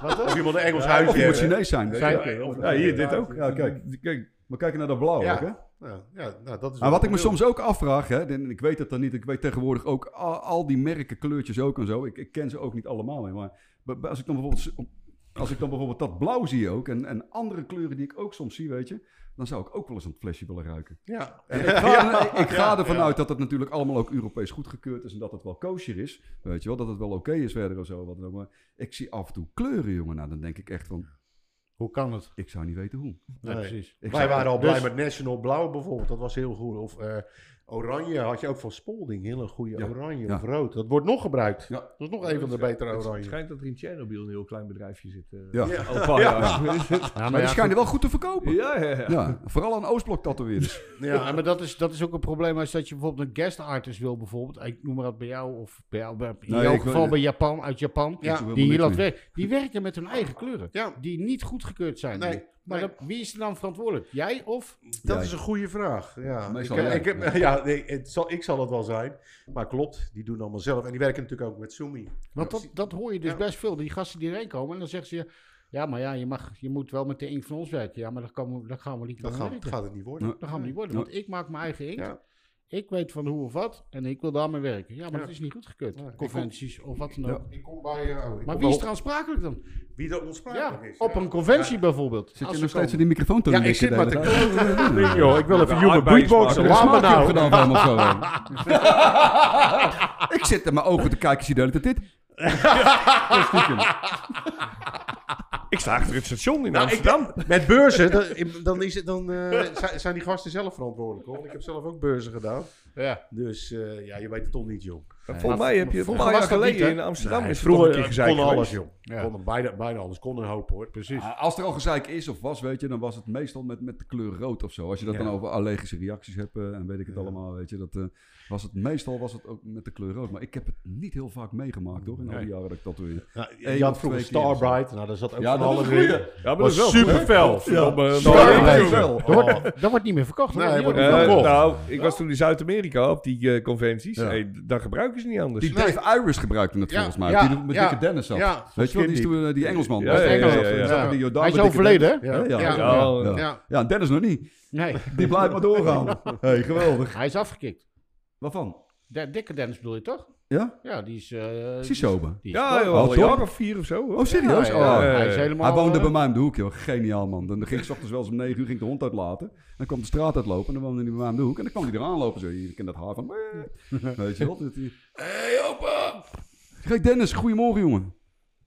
Speaker 4: Wat Of je moet een Engels
Speaker 3: Of
Speaker 4: huisje
Speaker 3: je moet
Speaker 4: hebben.
Speaker 3: Chinees zijn.
Speaker 4: Zijn- of-
Speaker 2: Ja, hier, dit ook.
Speaker 3: Ja, kijk.
Speaker 2: Kijk,
Speaker 3: Maar kijken naar dat blauw
Speaker 4: Ja.
Speaker 3: ook, hè?
Speaker 4: Ja, ja, nou, dat is
Speaker 3: Maar
Speaker 4: wel
Speaker 3: wat ik me
Speaker 4: een
Speaker 3: soms ook afvraag, hè, en ik weet het dan niet, ik weet tegenwoordig ook al, al die merken, kleurtjes ook en zo. Ik, ik ken ze ook niet allemaal meer, maar b- b- als ik dan bijvoorbeeld, s- als ik dan bijvoorbeeld dat blauw zie ook en, en andere kleuren die ik ook soms zie, weet je, dan zou ik ook wel eens een flesje willen ruiken.
Speaker 4: beeld. Ja.
Speaker 3: En ik ga, ik ga ervan uit dat het natuurlijk allemaal ook Europees goedgekeurd is en dat het wel kosher is, weet je wel, dat het wel oké is verder of zo. Wat dan, ook, maar ik zie af en toe kleuren, jongen, nou dan denk ik echt van,
Speaker 1: Hoe kan het?
Speaker 3: ik zou niet weten hoe.
Speaker 1: Nee,
Speaker 4: Nee.
Speaker 1: precies.
Speaker 3: Ik
Speaker 4: Wij
Speaker 3: zou-
Speaker 4: waren al blij
Speaker 1: Dus-
Speaker 4: met National Blauw bijvoorbeeld. Dat was heel goed. Of eh, oranje had je ook van Spolding. Hele goede
Speaker 3: Ja.
Speaker 4: oranje
Speaker 3: Ja.
Speaker 4: of rood. Dat wordt nog gebruikt.
Speaker 3: Ja.
Speaker 4: Dat is nog een van de betere
Speaker 2: het
Speaker 4: oranje.
Speaker 2: schijnt dat er in Tsjernobyl een heel klein bedrijfje zit. eh,
Speaker 3: Ja.
Speaker 2: al een paar jaar.
Speaker 1: Ja,
Speaker 3: Maar
Speaker 1: Nou, maar,
Speaker 3: die
Speaker 1: ja,
Speaker 3: schijnen wel goed te verkopen.
Speaker 2: Ja, ja, ja.
Speaker 3: Ja, vooral aan Oostblok tatoeëerders.
Speaker 1: ja, maar dat, is, dat is ook een probleem als dat je bijvoorbeeld een guest artist wil, bijvoorbeeld. Ik noem maar dat bij jou, of bij jou, bij- in
Speaker 3: Nee,
Speaker 1: jouw
Speaker 3: ik wil-
Speaker 1: geval bij Japan, uit Japan.
Speaker 4: Ja.
Speaker 3: Ik wil
Speaker 1: die hier
Speaker 3: niks
Speaker 1: laat
Speaker 3: meer.
Speaker 1: werken. Die werken met hun eigen kleuren.
Speaker 4: Ja.
Speaker 1: Die niet goedgekeurd zijn.
Speaker 4: Nee,
Speaker 1: Maar
Speaker 4: nee.
Speaker 1: dan- wie is er dan verantwoordelijk? Jij of?
Speaker 4: Dat
Speaker 3: Ja,
Speaker 4: is een goede vraag. Ja. Ik,
Speaker 3: Meestal
Speaker 4: eh,
Speaker 3: jij.
Speaker 4: ik, heb, ja, nee, het zal, ik zal het wel zijn. Maar klopt, die doen allemaal zelf. En die werken natuurlijk ook met Sumi.
Speaker 1: Want dat, dat hoor je dus
Speaker 4: Ja.
Speaker 1: best veel. Die gasten die erheen komen en dan zeggen ze... ja, Ja, maar ja, je, mag, je moet wel met de ink van ons werken. Ja, maar dat, kan, dat gaan we niet
Speaker 4: Dat
Speaker 1: doen
Speaker 4: gaat,
Speaker 1: werken.
Speaker 4: gaat het niet worden.
Speaker 1: Dat gaan we niet worden, want ik maak mijn eigen inkt.
Speaker 4: Ja.
Speaker 1: Ik weet van hoe of wat en ik wil daarmee werken. Ja, maar
Speaker 4: Ja.
Speaker 1: dat is niet goedgekeurd.
Speaker 4: Nee, ik
Speaker 1: Conventies of wat dan ook.
Speaker 4: Ik kom bij... eh, oh, ik
Speaker 1: Maar
Speaker 4: kom
Speaker 1: wie is er
Speaker 4: wel-
Speaker 1: aansprakelijk dan?
Speaker 4: Wie er
Speaker 1: Ja,
Speaker 4: ontspraakelijk is.
Speaker 1: op
Speaker 4: ja.
Speaker 1: een conventie bijvoorbeeld.
Speaker 3: Zit
Speaker 1: Als
Speaker 3: je
Speaker 1: ze
Speaker 3: nog steeds in
Speaker 1: komen.
Speaker 3: die microfoon te
Speaker 4: Ja,
Speaker 3: likken
Speaker 4: ik zit
Speaker 3: de
Speaker 4: maar
Speaker 3: hele
Speaker 4: te
Speaker 3: tijd?
Speaker 4: kloten. joh. Ik wil even
Speaker 2: Ja,
Speaker 4: human
Speaker 2: aardbeien
Speaker 4: beatboxen.
Speaker 2: smaken.
Speaker 4: Laat me
Speaker 3: Heb je smaakje
Speaker 4: nou.
Speaker 3: gedaan van hem of zo, hè? ik zit in mijn ogen te kijken, zie de hele tijd dit. Stiekem.
Speaker 2: Ik sta achter het station in
Speaker 4: Nou, ik-
Speaker 2: Amsterdam.
Speaker 4: Met beurzen, dan, dan, is het, dan eh, zi- zijn die gasten zelf verantwoordelijk hoor. Want ik heb zelf ook beurzen gedaan.
Speaker 1: Ja.
Speaker 4: Dus eh, ja, je weet het toch niet, joh.
Speaker 2: Volgens mij heb je een paar
Speaker 1: vroeger
Speaker 2: jaar
Speaker 1: was dat niet,
Speaker 2: geleden
Speaker 1: hè?
Speaker 2: in Amsterdam
Speaker 4: Nee,
Speaker 2: is
Speaker 4: vroeger eh,
Speaker 2: vroeger eh, een keer gezeik
Speaker 4: kon alles,
Speaker 2: geweest.
Speaker 4: joh. Kon bijna, bijna alles. Kon een hoop, hoor. Precies.
Speaker 3: Ah, Als er al gezeik is of was, weet je, dan was het meestal met, met de kleur rood of zo. Als je dat
Speaker 2: Ja.
Speaker 3: dan over allergische reacties hebt eh, en weet ik het allemaal, weet je. Dat, eh, was het, meestal was het ook met de kleur rood. Maar ik heb het niet heel vaak meegemaakt, hoor, in al die jaren dat ik dat doe.
Speaker 4: Nou,
Speaker 3: Eén
Speaker 4: je had
Speaker 3: of
Speaker 4: vroeger
Speaker 3: twee keer of zo.
Speaker 4: Starbright. Nou, daar zat ook
Speaker 3: Ja,
Speaker 4: van
Speaker 3: dat is
Speaker 4: alles
Speaker 3: een
Speaker 4: in.
Speaker 3: goeie.
Speaker 2: Ja, maar dat
Speaker 4: was
Speaker 2: is wel
Speaker 4: super fel.
Speaker 3: Starbright.
Speaker 2: fel.
Speaker 1: Dat
Speaker 4: Oh.
Speaker 1: wordt,
Speaker 3: Oh.
Speaker 1: dat Oh, wordt niet meer verkocht. hè?
Speaker 4: Nee,
Speaker 1: Die
Speaker 4: wordt
Speaker 1: worden-
Speaker 4: niet
Speaker 2: Eh,
Speaker 4: verkocht.
Speaker 2: nou, ik was toen in Zuid-Amerika op die eh, conventies.
Speaker 3: Ja.
Speaker 2: Hey, d- daar gebruiken ze niet anders.
Speaker 3: Die Dave Iris gebruikte het
Speaker 4: Dus Ja,
Speaker 3: volgens mij.
Speaker 4: ja,
Speaker 3: die met
Speaker 4: ja,
Speaker 3: dikke Dennis zat.
Speaker 4: ja, van
Speaker 3: weet je wel, die, is
Speaker 4: Skinny.
Speaker 3: toen, eh, die Engelsman.
Speaker 2: Ja,
Speaker 3: was.
Speaker 2: ja, ja,
Speaker 3: Engelsman
Speaker 2: ja,
Speaker 3: zat,
Speaker 2: ja.
Speaker 3: zat in die Jordaan
Speaker 1: Hij is
Speaker 3: met dikke
Speaker 1: overleden,
Speaker 3: Dennis.
Speaker 1: hè?
Speaker 3: Ja, ja,
Speaker 1: Ja.
Speaker 3: ja, ja.
Speaker 4: Ja.
Speaker 3: Ja, Dennis nog niet.
Speaker 1: Nee,
Speaker 3: Die blijft maar doorgaan. hey, geweldig.
Speaker 1: hij is afgekikt.
Speaker 3: Waarvan?
Speaker 1: De, dikke Dennis bedoel je toch?
Speaker 3: Ja?
Speaker 1: Ja, die is... eh,
Speaker 3: Sisoba.
Speaker 1: die is
Speaker 2: ja, joh,
Speaker 3: Oh,
Speaker 2: al een
Speaker 3: toch?
Speaker 2: jaar of vier of zo. hoor.
Speaker 3: Oh, serieus?
Speaker 1: Ja,
Speaker 3: Oh.
Speaker 1: ja, hij is
Speaker 2: eh,
Speaker 1: helemaal...
Speaker 3: Hij woonde
Speaker 1: eh,
Speaker 3: bij mij om de hoek, joh. Geniaal, man. Dan ging ik 's ochtends wel eens om 9 uur ging ik de hond uitlaten. Dan kwam de straat uitlopen en dan woonde hij bij mij om de hoek. En dan kwam hij eraan lopen. Zo, je kent dat haar van... Weet je wel? dat hij- hey, opa! Kijk, Dennis, goedemorgen, jongen.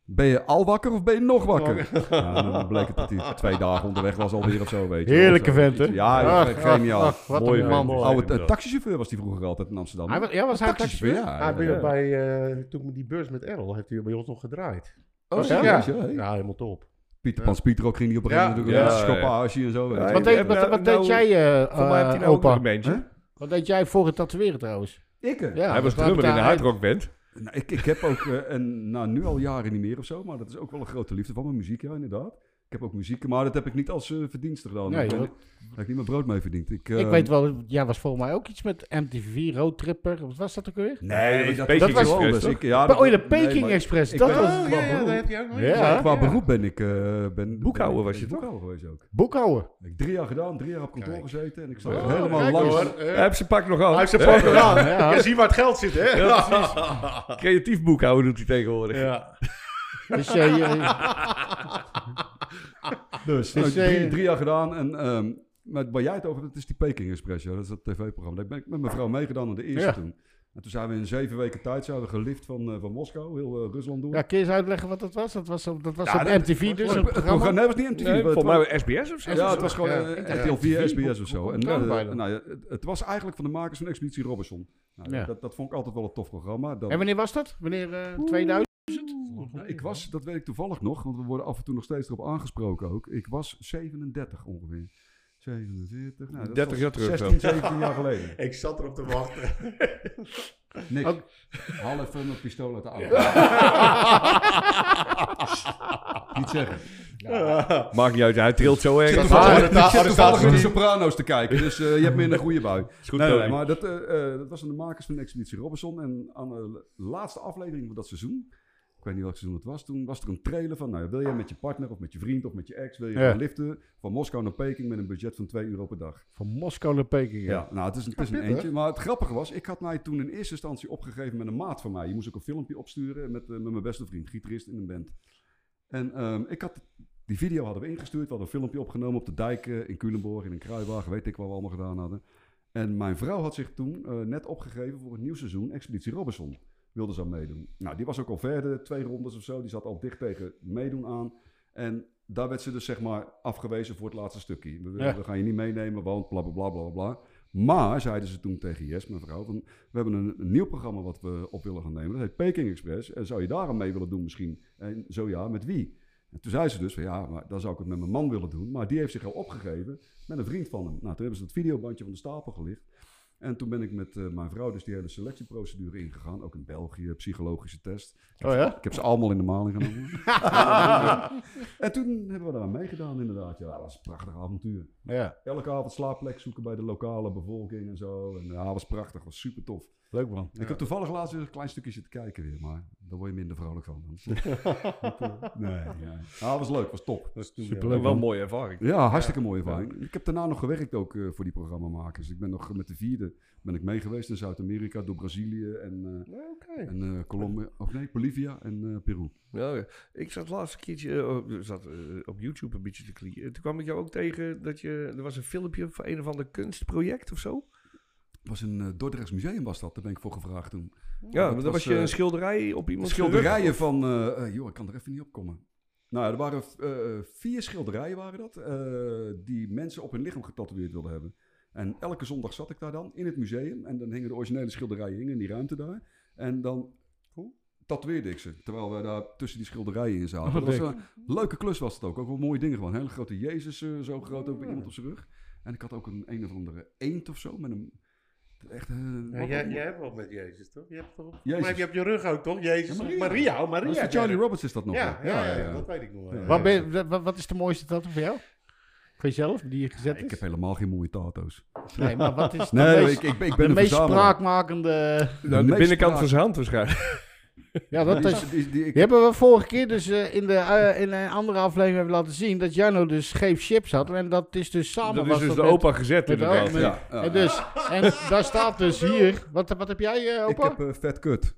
Speaker 3: Ben je al wakker of ben je nog wakker? Ja, dan bleek het dat hij twee dagen onderweg was alweer of zo, weet je. wel.
Speaker 1: Heerlijke Ah,
Speaker 3: Zo.
Speaker 1: vent, hè?
Speaker 3: Ja, joh,
Speaker 1: Ach,
Speaker 3: geniaal.
Speaker 1: ach, ach, wat
Speaker 4: Mooi
Speaker 1: een
Speaker 4: man.
Speaker 1: man.
Speaker 4: Mooi.
Speaker 3: Oude eh, taxichauffeur was hij vroeger altijd in Amsterdam.
Speaker 1: ah, Hij was, ja, was hij een
Speaker 3: taxichauffeur,
Speaker 1: taxichauffeur?
Speaker 3: Ah, ja.
Speaker 4: Hij
Speaker 3: ja.
Speaker 4: heeft Ah, bij, eh, toen met die beurs met Errol heeft hij bij ons nog gedraaid.
Speaker 3: Oh,
Speaker 4: ja?
Speaker 3: serieus, ja, hè?
Speaker 4: Ja, helemaal top.
Speaker 3: Pieter Pan Spieter ook ging die op een
Speaker 4: Ja.
Speaker 3: gegeven moment
Speaker 2: Ja,
Speaker 3: natuurlijk
Speaker 2: ja,
Speaker 3: een schoppaasje en zo. weet je.
Speaker 2: Ja,
Speaker 1: Wat
Speaker 2: Hij
Speaker 1: deed, wat,
Speaker 2: heeft
Speaker 1: wat
Speaker 2: nou-
Speaker 1: deed jij, eh,
Speaker 2: Voor mij heeft hij
Speaker 1: eh,
Speaker 2: nou ook nog
Speaker 1: opa?
Speaker 2: een bandje.
Speaker 3: Hè?
Speaker 1: Wat deed jij voor het tatoeëren trouwens?
Speaker 3: Ikke?
Speaker 1: eh, Ja,
Speaker 2: hij was
Speaker 1: dat
Speaker 2: drummer in de
Speaker 1: daar-
Speaker 2: hardrock band.
Speaker 3: Nou, ik, ik heb ook, eh, en, nou nu al jaren niet meer of zo, maar dat is ook wel een grote liefde van mijn muziek, ja inderdaad. Ik heb ook muziek, maar dat heb ik niet als eh, verdienste gedaan.
Speaker 1: Nee,
Speaker 3: ik, ben-
Speaker 1: dat-
Speaker 3: daar heb ik niet mijn brood mee verdiend. Ik,
Speaker 1: Ik
Speaker 3: eh,
Speaker 1: weet wel, jij was volgens mij ook iets met MTV, Roadtripper. Wat was dat ook weer?
Speaker 3: Nee, dat,
Speaker 2: Peking
Speaker 3: Ah, dat was
Speaker 2: Express,
Speaker 3: anders.
Speaker 2: toch?
Speaker 3: Ik, ja,
Speaker 1: oh, ja, de
Speaker 3: nee,
Speaker 1: Peking
Speaker 3: maar
Speaker 1: Express.
Speaker 3: ik
Speaker 1: Dat
Speaker 3: ben-
Speaker 1: was
Speaker 3: Oh, ja, ja, dat
Speaker 4: heb je ook nog.
Speaker 1: Ja.
Speaker 3: Qua beroep ben ik... eh, ben,
Speaker 2: Boekhouder
Speaker 3: ben-
Speaker 2: was je
Speaker 3: ben
Speaker 2: toch?
Speaker 3: Boekhouder geweest ook.
Speaker 1: boekhouden.
Speaker 3: Ik heb drie jaar gedaan, drie jaar op kantoor
Speaker 4: Kijk.
Speaker 3: gezeten en ik zat helemaal langs.
Speaker 4: hoor. Eh,
Speaker 2: Hij heeft zijn pak nog aan.
Speaker 4: Hij heeft zijn
Speaker 2: Hè?
Speaker 4: pak gedaan. Ja, zie waar het geld zit, hè?
Speaker 2: Ja, precies. Creatief boekhouden doet hij tegenwoordig.
Speaker 4: Ja.
Speaker 1: Dus eh, je-
Speaker 3: Dus,
Speaker 1: Dus,
Speaker 3: nou, drie,
Speaker 1: eh,
Speaker 3: drie jaar gedaan en ehm, met, waar jij het over hebt, dat is die Peking Express, ja, dat is dat tv-programma. Daar ben ik met mijn vrouw meegedaan aan de eerste
Speaker 1: Ja.
Speaker 3: toen. En toen zijn we in zeven weken tijd zijn we gelift van, eh, van Moskou, heel eh, Rusland door.
Speaker 1: ja, kun je eens uitleggen wat dat was? Dat was op, dat was
Speaker 3: Ja,
Speaker 1: op
Speaker 3: dat-
Speaker 1: MTV dus, een
Speaker 3: het
Speaker 1: programma.
Speaker 3: programma? Nee, het was niet MTV.
Speaker 2: Nee,
Speaker 3: maar het
Speaker 2: Eh, volgens
Speaker 3: was-
Speaker 2: mij SBS of zo.
Speaker 3: ja, het was gewoon
Speaker 4: Ja.
Speaker 3: eh, RTL 4,
Speaker 1: Hoe-
Speaker 3: SBS of zo.
Speaker 1: hoe
Speaker 3: En,
Speaker 1: komt dat
Speaker 3: eh,
Speaker 1: bij dan?
Speaker 3: nou, ja, het, het was eigenlijk van de makers van Expeditie Robinson. Nou,
Speaker 1: Ja.
Speaker 3: dat, dat vond ik altijd wel een tof programma. Dan-
Speaker 1: En wanneer was dat? Wanneer eh 2000?
Speaker 3: Nou, ik was, dat weet ik toevallig nog, want we worden af en toe nog steeds erop aangesproken ook. Ik was 37 ongeveer. 47, nou, dat
Speaker 2: 30
Speaker 3: was
Speaker 2: jaar terug
Speaker 3: 16, 17 jaar geleden.
Speaker 4: Ik zat erop te wachten.
Speaker 3: Niks.
Speaker 1: Ook-
Speaker 3: Haal even mijn pistool uit de auto. Niet zeggen.
Speaker 2: Maakt niet uit, hij trilt zo erg. als-
Speaker 4: toevallig-
Speaker 2: Ah,
Speaker 4: de
Speaker 3: ik zit toevallig
Speaker 4: arrestatie-
Speaker 3: naar de Soprano's te kijken, dus eh, je hebt me in een goede bui.
Speaker 2: Is goed,
Speaker 3: nee, nee,
Speaker 2: Tony.
Speaker 3: maar dat, eh, eh, dat was aan de makers van Expeditie Robinson. En aan de laatste aflevering van dat seizoen, ik weet niet welk seizoen het was toen, was er een trailer van, nou ja, wil jij met je partner of met je vriend of met je ex, wil je
Speaker 1: Ja.
Speaker 3: gaan liften van Moskou naar Peking met een budget van 2 euro per dag.
Speaker 1: Van Moskou naar Peking.
Speaker 3: Ja, nou, het is, een- het is een eentje. Maar het grappige was, ik had mij toen in eerste instantie opgegeven met een maat van mij. Je moest ook een filmpje opsturen met, eh, met mijn beste vriend, gitarist in een band. En ehm, ik had, die video hadden we ingestuurd, we hadden een filmpje opgenomen op de dijk eh, in Culemborg, in een kruiwagen, weet ik wat we allemaal gedaan hadden. En mijn vrouw had zich toen eh, net opgegeven voor het nieuw seizoen Expeditie Robinson. Wilde ze aan meedoen. Nou, die was ook al verder, twee rondes of zo. Die zat al dicht tegen meedoen aan. En daar werd ze dus zeg maar afgewezen voor het laatste stukje. We,
Speaker 1: Ja.
Speaker 3: we gaan je niet meenemen, want bla bla bla bla bla. Maar, zeiden ze toen tegen Jes, mijn vrouw, van, we hebben een, een nieuw programma wat we op willen gaan nemen. Dat heet Peking Express. En zou je daar aan mee willen doen misschien? En zo ja, met wie? En toen zei ze dus van ja, maar dan zou ik het met mijn man willen doen. Maar die heeft zich al opgegeven met een vriend van hem. Nou, toen hebben ze dat videobandje van de stapel gelicht. En toen ben ik met eh, mijn vrouw dus die hele selectieprocedure ingegaan. Ook in België, psychologische test.
Speaker 1: Oh ja?
Speaker 3: Ik heb ze allemaal in de maling genomen. en toen hebben we daaraan meegedaan inderdaad. Ja, dat was een prachtig avontuur.
Speaker 1: Ja.
Speaker 3: Elke avond slaapplek zoeken bij de lokale bevolking en zo. En ja, dat was prachtig. was super tof.
Speaker 1: Leuk man.
Speaker 3: Ik heb toevallig laatst weer een klein stukje zitten kijken weer. Maar daar word je minder vrolijk van. Dan. nee, ja. Ah, dat was leuk. was top.
Speaker 4: Dat is toen
Speaker 1: Superleuk.
Speaker 4: wel.
Speaker 2: Wel een mooie ervaring.
Speaker 3: Ja, hartstikke mooie ervaring. Ik heb daarna nog gewerkt ook eh, voor die programmamakers. Ik ben nog eh, met de vierde ben ik mee geweest in Zuid-Amerika, door Brazilië en, eh, en eh, Colombia, of nee, Bolivia en eh, Peru.
Speaker 2: Ja, ja. ik zat laatst een keertje eh, op- zat, eh, op YouTube een beetje te klieën. Toen kwam ik jou ook tegen dat je... Er was een filmpje van een of ander kunstproject of zo.
Speaker 3: Het was een eh Dordrechts museum was dat, daar ben ik voor gevraagd toen.
Speaker 2: Ja,
Speaker 3: dat
Speaker 2: maar
Speaker 3: was,
Speaker 2: dan was je
Speaker 3: eh,
Speaker 2: een schilderij op iemands rug.
Speaker 3: Schilderijen van, eh, eh, joh, ik kan er even niet op komen. Nou ja, er waren eh, vier schilderijen waren dat, eh, die mensen op hun lichaam getatoeëerd wilden hebben. En elke zondag zat ik daar dan in het museum en dan hingen de originele schilderijen hingen in die ruimte daar. En dan tatoeëerde ik ze, terwijl we daar tussen die schilderijen in zaten. Dat was een leuke klus was het ook. Ook wel mooie dingen gewoon. Hele grote Jezus, eh, zo groot ook bij iemand op zijn rug. En ik had ook een een of andere eend of zo, met een... Echt, eh,
Speaker 4: Ja,
Speaker 3: wat-
Speaker 4: jij, jij hebt wel met Jezus, toch? Je hebt toch
Speaker 3: Jezus.
Speaker 4: Maar heb je op je rug ook, toch? Jezus.
Speaker 3: Ja,
Speaker 4: Maria,
Speaker 3: Maria.
Speaker 4: Maria. oh, Maria
Speaker 3: Dat is van
Speaker 4: ja.
Speaker 3: Charlie Roberts is dat nog.
Speaker 4: Ja,
Speaker 3: hè?
Speaker 4: ja, ja, dat weet ik nog wel.
Speaker 3: Ja.
Speaker 4: Ja.
Speaker 1: Wat, ben je- wa- wat is de mooiste tattoo voor jou? Voor jezelf, die je gezet
Speaker 3: Ik
Speaker 1: is?
Speaker 3: heb helemaal geen mooie tato's.
Speaker 1: Nee, maar wat is de
Speaker 3: Nee,
Speaker 1: meest,
Speaker 3: ik, ik, ben- ik
Speaker 1: de
Speaker 3: ben een
Speaker 1: meest
Speaker 3: verzamelaar.
Speaker 1: spraakmakende...
Speaker 2: Nou, de
Speaker 3: meest
Speaker 2: binnenkant
Speaker 3: spraak-
Speaker 2: van zijn hand waarschijnlijk.
Speaker 1: Ja, dat is...
Speaker 3: Die, die, ik-
Speaker 1: Die hebben we vorige keer dus eh, in, de, eh, in een andere aflevering hebben laten zien... dat Jano dus scheef chips had. En dat is dus samen...
Speaker 2: Dat is
Speaker 1: was
Speaker 2: dus de
Speaker 1: met-
Speaker 2: opa gezet
Speaker 1: met de
Speaker 2: inderdaad.
Speaker 1: opa.
Speaker 3: ja, ja.
Speaker 1: En, dus, en daar staat dus hier... Wat, wat heb jij, eh,
Speaker 3: ik
Speaker 1: opa?
Speaker 3: heb eh, vet kut.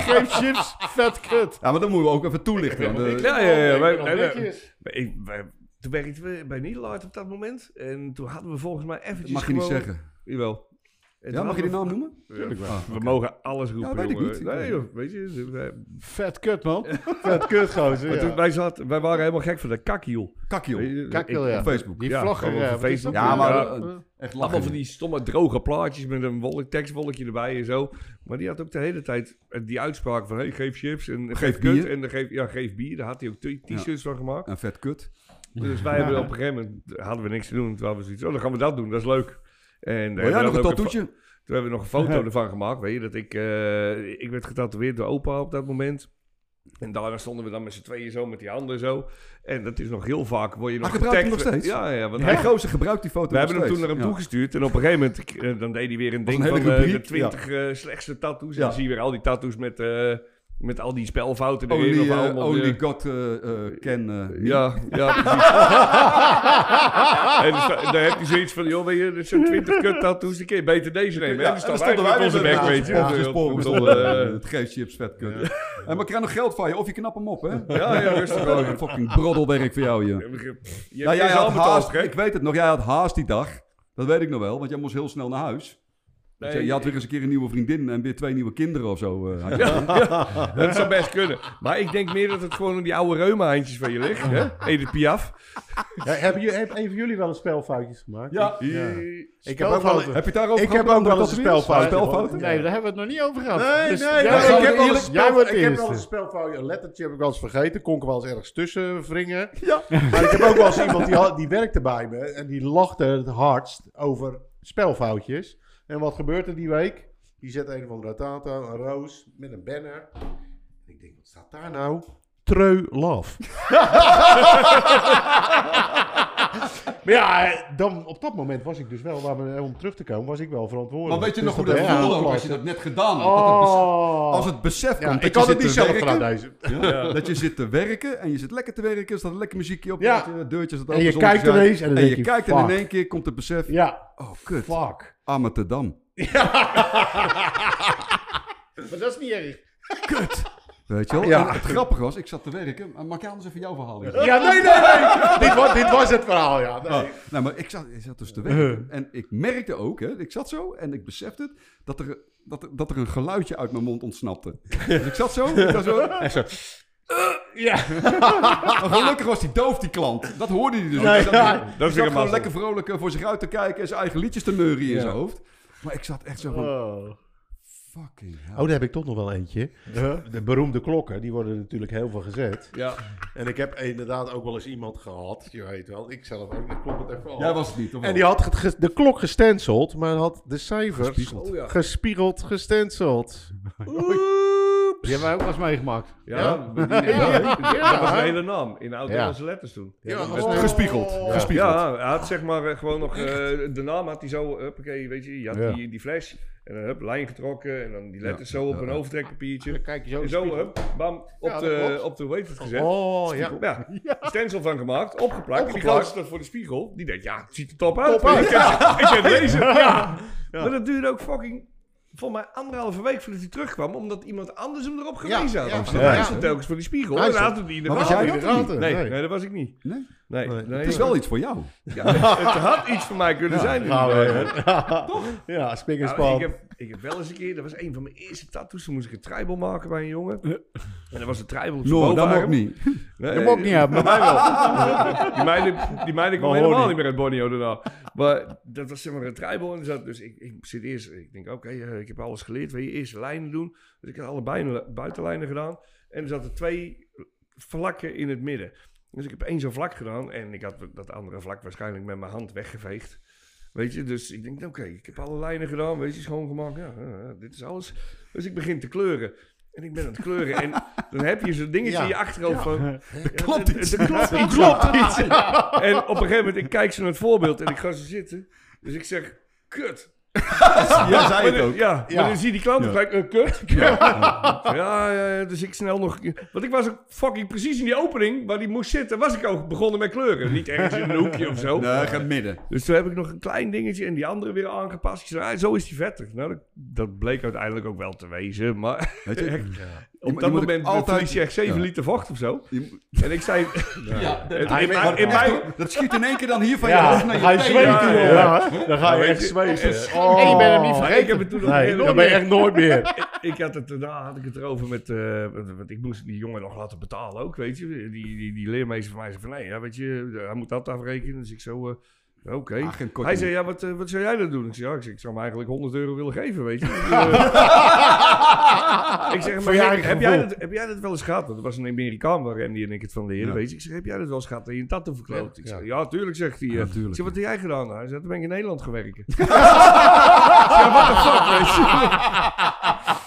Speaker 1: Scheef chips, vet kut.
Speaker 3: Ja, maar dat moeten we ook even toelichten. want, eh,
Speaker 2: Ja, ja, ja. wij-
Speaker 4: nog
Speaker 2: wij- wij-
Speaker 4: netjes.
Speaker 2: wij- ik- wij- Toen werkten we bij Nederland op dat moment. En toen hadden we volgens mij eventjes
Speaker 3: mag je niet
Speaker 2: gewoon-
Speaker 3: zeggen.
Speaker 2: Jawel. En
Speaker 3: Ja,
Speaker 2: toen
Speaker 3: mag je die
Speaker 2: hadden
Speaker 3: naam noemen?
Speaker 2: we- We mogen alles roepen,
Speaker 3: Ja, weet ik
Speaker 2: jongen.
Speaker 3: niet.
Speaker 2: Nee, joh, weet je. wij-
Speaker 1: Vet kut, man.
Speaker 4: Vet kut, gozer.
Speaker 2: Maar
Speaker 4: Ja.
Speaker 2: toen wij, zat, wij waren helemaal gek van de kakkiel.
Speaker 3: Kakio.
Speaker 2: Weet je,
Speaker 1: Kijk
Speaker 2: ik-
Speaker 1: wel, ja.
Speaker 3: Op Facebook.
Speaker 1: Die
Speaker 2: Ja,
Speaker 1: vlogger.
Speaker 2: gewoon
Speaker 1: eh,
Speaker 2: op
Speaker 1: wat is
Speaker 2: Facebook.
Speaker 1: dat?
Speaker 3: Ja, maar
Speaker 1: Ja.
Speaker 3: eh, echt
Speaker 2: Allemaal
Speaker 3: lachen.
Speaker 2: van die stomme droge plaatjes met een wolk, tekstwolkje erbij en zo. Maar die had ook de hele tijd eh, die uitspraak van hey, geef chips en geef kut
Speaker 3: bier.
Speaker 2: en dan geef, ja, geef bier. Daar had hij ook t- t-shirts van gemaakt.
Speaker 3: Een vet kut.
Speaker 2: Dus wij hebben op een gegeven moment hadden we niks te doen. Toen hadden we zoiets, oh, dan gaan we dat doen, dat is leuk. En eh,
Speaker 3: Wil jij nog een
Speaker 2: tattooetje?
Speaker 3: tattoetje?
Speaker 2: Toen hebben we nog een foto ervan gemaakt. Weet je, dat ik, eh, ik werd getatoeëerd door opa op dat moment. En daarna stonden we dan met z'n tweeën zo, met die handen zo. En dat is nog heel vaak, word je nog
Speaker 3: Hij gebruikt hem
Speaker 2: getagd.
Speaker 3: nog steeds?
Speaker 2: Ja, ja, want
Speaker 3: Hij
Speaker 2: hij
Speaker 3: gozer gebruikt die foto
Speaker 2: we hebben hem toen naar hem
Speaker 3: toe
Speaker 2: toegestuurd. En op een gegeven moment, ik, eh, dan deed hij weer een
Speaker 3: Was
Speaker 2: ding
Speaker 3: een hele
Speaker 2: van eh, de
Speaker 3: rubriek,
Speaker 2: 20 eh, slechtste tattoos. En
Speaker 3: Ja.
Speaker 2: dan zie je weer al die tattoos met, eh, met al die spelfouten erin.
Speaker 3: Only,
Speaker 2: of
Speaker 3: eh,
Speaker 2: allemaal
Speaker 3: only
Speaker 2: weer-
Speaker 3: God eh, eh, can... eh,
Speaker 2: Ja, ja, precies. en dan sta- dan heb je zoiets van, joh, weet je, dit zijn 20 kut tattoos, die kun je beter deze nemen. en
Speaker 3: Ja,
Speaker 2: dan
Speaker 3: en dan
Speaker 2: staan wij
Speaker 3: stonden
Speaker 2: met
Speaker 3: wij
Speaker 2: onze
Speaker 3: met
Speaker 2: weg,
Speaker 3: onze
Speaker 2: weet je.
Speaker 3: sponsors,
Speaker 2: Ja,
Speaker 3: sporen,
Speaker 2: ik bedoel,
Speaker 3: stonden,
Speaker 2: eh,
Speaker 3: eh, Het geeft chips, vet kut. En maar ik krijg nog geld van je, of je knapt hem op, hè?
Speaker 2: ja, ja, rustig
Speaker 3: Gewoon
Speaker 2: hoor.
Speaker 3: een fucking broddelwerk voor jou, joh.
Speaker 2: Je
Speaker 3: Ja,
Speaker 2: hebt
Speaker 3: jij
Speaker 2: deze al
Speaker 3: had
Speaker 2: met al
Speaker 3: haast,
Speaker 2: gek.
Speaker 3: ik weet het nog, jij had haast die dag. Dat weet ik nog wel, want jij moest heel snel naar huis. Want
Speaker 2: Nee,
Speaker 3: je, je had weer eens een keer een nieuwe vriendin en weer twee nieuwe kinderen of zo. eh, had je.
Speaker 2: Dat zou best kunnen. Maar ik denk meer dat het gewoon om die oude reuma-handjes van je ligt. Hè? Edith Piaf.
Speaker 4: Ja, hebben jullie, heeft een van jullie wel eens spelfoutjes gemaakt?
Speaker 3: Ja.
Speaker 4: Ik heb ook wel
Speaker 3: Heb je het daarover
Speaker 4: Ik
Speaker 3: gehad
Speaker 4: heb
Speaker 3: met
Speaker 4: ook wel
Speaker 3: andere
Speaker 4: eens een
Speaker 3: tatoeëerders?
Speaker 4: spelfout.
Speaker 3: Spelfouten?
Speaker 1: Nee, daar hebben we het nog niet over gehad.
Speaker 4: Nee,
Speaker 1: Dus
Speaker 4: nee,
Speaker 1: jij
Speaker 4: nee,
Speaker 1: wordt
Speaker 4: ik heb wel
Speaker 1: eerlijk-
Speaker 4: eens
Speaker 1: jij wordt
Speaker 4: spelfout- ik heb wel eens
Speaker 1: eerst. eh.
Speaker 4: spelfoutje. Een lettertje heb ik wel eens vergeten. Kon ik er wel eens ergens tussen wringen. Maar ik heb ook wel eens iemand die, had- die werkte bij me. En die lachte het hardst over spelfoutjes. En wat gebeurt er die week? Die zet een van de Ratata, een roos met een banner. En ik denk, wat staat daar nou? Treu love. maar ja, eh, dan, op dat moment was ik dus wel, waar we, om terug te komen, was ik wel verantwoordelijk.
Speaker 3: Maar weet je
Speaker 4: Dus
Speaker 3: nog hoe dat
Speaker 4: ja,
Speaker 3: voelde ook
Speaker 4: klopt.
Speaker 3: als je dat net gedaan had? Dat het besef-
Speaker 4: Oh.
Speaker 3: Als het besef
Speaker 4: Ja,
Speaker 3: komt dat
Speaker 4: ik
Speaker 3: je
Speaker 4: had het
Speaker 3: zit
Speaker 4: niet
Speaker 3: te
Speaker 4: zelf
Speaker 3: werken,
Speaker 4: gedaan deze.
Speaker 3: Ja. Dat je zit te werken en je zit lekker te werken. Er staat een lekker muziekje op.
Speaker 4: Ja.
Speaker 3: dat je deurtjes dat
Speaker 4: En je
Speaker 3: open zonder
Speaker 4: kijkt
Speaker 3: zijn.
Speaker 4: ineens en dan
Speaker 3: En
Speaker 4: denk
Speaker 3: je
Speaker 4: je,
Speaker 3: kijkt en in
Speaker 4: fuck.
Speaker 3: één keer komt het besef.
Speaker 4: Ja,
Speaker 3: Oh, kut.
Speaker 4: fuck.
Speaker 3: Amsterdam.
Speaker 1: Maar dat is niet erg.
Speaker 3: Kut. Weet je wel?
Speaker 4: Ja.
Speaker 3: En het grappige was, ik zat te werken. Maar Mag ik anders even jouw verhaal? doen?
Speaker 4: Ja, nee, nee, nee. dit, was, dit was het verhaal, ja. Nee. Uh-huh.
Speaker 3: Oh, nou, maar ik zat, ik zat dus te werken. En ik merkte ook, hè, ik zat zo en ik besefte het, dat er, dat, er, dat er een geluidje uit mijn mond ontsnapte. Dus ik zat zo. Ik was zo
Speaker 4: En zo, Eh, ja.
Speaker 3: maar gelukkig was die doof, die klant. Dat hoorde hij dus
Speaker 4: Nee,
Speaker 3: niet.
Speaker 4: ja.
Speaker 3: dat
Speaker 2: weer
Speaker 3: is zat
Speaker 2: een
Speaker 3: gewoon
Speaker 2: mazzel.
Speaker 3: lekker vrolijk eh, voor zich uit te kijken en zijn eigen liedjes te neurien in zijn hoofd. Maar ik zat echt zo
Speaker 4: Eh.
Speaker 3: van, fucking hell.
Speaker 4: Oh, daar heb ik toch nog wel eentje. De beroemde klokken, die worden natuurlijk heel veel gezet.
Speaker 2: Ja.
Speaker 4: En ik heb inderdaad ook wel eens iemand gehad, je weet wel. Ik zelf ook, ik klop het even af.
Speaker 3: Jij was het niet, of
Speaker 4: En
Speaker 3: wel?
Speaker 4: die had het ge- de klok gestenceld, maar had de cijfers gespiegeld,
Speaker 3: Gespiegeld.
Speaker 2: Oh ja.
Speaker 4: gestenceld.
Speaker 1: Die hebben wij ook wel eens meegemaakt.
Speaker 2: Ja,
Speaker 4: Ja?
Speaker 2: die- die- dat was een hele naam in oud-Nederlandse letters toen.
Speaker 4: Ja,
Speaker 2: Met-
Speaker 4: oh.
Speaker 3: Gespiegeld. Gespiegeld.
Speaker 2: Ja, hij had zeg maar eh, gewoon nog eh, de naam had hij zo, huppakee, weet je, je had
Speaker 4: Ja.
Speaker 2: die, die fles en dan hup, lijn getrokken en dan die letters zo op een
Speaker 1: Dan
Speaker 2: overtrekpapiertje.
Speaker 1: kijk je zo. in
Speaker 2: En
Speaker 1: de
Speaker 2: zo,
Speaker 1: spiegel.
Speaker 2: hup, bam, op
Speaker 4: Ja, dat
Speaker 2: de,
Speaker 4: klopt.
Speaker 2: op de wafers gezet.
Speaker 4: Oh, ja.
Speaker 2: Ja, stencil van gemaakt, opgeplakt. En die
Speaker 4: Opgeplakt.
Speaker 2: gozer dat voor de spiegel, die denkt, ja, het ziet er top uit.
Speaker 4: Top uit,
Speaker 2: Ik ken- Ik ben deze. Ja. Maar dat duurde ook fucking, voor mij anderhalve week voordat hij terugkwam, omdat iemand anders hem erop gewezen had.
Speaker 4: ja.
Speaker 2: Dus dan
Speaker 4: Ja.
Speaker 2: Hij stond telkens voor die spiegel
Speaker 4: Hij
Speaker 2: en
Speaker 4: stond-
Speaker 2: had hij die in de
Speaker 3: Maar was
Speaker 2: hand.
Speaker 3: jij dat
Speaker 4: Inderdaad,
Speaker 2: Nee, nee, dat was ik niet.
Speaker 3: Nee?
Speaker 2: Nee,
Speaker 4: Nee.
Speaker 2: nee.
Speaker 3: Het is wel iets voor jou.
Speaker 2: Ja, het had iets voor mij kunnen zijn.
Speaker 4: Gaan we
Speaker 2: inderdaad.
Speaker 4: weer. Ja, spik en
Speaker 2: Ja,
Speaker 4: span.
Speaker 2: Nou, ik, heb, ik heb wel eens een keer, dat was een van mijn eerste tattoos. Toen moest ik een tribal maken bij een jongen. En dat was een tribal op zijn
Speaker 3: No, dat
Speaker 2: bovenarm.
Speaker 3: mag niet.
Speaker 2: Nee,
Speaker 1: Dat mag ik niet hebben, maar mij wel.
Speaker 2: Die meiden, die meiden
Speaker 4: Maar
Speaker 2: komen helemaal
Speaker 4: hoor
Speaker 2: niet meer uit Borneo daarna. Maar dat was zeg maar een tribal. En er zat, dus ik, ik zit eerst, ik denk oké, eh, ik heb alles geleerd. Wil je eerste lijnen doen? Dus ik had alle bijna- buitenlijnen gedaan. En er zaten twee vlakken in het midden. Dus ik heb één zo'n vlak gedaan. En ik had dat andere vlak waarschijnlijk met mijn hand weggeveegd. Weet je, dus ik denk, oké, ik heb alle lijnen gedaan, weet je, schoongemaakt. Ja, ja, ja, dit is alles. Dus ik begin te kleuren. En ik ben aan het kleuren. En dan heb je zo'n dingetje in je achterhoofd van... Er klopt iets. Er klopt iets. En op een gegeven moment, ik kijk ze naar het voorbeeld en ik ga ze zitten. Dus ik zeg, kut.
Speaker 3: Jij zei
Speaker 2: Maar
Speaker 3: het
Speaker 2: dan-
Speaker 3: ook.
Speaker 2: Ja,
Speaker 4: Ja.
Speaker 2: maar dan zie je die klant
Speaker 3: Ja.
Speaker 2: en gelijk, eh, kut. Ja. Ja, ja, dus ik snel nog... Want ik was ook fucking precies in die opening waar die moest zitten, was ik ook begonnen met kleuren. Niet ergens in een hoekje of zo.
Speaker 3: Nee, ga midden.
Speaker 2: Dus toen heb ik nog een klein dingetje en die andere weer aangepast. Ik zei, ah, zo is die vetter. Nou, dat, dat bleek uiteindelijk ook wel te wezen. Maar
Speaker 3: Weet je,
Speaker 2: op
Speaker 3: je
Speaker 2: dat
Speaker 3: moet ook
Speaker 2: moment
Speaker 3: altijd-
Speaker 2: altijd... verlies je echt 7
Speaker 3: Ja.
Speaker 2: liter vocht of zo.
Speaker 3: Je moet-
Speaker 2: En ik zei... Ja, in, in,
Speaker 4: hij-
Speaker 2: mijn- in
Speaker 3: Echt
Speaker 2: mijn,
Speaker 3: hoor, dat schiet in één keer dan hier van je
Speaker 4: Ja,
Speaker 3: hoofd naar
Speaker 4: dan ga
Speaker 3: je
Speaker 4: je
Speaker 3: teen.
Speaker 4: zweten,
Speaker 2: Ja,
Speaker 4: joh.
Speaker 2: ja,
Speaker 4: Ja, dan ga je echt
Speaker 2: Het
Speaker 4: zweten.
Speaker 2: is-
Speaker 4: Oh.
Speaker 1: Ik ben hem niet
Speaker 2: Maar
Speaker 1: vergeten.
Speaker 2: ik heb het toen nog
Speaker 4: Nee,
Speaker 2: nooit
Speaker 4: dat ben je
Speaker 2: meer-
Speaker 4: echt nooit meer.
Speaker 2: ik had het daarna had ik het erover met, eh, want- want ik moest die jongen nog laten betalen ook, weet je. Die, die, die leermeester van mij zei van, nee, ja, weet je, eh, hij moet dat afrekenen. Dus ik zo, eh, oké.
Speaker 3: Agent Korting.
Speaker 2: Hij zei, ja, wat, eh, wat zou jij dan doen? Ik zei, ja, ik, zeg, ik zou hem eigenlijk 100 euro willen geven, weet je. Eh, ik zeg, maar
Speaker 4: je
Speaker 2: heb,
Speaker 4: eigen
Speaker 2: heb jij
Speaker 4: gevoel.
Speaker 2: dat, heb jij dat wel eens gehad? Want dat was een Amerikaan waar Randy en ik het van leren,
Speaker 3: Ja.
Speaker 2: weet je. Ik zeg, heb jij dat wel eens gehad dat je een tattoo verkloot? Ik
Speaker 4: Ja.
Speaker 2: zeg, ja, tuurlijk, zegt hij. eh.
Speaker 3: Ja, tuurlijk,
Speaker 2: Ik zeg, wat
Speaker 3: ja.
Speaker 2: heb jij gedaan? Hij zei, toen ben ik in Nederland gaan werken. ja, what the fuck, weet je.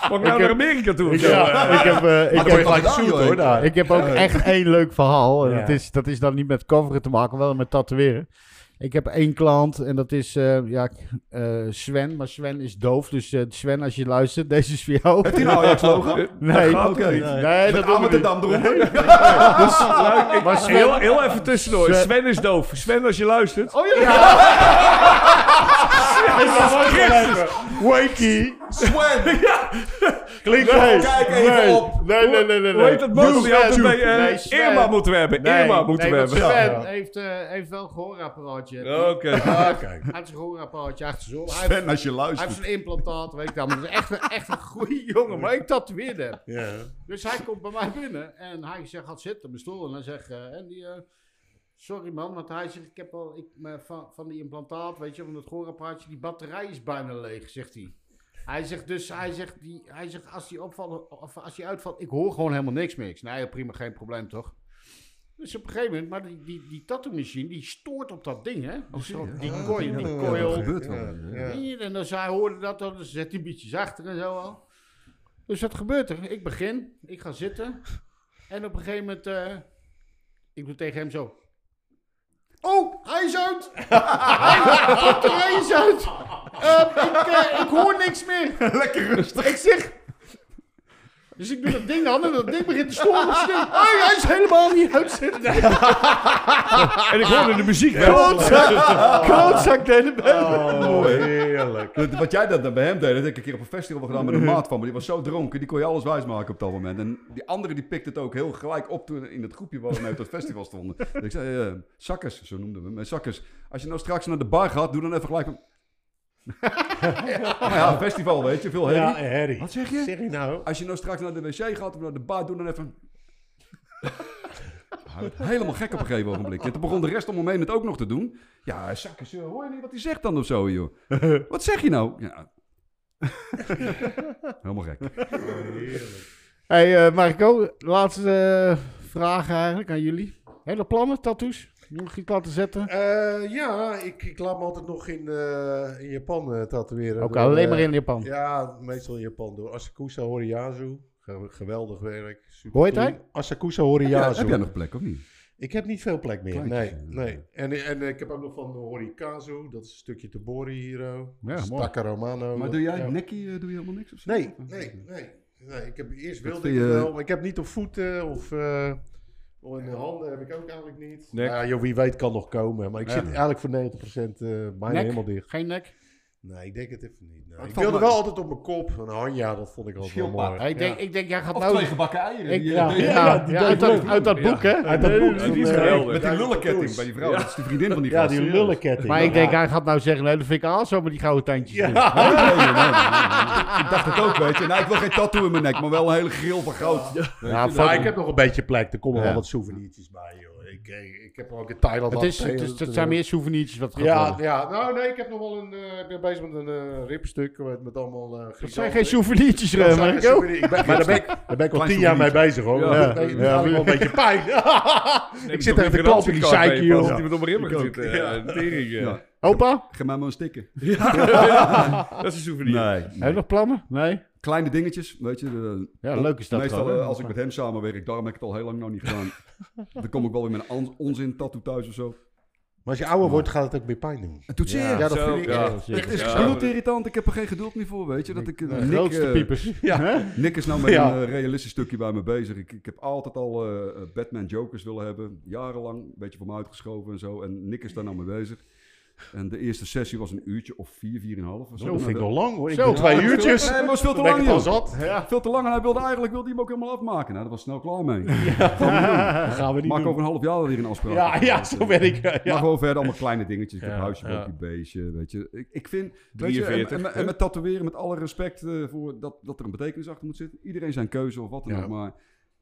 Speaker 2: Mag ik nou naar Amerika toe? of
Speaker 4: Ik,
Speaker 2: zo?
Speaker 4: ja, ik heb, eh, ik
Speaker 3: Had
Speaker 4: heb
Speaker 3: je
Speaker 4: gelijk
Speaker 3: gedaan,
Speaker 4: zoet
Speaker 3: joh,
Speaker 4: hoor
Speaker 3: ik-
Speaker 4: daar.
Speaker 1: Ik heb ook echt één leuk verhaal. En
Speaker 4: Ja.
Speaker 1: dat, is, dat is dan niet met coveren te maken, wel met tatoeëren. Ik heb één klant en dat is eh, ja, eh, Sven. Maar Sven is doof. Dus eh, Sven, als je luistert, deze is voor jou.
Speaker 3: Heeft hij nou Ajax logo?
Speaker 1: Nee,
Speaker 3: Oké.
Speaker 1: nee,
Speaker 3: Met
Speaker 1: dat doen we niet.
Speaker 3: Amsterdam eromheen.
Speaker 2: Luik, ik-
Speaker 1: Maar Sven-
Speaker 2: heel, heel even tussendoor.
Speaker 1: Sven-
Speaker 2: Sven, is doof. Sven, als je luistert. Oh ja.
Speaker 4: Wakey.
Speaker 3: Swan!
Speaker 4: Klinkt
Speaker 3: Kijk
Speaker 4: nee.
Speaker 3: even
Speaker 4: nee.
Speaker 3: op.
Speaker 4: Nee, nee, nee, nee.
Speaker 2: Hoe heet dat boos? Die altijd bij eh,
Speaker 1: Nee, Sven.
Speaker 2: Irma moeten we hebben.
Speaker 4: Nee,
Speaker 2: Irma moeten
Speaker 1: Nee,
Speaker 2: we
Speaker 1: want
Speaker 2: hebben.
Speaker 1: Sven
Speaker 4: Ja.
Speaker 1: heeft, eh, heeft wel een gehoorapparaatje.
Speaker 2: Oké.
Speaker 1: Hij heeft zijn gehoorapparaatje achter zijn oor. Hij heeft-
Speaker 3: Sven, als je
Speaker 1: Hij heeft
Speaker 3: luistert.
Speaker 1: zijn implantaat, weet ik dat. Maar dat is echt, een- echt een goede jongen. Maar ik tatoeëerde hem. Dus hij komt bij mij binnen en hij zegt, gaat zitten op mijn stoel. En hij zegt, eh, Andy, eh, sorry man, want hij zegt, ik heb al ik, mijn- van, van die implantaat, weet je, van dat gehoorapparaatje, die batterij is bijna leeg, zegt hij. Hij zegt dus, hij zegt, die, hij zegt als die opvallen, of als die uitvalt, ik hoor gewoon helemaal niks meer. Ik zei, nee, prima, geen probleem toch? Dus op een gegeven moment, maar die, die, die tattoo machine, die stoort op dat ding, hè? Dus die coil, die
Speaker 3: Dat
Speaker 1: coil,
Speaker 3: gebeurt wel.
Speaker 4: Ja.
Speaker 1: hier, en als hij hoorde dat, dan zet hij een beetje achter en zo al. Dus wat gebeurt er? Ik begin, ik ga zitten. En op een gegeven moment, eh, ik doe tegen hem zo. Oh, hij is uit! hij is uit! Eh, ik, eh, ik hoor niks meer.
Speaker 3: Lekker rustig.
Speaker 1: Ik zeg... Dus ik doe dat ding aan en dat ding begint te storen. Dus ik denk, "Hey, hij is helemaal niet uit. zitten."
Speaker 2: En ik hoorde de muziek wel.
Speaker 1: Klootzak deed het
Speaker 4: Oh, heerlijk.
Speaker 3: Dat- Wat jij dat dan bij hem deed, dat heb ik een keer op een festival gedaan met een maat van me. Die was zo dronken, die kon je alles wijsmaken op dat moment. En die andere die pikte het ook heel gelijk op toen in het groepje waar we mee op dat festival stonden. En ik zei, eh, Zakkers, zo noemden we hem. eh, Zakkers, als je nou straks naar de bar gaat, doe dan even gelijk... een- ja, ja, festival weet je, veel herrie.
Speaker 4: Ja, Harry.
Speaker 3: Oh, Wat zeg je?
Speaker 4: Zeg je nou?
Speaker 3: Als je nou straks naar de wc gaat of naar de bar, doe dan even... Hij werd Helemaal gek op een gegeven ogenblik. En toen begon de rest om hem heen het ook nog te doen. Ja, zakkers, eh, hoor je niet wat hij zegt dan of zo, joh? Wat zeg je nou? Ja. Helemaal gek.
Speaker 1: Hey eh, Marco, laatste eh, vraag eigenlijk aan jullie. Hele plannen, tattoos? Nog iets laten zetten?
Speaker 4: Eh, ja, ik, ik laat me altijd nog in, eh, in Japan eh, tatoeëren.
Speaker 1: Ook
Speaker 4: Door,
Speaker 1: alleen
Speaker 4: eh,
Speaker 1: maar in Japan.
Speaker 4: Ja, meestal in Japan. Door Asakusa Horiyazu. Ge- Geweldig werk. Super
Speaker 1: Hoe heet
Speaker 4: cool.
Speaker 1: hij?
Speaker 4: Asakusa
Speaker 3: Ja,
Speaker 4: Horiyazu.
Speaker 3: heb jij nog plek of niet?
Speaker 4: Ik heb niet veel plek meer.
Speaker 3: Kleintjes,
Speaker 4: nee,
Speaker 3: eh.
Speaker 4: nee. En, en eh, ik heb ook nog van Horikazu. Dat is een stukje Tobori Hiro.
Speaker 1: Ja,
Speaker 4: Dat is
Speaker 1: mooi.
Speaker 4: Takaromano.
Speaker 3: Maar doe jij
Speaker 4: Ja.
Speaker 3: nekkie, eh, doe je helemaal niks of zo?
Speaker 4: Nee, nee, nee. nee. Ik heb eerst
Speaker 3: Dat
Speaker 4: wilde ik
Speaker 3: die,
Speaker 4: het
Speaker 3: eh,
Speaker 4: wel, maar ik heb niet op voeten of eh, of in de handen heb ik ook eigenlijk niet. Nou
Speaker 2: Nek.
Speaker 4: Ja, joh, wie weet kan nog komen. Maar ik zit eigenlijk voor 90% eh bijna
Speaker 1: Nek?
Speaker 4: helemaal dicht.
Speaker 1: Geen nek?
Speaker 6: Nee, ik denk het even niet. nee.
Speaker 3: het
Speaker 6: Ik
Speaker 3: valt
Speaker 6: wilde
Speaker 3: mij-
Speaker 6: wel altijd op mijn kop. Een hanja, dat vond ik altijd wel
Speaker 3: Schildpad.
Speaker 6: mooi.
Speaker 1: Ja, ik, denk, ik denk, jij gaat
Speaker 3: Of twee
Speaker 1: nou...
Speaker 3: gebakken eieren.
Speaker 1: Ik,
Speaker 3: die,
Speaker 1: ja, ja,
Speaker 3: eh,
Speaker 1: ja,
Speaker 4: die
Speaker 1: uit,
Speaker 4: deed
Speaker 1: dat,
Speaker 4: leuk.
Speaker 1: uit dat
Speaker 2: Ja.
Speaker 1: boek, hè?
Speaker 4: Uit dat boek.
Speaker 2: die is
Speaker 4: van, eh,
Speaker 2: geweldig.
Speaker 3: Met die lulleketting bij die vrouw.
Speaker 2: Ja.
Speaker 3: Dat is de vriendin van die
Speaker 4: Ja,
Speaker 3: gast.
Speaker 4: die
Speaker 3: serieus.
Speaker 4: lulleketting.
Speaker 1: Maar ik denk,
Speaker 4: Ja.
Speaker 1: hij gaat nou zeggen, nee, dat vind ik al zo met die gouden tandjes.
Speaker 4: Ja.
Speaker 3: Nee, nee, nee, nee, nee, nee. Ik dacht het ook, weet je. Nou, ik wil geen tattoo in mijn nek, maar wel een hele grill van goud. Weet
Speaker 4: Ja,
Speaker 3: je,
Speaker 4: fuck.
Speaker 3: dat-
Speaker 6: Maar ik heb nog een beetje plek. Er komen
Speaker 4: Ja.
Speaker 6: wel wat souvenirtjes bij, joh. Ik, eh, ik, ik heb ook in Thailand...
Speaker 1: Het, is,
Speaker 6: al-
Speaker 1: het, is- het zijn meer souvenirtjes wat gaat
Speaker 6: Ja,
Speaker 1: worden.
Speaker 6: ja, nou nee, ik heb nog wel een... eh, ik ben bezig met een eh, ribstuk met, met allemaal... eh
Speaker 1: Het zijn geen souvenirtjes, eh, Marco.
Speaker 6: Maar daar ben ik, daar ben ik al
Speaker 3: Klein
Speaker 6: tien jaar mee bezig, hoor.
Speaker 2: Ja.
Speaker 6: Ja. Deze
Speaker 4: Ja.
Speaker 6: ja. wel een beetje pijn. ik zit
Speaker 2: toch
Speaker 6: even te
Speaker 2: een
Speaker 6: klappen in die
Speaker 2: garantiekaart
Speaker 6: zeiken,
Speaker 2: mee, Als
Speaker 6: joh.
Speaker 2: iemand op mijn ribben gaat zitten.
Speaker 6: Ja.
Speaker 2: eh, tering, eh.
Speaker 3: Ja.
Speaker 1: Opa,
Speaker 3: Geef mij maar een stikken.
Speaker 2: Dat is een souvenir.
Speaker 3: Nee.
Speaker 1: heb je nog plannen? Nee?
Speaker 3: Kleine dingetjes, weet je. de-
Speaker 1: Ja, leuk is dat
Speaker 3: Meestal
Speaker 1: gewoon, hè?
Speaker 3: eh, als ik met hem samenwerk, daarom heb ik het al heel lang nog niet gedaan. Dan kom ik wel weer met een on- onzin tattoo thuis of zo.
Speaker 6: Maar als je ouder wordt, gaat het ook meer pijn doen.
Speaker 3: Het doet zeer.
Speaker 6: Ja, dat
Speaker 2: Zo,
Speaker 6: vind ik
Speaker 2: ja.
Speaker 6: echt.
Speaker 3: Het is
Speaker 2: Ja.
Speaker 3: bloedirritant, ik heb er geen geduld meer voor, weet je. Dat ik, eh, Nick,
Speaker 1: Grootste
Speaker 3: eh,
Speaker 1: piepers.
Speaker 3: Nick is nou met
Speaker 6: Ja.
Speaker 3: een eh, realistisch stukje bij me bezig. Ik, ik heb altijd al eh, Batman Jokers willen hebben. Jarenlang, een beetje voor me uitgeschoven en zo. En Nick is daar nou mee bezig. En de eerste sessie was een uurtje of vier, vier en een half. of
Speaker 6: Zo vind ik
Speaker 3: En
Speaker 6: nog lang, hoor. Ik
Speaker 1: Zo.
Speaker 6: doe twee uurtjes.
Speaker 3: Nee, maar het was veel te
Speaker 6: Dan ben ik
Speaker 3: lang,
Speaker 6: het al
Speaker 3: joh.
Speaker 6: zat.
Speaker 3: Veel te lang en hij wilde eigenlijk wilde hij hem ook helemaal afmaken. Nou, daar was snel klaar mee.
Speaker 4: Dat gaan we niet
Speaker 3: Maak
Speaker 4: doen.
Speaker 3: over een half jaar weer een afspraak.
Speaker 4: Ja, ja, zo ben ik. eh,
Speaker 3: Maar
Speaker 4: Ja.
Speaker 3: gewoon verder allemaal kleine dingetjes. Ik heb
Speaker 6: Ja,
Speaker 3: huisje,
Speaker 6: ja.
Speaker 3: ja. beestje, weet je. Ik, ik vind, weet je, en-
Speaker 2: 43,
Speaker 3: en, en,
Speaker 2: hè?
Speaker 3: met tatoeëren, met alle respect eh, voor dat, dat er een betekenis achter moet zitten. Iedereen zijn keuze of wat dan
Speaker 6: Ja.
Speaker 3: ook. Maar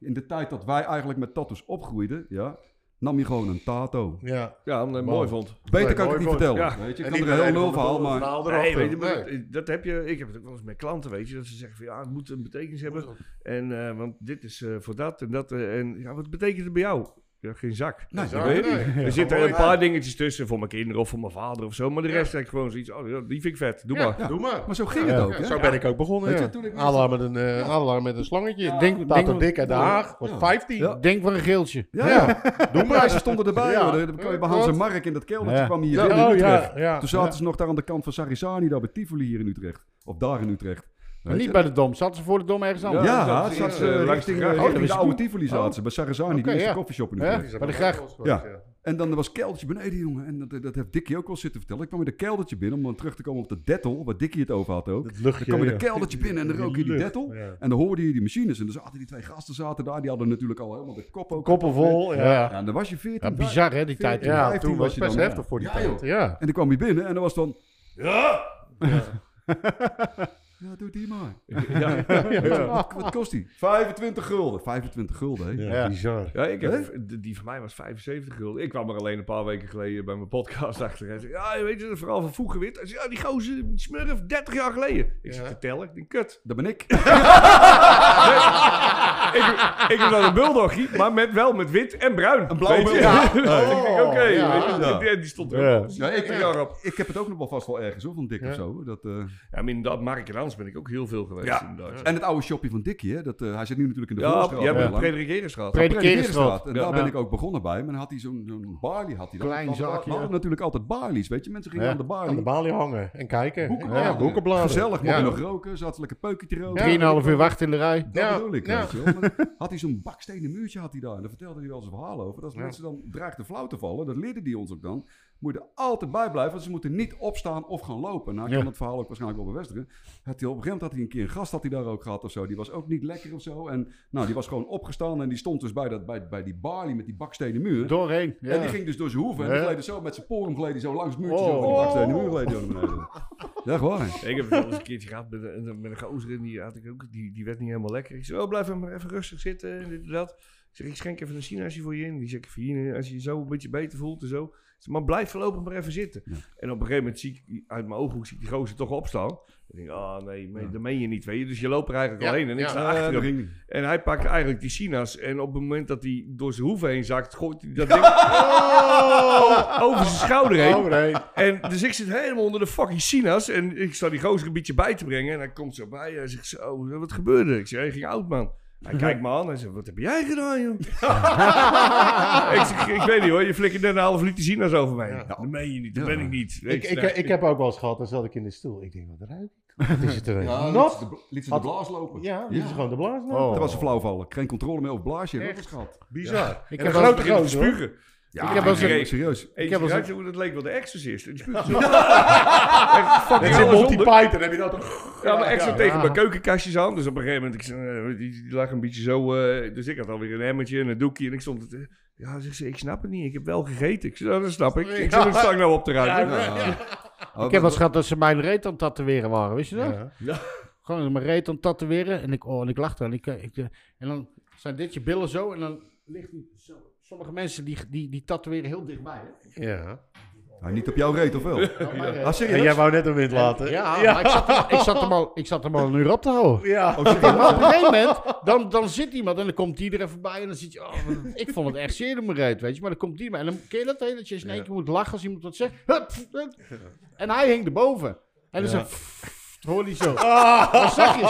Speaker 3: in de tijd dat wij eigenlijk met tattoos opgroeiden, ja, nam je gewoon een tato.
Speaker 6: Ja.
Speaker 2: Ja, omdat ik het
Speaker 6: Wow.
Speaker 2: mooi vond.
Speaker 3: Beter
Speaker 6: Nee,
Speaker 3: kan ik het niet
Speaker 6: mooi,
Speaker 3: vertellen,
Speaker 2: mooi.
Speaker 3: weet je.
Speaker 6: En
Speaker 3: Ik kan
Speaker 6: niet
Speaker 3: er een heel
Speaker 6: alleen van
Speaker 3: nul
Speaker 6: de
Speaker 3: verhaal,
Speaker 6: boel,
Speaker 3: maar...
Speaker 6: verhaal
Speaker 2: Nee,
Speaker 6: erachter.
Speaker 2: weet je, maar
Speaker 6: Nee.
Speaker 2: dat- dat heb je, ik heb het ook wel eens met klanten, weet je, dat ze zeggen van ja, het moet een betekenis hebben. En, eh, want dit is eh, voor dat en dat. eh, en ja, wat betekent het bij jou? Ja, geen zak.
Speaker 3: Nee,
Speaker 2: Ja,
Speaker 6: nee.
Speaker 2: weet je?
Speaker 6: Ja.
Speaker 2: Er zitten
Speaker 6: Mooi.
Speaker 2: een paar dingetjes tussen voor mijn kinderen of voor mijn vader of zo. Maar de rest heb ik gewoon zoiets, oh, ja, die vind ik vet, doe maar.
Speaker 6: Doe maar.
Speaker 3: Maar zo ging het ook, hè.
Speaker 6: Zo ben ik ook begonnen.
Speaker 3: Weet je,
Speaker 6: ja.
Speaker 3: toen ik-
Speaker 6: Adelaar met, een, eh, Adelaar met een slangetje.
Speaker 1: denk-
Speaker 6: denk, Tato
Speaker 1: denk-
Speaker 6: Dik uit Den Haag. Was
Speaker 3: Ja.
Speaker 6: 15.
Speaker 3: Ja.
Speaker 1: Denk voor een geeltje.
Speaker 3: Ja, de prijzen stonden erbij.
Speaker 6: Ja.
Speaker 3: hoor. Dan kwam je bij Hans en Mark in dat keldertje,
Speaker 1: Ja.
Speaker 3: kwam hier
Speaker 6: Ja,
Speaker 3: binnen in
Speaker 6: oh, ja,
Speaker 3: Utrecht.
Speaker 6: ja.
Speaker 3: Toen zaten ze nog daar aan de kant van Sarisani, daar bij Tivoli hier in Utrecht. Of daar in Utrecht.
Speaker 1: Maar
Speaker 3: Weet
Speaker 1: niet
Speaker 3: je?
Speaker 1: bij de dom. Zaten ze voor de dom ergens
Speaker 3: Ja,
Speaker 1: anders?
Speaker 3: ja
Speaker 2: dat is,
Speaker 3: zat ze
Speaker 2: eh, langs
Speaker 3: richting,
Speaker 2: de
Speaker 3: richting,
Speaker 2: gracht.
Speaker 3: eh,
Speaker 2: Oh,
Speaker 3: richting de
Speaker 1: dat is
Speaker 3: oude Tivoli zaten ze, bij Sarazani,
Speaker 1: Oké,
Speaker 3: die eerste
Speaker 1: ja.
Speaker 3: koffieshop in
Speaker 1: Ja.
Speaker 3: Utrecht.
Speaker 6: Ja.
Speaker 1: Bij de gracht.
Speaker 3: Ja. En dan was Keldertje beneden, jongen. En dat, dat heeft Dikkie ook wel zitten vertellen. Ik kwam met een keldertje binnen om dan terug te komen op de dettel, waar Dikkie het over had ook.
Speaker 4: Het
Speaker 3: Dan
Speaker 4: luchtje.
Speaker 3: kwam je
Speaker 4: ja.
Speaker 3: de keldertje binnen en dan rook je die
Speaker 4: lucht,
Speaker 3: dettel.
Speaker 6: ja.
Speaker 3: En dan hoorde je die machines. En dan zaten die twee gasten zaten daar. Die hadden natuurlijk al helemaal de kop ook.
Speaker 4: Koppen vol. Ja.
Speaker 3: Ja, en dan was je 14.
Speaker 1: Ja, bizar hè, die tijd.
Speaker 3: Ja,
Speaker 6: Ja,
Speaker 3: 15
Speaker 6: toen
Speaker 3: was
Speaker 6: was
Speaker 3: je
Speaker 6: het best
Speaker 3: dan, ja.
Speaker 6: heftig voor die
Speaker 3: Ja,
Speaker 6: tijd.
Speaker 3: joh.
Speaker 6: Ja.
Speaker 3: En dan kwam hij binnen en dan was het dan... Ja! Ja, doe die maar. Wat, wat kost die? 25 gulden. 25 gulden, hè?
Speaker 6: Ja,
Speaker 4: Ja.
Speaker 6: bizar.
Speaker 2: Ja, ik heb, de- die van mij was 75 gulden. Ik kwam er alleen een paar weken geleden bij mijn podcast achter. Hij zei, ja, weet je, vooral van vroeger wit. Hij zei, ja, die gozer, die smurf, 30 jaar geleden. Ik zit te tellen, ik denk, kut.
Speaker 3: Dat ben ik.
Speaker 2: ik, ik heb dan een bulldoggie, maar met, wel met wit en bruin. Een
Speaker 3: blauwe
Speaker 2: Ja. ik denk, oké,
Speaker 6: ja.
Speaker 2: weet je,
Speaker 3: Ja.
Speaker 2: die, die stond er
Speaker 4: Ja.
Speaker 2: ook al 70 jaar op.
Speaker 3: Ik heb het ook nog wel vast wel ergens, hoor, van Dick of zo. Dat, eh,
Speaker 2: Ja, maar inderdaad, Mark en Hans ben ik ook heel veel geweest.
Speaker 3: Ja.
Speaker 2: inderdaad.
Speaker 3: En het oude shopje van Dickie, hè? Dat, eh, hij zit nu natuurlijk in de
Speaker 2: Ja,
Speaker 3: Voorstraat
Speaker 2: jij
Speaker 3: heel
Speaker 2: bent
Speaker 3: lang.
Speaker 2: Frederik Eres gehad.
Speaker 1: Pre-
Speaker 3: Predikerstraat. En
Speaker 2: Ja.
Speaker 3: daar ben
Speaker 1: Ja.
Speaker 3: ik ook begonnen bij. Maar dan had hij zo'n zo'n barley. Had hij dan.
Speaker 1: Klein
Speaker 3: Want we
Speaker 1: zakje.
Speaker 3: hadden natuurlijk altijd barleys, weet je. Mensen gingen
Speaker 4: Ja.
Speaker 3: aan de barley.
Speaker 6: Aan de balie hangen en kijken.
Speaker 3: Boekenbladen.
Speaker 6: Ja, boekenbladen.
Speaker 3: Gezellig, mocht
Speaker 6: ja.
Speaker 3: je nog roken. Zat ze lekker peukje te roken.
Speaker 1: 3,5 uur wachten in de rij.
Speaker 3: Dat
Speaker 6: Ja,
Speaker 3: bedoel ik,
Speaker 6: ja.
Speaker 3: weet je wel. Maar Had hij zo'n bakstenen muurtje had hij daar. En daar vertelde hij wel zijn verhaal over. Dat als mensen dan dreigden flauw te vallen, dat leerde hij ons ook dan. Moet je er altijd bij blijven, want ze moeten niet opstaan of gaan lopen. Nou, ik kan
Speaker 1: Ja.
Speaker 3: dat verhaal ook waarschijnlijk wel bevestigen. Had hij, op een gegeven moment had hij een keer een gast had hij daar ook gehad of zo. Die was ook niet lekker of zo. En nou, die was gewoon opgestaan en die stond dus bij, dat, bij, bij die balie met die bakstenen muur.
Speaker 1: Doorheen.
Speaker 3: En die
Speaker 1: Ja.
Speaker 3: ging dus door zijn hoeven en
Speaker 1: Ja.
Speaker 3: die gleden zo met zijn poren gleden zo langs het muurtje.
Speaker 1: Oh.
Speaker 3: Zo, van die bakstenen muur gleden die naar beneden. Ja, echt waar.
Speaker 2: Ik heb wel eens een keertje gehad met, een- met een gozer in, die, had ik ook, die, die werd niet helemaal lekker. Ik zei, oh, blijf maar even rustig zitten en dit en dat. Ik zeg, ik schenk even een sinaasje voor je in. Die zeg ik, "Hier, als je je zo een beetje beter voelt en zo. Ik zeg, maar blijf voorlopig maar even zitten.
Speaker 3: Ja.
Speaker 2: En op een gegeven moment zie ik, die- uit mijn ooghoek, zie ik die gozer toch opstaan. Ik denk, ah nee, me- dat meen je niet, weet je. Dus je loopt er eigenlijk
Speaker 6: Ja,
Speaker 2: al heen en ik
Speaker 6: ja.
Speaker 2: sta
Speaker 3: Eh,
Speaker 2: achter
Speaker 3: dat
Speaker 2: hem.
Speaker 3: ging niet.
Speaker 2: En hij pakt eigenlijk die sinaas. En op het moment dat hij door zijn hoeven heen zakt, gooit hij dat ding over zijn schouder heen.
Speaker 4: Overheen.
Speaker 2: En dus ik zit helemaal onder de fucking sinaas. En ik sta die gozer een beetje bij te brengen. En hij komt zo bij. Hij zegt zo, wat gebeurde? Ik zeg, hij ging oud, man. Hij kijkt me aan. Hij zegt, wat heb jij gedaan, joh? ik zeg, ik weet niet hoor. Je flikkert net een half liter sinaas over mij. Dat meen je niet. Dat ben ik niet.
Speaker 4: Ik, ik,
Speaker 2: nou,
Speaker 4: ik heb ook wel eens gehad, dan zat ik in de stoel. Ik denk, wat ruikt? Wat is het er?
Speaker 3: Ja,
Speaker 4: Ja,
Speaker 3: liet ze de bla- liet ze de
Speaker 4: Had-
Speaker 3: blaas lopen.
Speaker 4: Ja, dit is gewoon de blaas. nou.
Speaker 1: Oh.
Speaker 3: Dat was een flauwvallen. Geen controle meer over blaasje.
Speaker 6: Bizar.
Speaker 1: Ik
Speaker 6: En
Speaker 1: heb
Speaker 6: een
Speaker 1: wel-
Speaker 6: grote
Speaker 2: begint te
Speaker 6: gozer, hoor.
Speaker 2: spugen.
Speaker 3: Ja,
Speaker 6: Ik heb wel
Speaker 3: maar
Speaker 2: eens-
Speaker 3: serieus.
Speaker 2: Ik
Speaker 6: heb
Speaker 2: heb
Speaker 6: wel
Speaker 2: al
Speaker 6: eens-
Speaker 2: hoe dat leek wel de Exorcist. Echt
Speaker 6: Dat
Speaker 2: fucking
Speaker 6: is een
Speaker 2: alles
Speaker 6: Monty
Speaker 2: onder.
Speaker 6: Python, heb je dat toch?
Speaker 2: Ja, maar echt zo
Speaker 6: ja.
Speaker 2: tegen mijn keukenkastjes aan. Dus op een gegeven moment, ik, zei, eh, die, die lag een beetje zo... eh, dus ik had alweer een emmertje en een doekje. En ik stond... eh, ja, zegt ze, ik snap het niet. Ik heb wel gegeten. Ik zei, nou, dat snap ik. Ik zat een stang nou op te ruimen.
Speaker 3: Oh,
Speaker 1: Ik heb wel
Speaker 3: dat-
Speaker 1: eens gehad dat ze mijn reet aan het tatoeëren waren, wist je dat?
Speaker 6: Ja.
Speaker 1: Gewoon mijn reet aan het tatoeëren en ik, oh, en ik lachte. En, ik, eh, ik, eh, en dan zijn dit je billen zo en dan ligt die zo. Sommige mensen die, die, die tatoeëren heel dichtbij. Hè?
Speaker 4: Ja.
Speaker 3: Ah, niet op jouw reet, of wel?
Speaker 1: Nou, mijn reet.
Speaker 3: Ah,
Speaker 4: En
Speaker 3: serieus?
Speaker 4: jij wou net een wind laten.
Speaker 1: Ja, maar ik zat, hem- ik, zat hem al, ik zat hem al een uur op te houden.
Speaker 4: Ja.
Speaker 3: Oh, serieus?
Speaker 1: Maar op een gegeven moment, dan, dan zit iemand en dan komt die er even bij en dan zit je, oh, wat- ik vond het echt zeer in mijn reet, weet je. Maar dan komt die maar en dan ken je dat, hè, dat je eens in één keer moet lachen als iemand wat zegt. Hup, hup. En hij hing erboven. En dan zo, pff, hoor hij zo.
Speaker 4: Ah.
Speaker 1: Dan zeg je,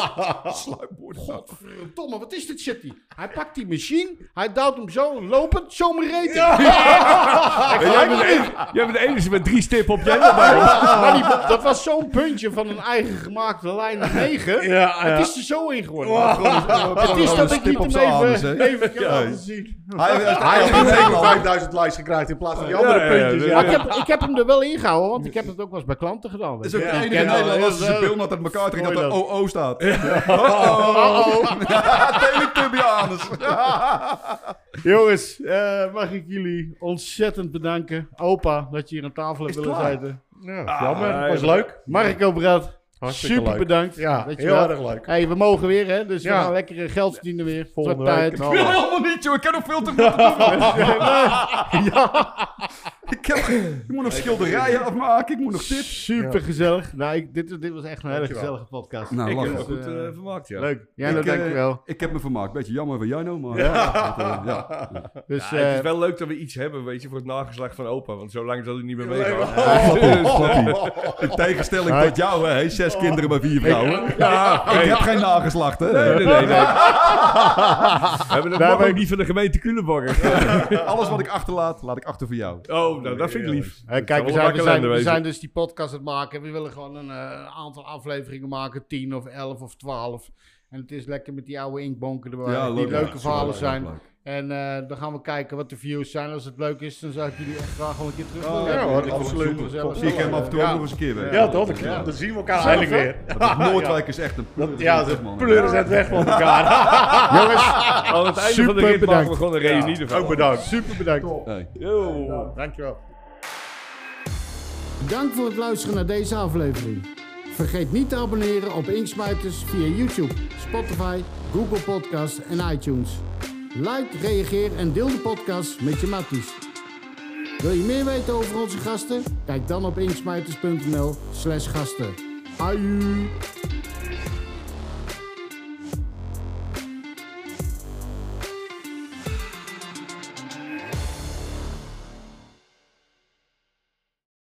Speaker 1: Godverdomme, wat is dit shit hier? Hij pakt die machine, hij duwt hem zo, lopend, zo mijn reet in.
Speaker 2: En jij, bent de enige, jij bent de enige met drie stippen op je elleboog.
Speaker 1: Maar die- dat was zo'n puntje van een eigen gemaakte lijn naar 9.
Speaker 4: Ja, ja.
Speaker 1: Het is er zo in geworden.
Speaker 3: Het
Speaker 1: Het is dat ik niet hem even,
Speaker 3: Hij
Speaker 1: even kan laten zien.
Speaker 6: Hij heeft een 5000 likes gekregen in plaats van die andere
Speaker 2: Ja, ja, ja,
Speaker 6: puntjes.
Speaker 2: ja.
Speaker 6: ja.
Speaker 1: Maar ik heb, ik heb hem er wel in gehouden, want ik heb het ook wel eens bij klanten gedaan.
Speaker 3: is
Speaker 1: Weet
Speaker 3: ook
Speaker 1: je.
Speaker 3: de
Speaker 4: Ja,
Speaker 3: enige
Speaker 4: ik ken dat.
Speaker 3: Nederlander als hij
Speaker 4: Dat
Speaker 3: zijn
Speaker 4: is,
Speaker 3: bil nat uit elkaar trekt dat er
Speaker 4: mooi
Speaker 3: OO staat. Oh, Teletubbianus.
Speaker 1: Jongens, eh, mag ik jullie ontzettend bedanken. Opa, dat je hier aan tafel hebt willen
Speaker 3: klaar?
Speaker 1: zitten.
Speaker 4: Ja, jammer.
Speaker 2: Ah,
Speaker 4: was
Speaker 2: ja.
Speaker 4: leuk.
Speaker 1: Marco Brad,
Speaker 4: Hartstikke
Speaker 1: super
Speaker 4: leuk.
Speaker 1: bedankt.
Speaker 4: Ja,
Speaker 1: Weet je
Speaker 4: heel
Speaker 1: wel.
Speaker 4: erg leuk.
Speaker 1: Hey, we mogen weer, hè? Dus
Speaker 4: Ja.
Speaker 1: we gaan lekker geld verdienen weer.
Speaker 4: Volgende
Speaker 1: Op
Speaker 4: week.
Speaker 1: tijd.
Speaker 4: en
Speaker 3: Ik wil
Speaker 4: alles.
Speaker 3: helemaal niet, joh. Ik heb nog veel te veel te doen. Ik, heb, ik moet nog schilderijen afmaken. Ik moet nog dit.
Speaker 1: Super gezellig. Nou, ik, dit, dit was echt een hele
Speaker 4: Dankjewel.
Speaker 1: gezellige podcast. nou,
Speaker 3: Nou,
Speaker 2: Ik heb me
Speaker 3: lachen.
Speaker 2: goed eh, vermaakt, ja.
Speaker 1: Leuk. Ja,
Speaker 3: Ik,
Speaker 1: dat
Speaker 3: eh,
Speaker 1: denk ik wel.
Speaker 3: Ik heb me vermaakt. Beetje jammer van Jano, maar... Ja. dat, eh, ja.
Speaker 1: Dus,
Speaker 2: Ja, het
Speaker 1: eh,
Speaker 2: is wel leuk dat we iets hebben, weet je, voor het nageslacht van opa. Want zo lang zal hij niet meer meegaan.
Speaker 3: Flappie. In tegenstelling tot jou, hè. Zes kinderen bij vier vrouwen. Ik heb geen nageslacht, hè.
Speaker 2: Nee, nee, nee. nee. we hebben
Speaker 4: Nou,
Speaker 2: dat mag ook niet van de gemeente Culemborg.
Speaker 3: Alles wat ik achterlaat, laat ik achter voor jou.
Speaker 2: Oh, nou, dat vind ik lief.
Speaker 1: eh, kijk, we
Speaker 2: wel
Speaker 1: zijn, we,
Speaker 2: een
Speaker 1: zijn,
Speaker 2: kalender
Speaker 1: we
Speaker 2: wezen.
Speaker 1: zijn dus die podcast aan het maken. We willen gewoon een eh, aantal afleveringen maken. 10 of 11 of 12. En het is lekker met die oude inkbonken erbij. die leuke verhalen zijn. En eh, dan gaan we kijken wat de views zijn. Als het leuk is, dan zou ik jullie echt graag gewoon een keer terug willen hebben.
Speaker 4: hoor,
Speaker 1: absoluut.
Speaker 3: Zie ik hem af en toe ook nog eens een keer weg.
Speaker 4: Ja, toch? Dan, dan zien we elkaar eindelijk weer.
Speaker 3: Dat Noordwijk is echt een pleur.
Speaker 4: Ja,
Speaker 3: zeg,
Speaker 4: de
Speaker 3: man.
Speaker 4: pleuren zijn weg van elkaar.
Speaker 2: Oh, Aan het einde
Speaker 1: Super
Speaker 2: van de rit maken
Speaker 1: bedankt.
Speaker 2: we gewoon een reunie ervan.
Speaker 4: Ook bedankt.
Speaker 1: Super bedankt.
Speaker 3: Nee.
Speaker 2: Yo.
Speaker 4: Dankjewel.
Speaker 5: Dank voor het luisteren naar deze aflevering. Vergeet niet te abonneren op Inksmijters via YouTube, Spotify, Google Podcast en iTunes. Like, reageer en deel de podcast met je matties. Wil je meer weten over onze gasten? Kijk dan op inksmijters.nl slash gasten. Aju!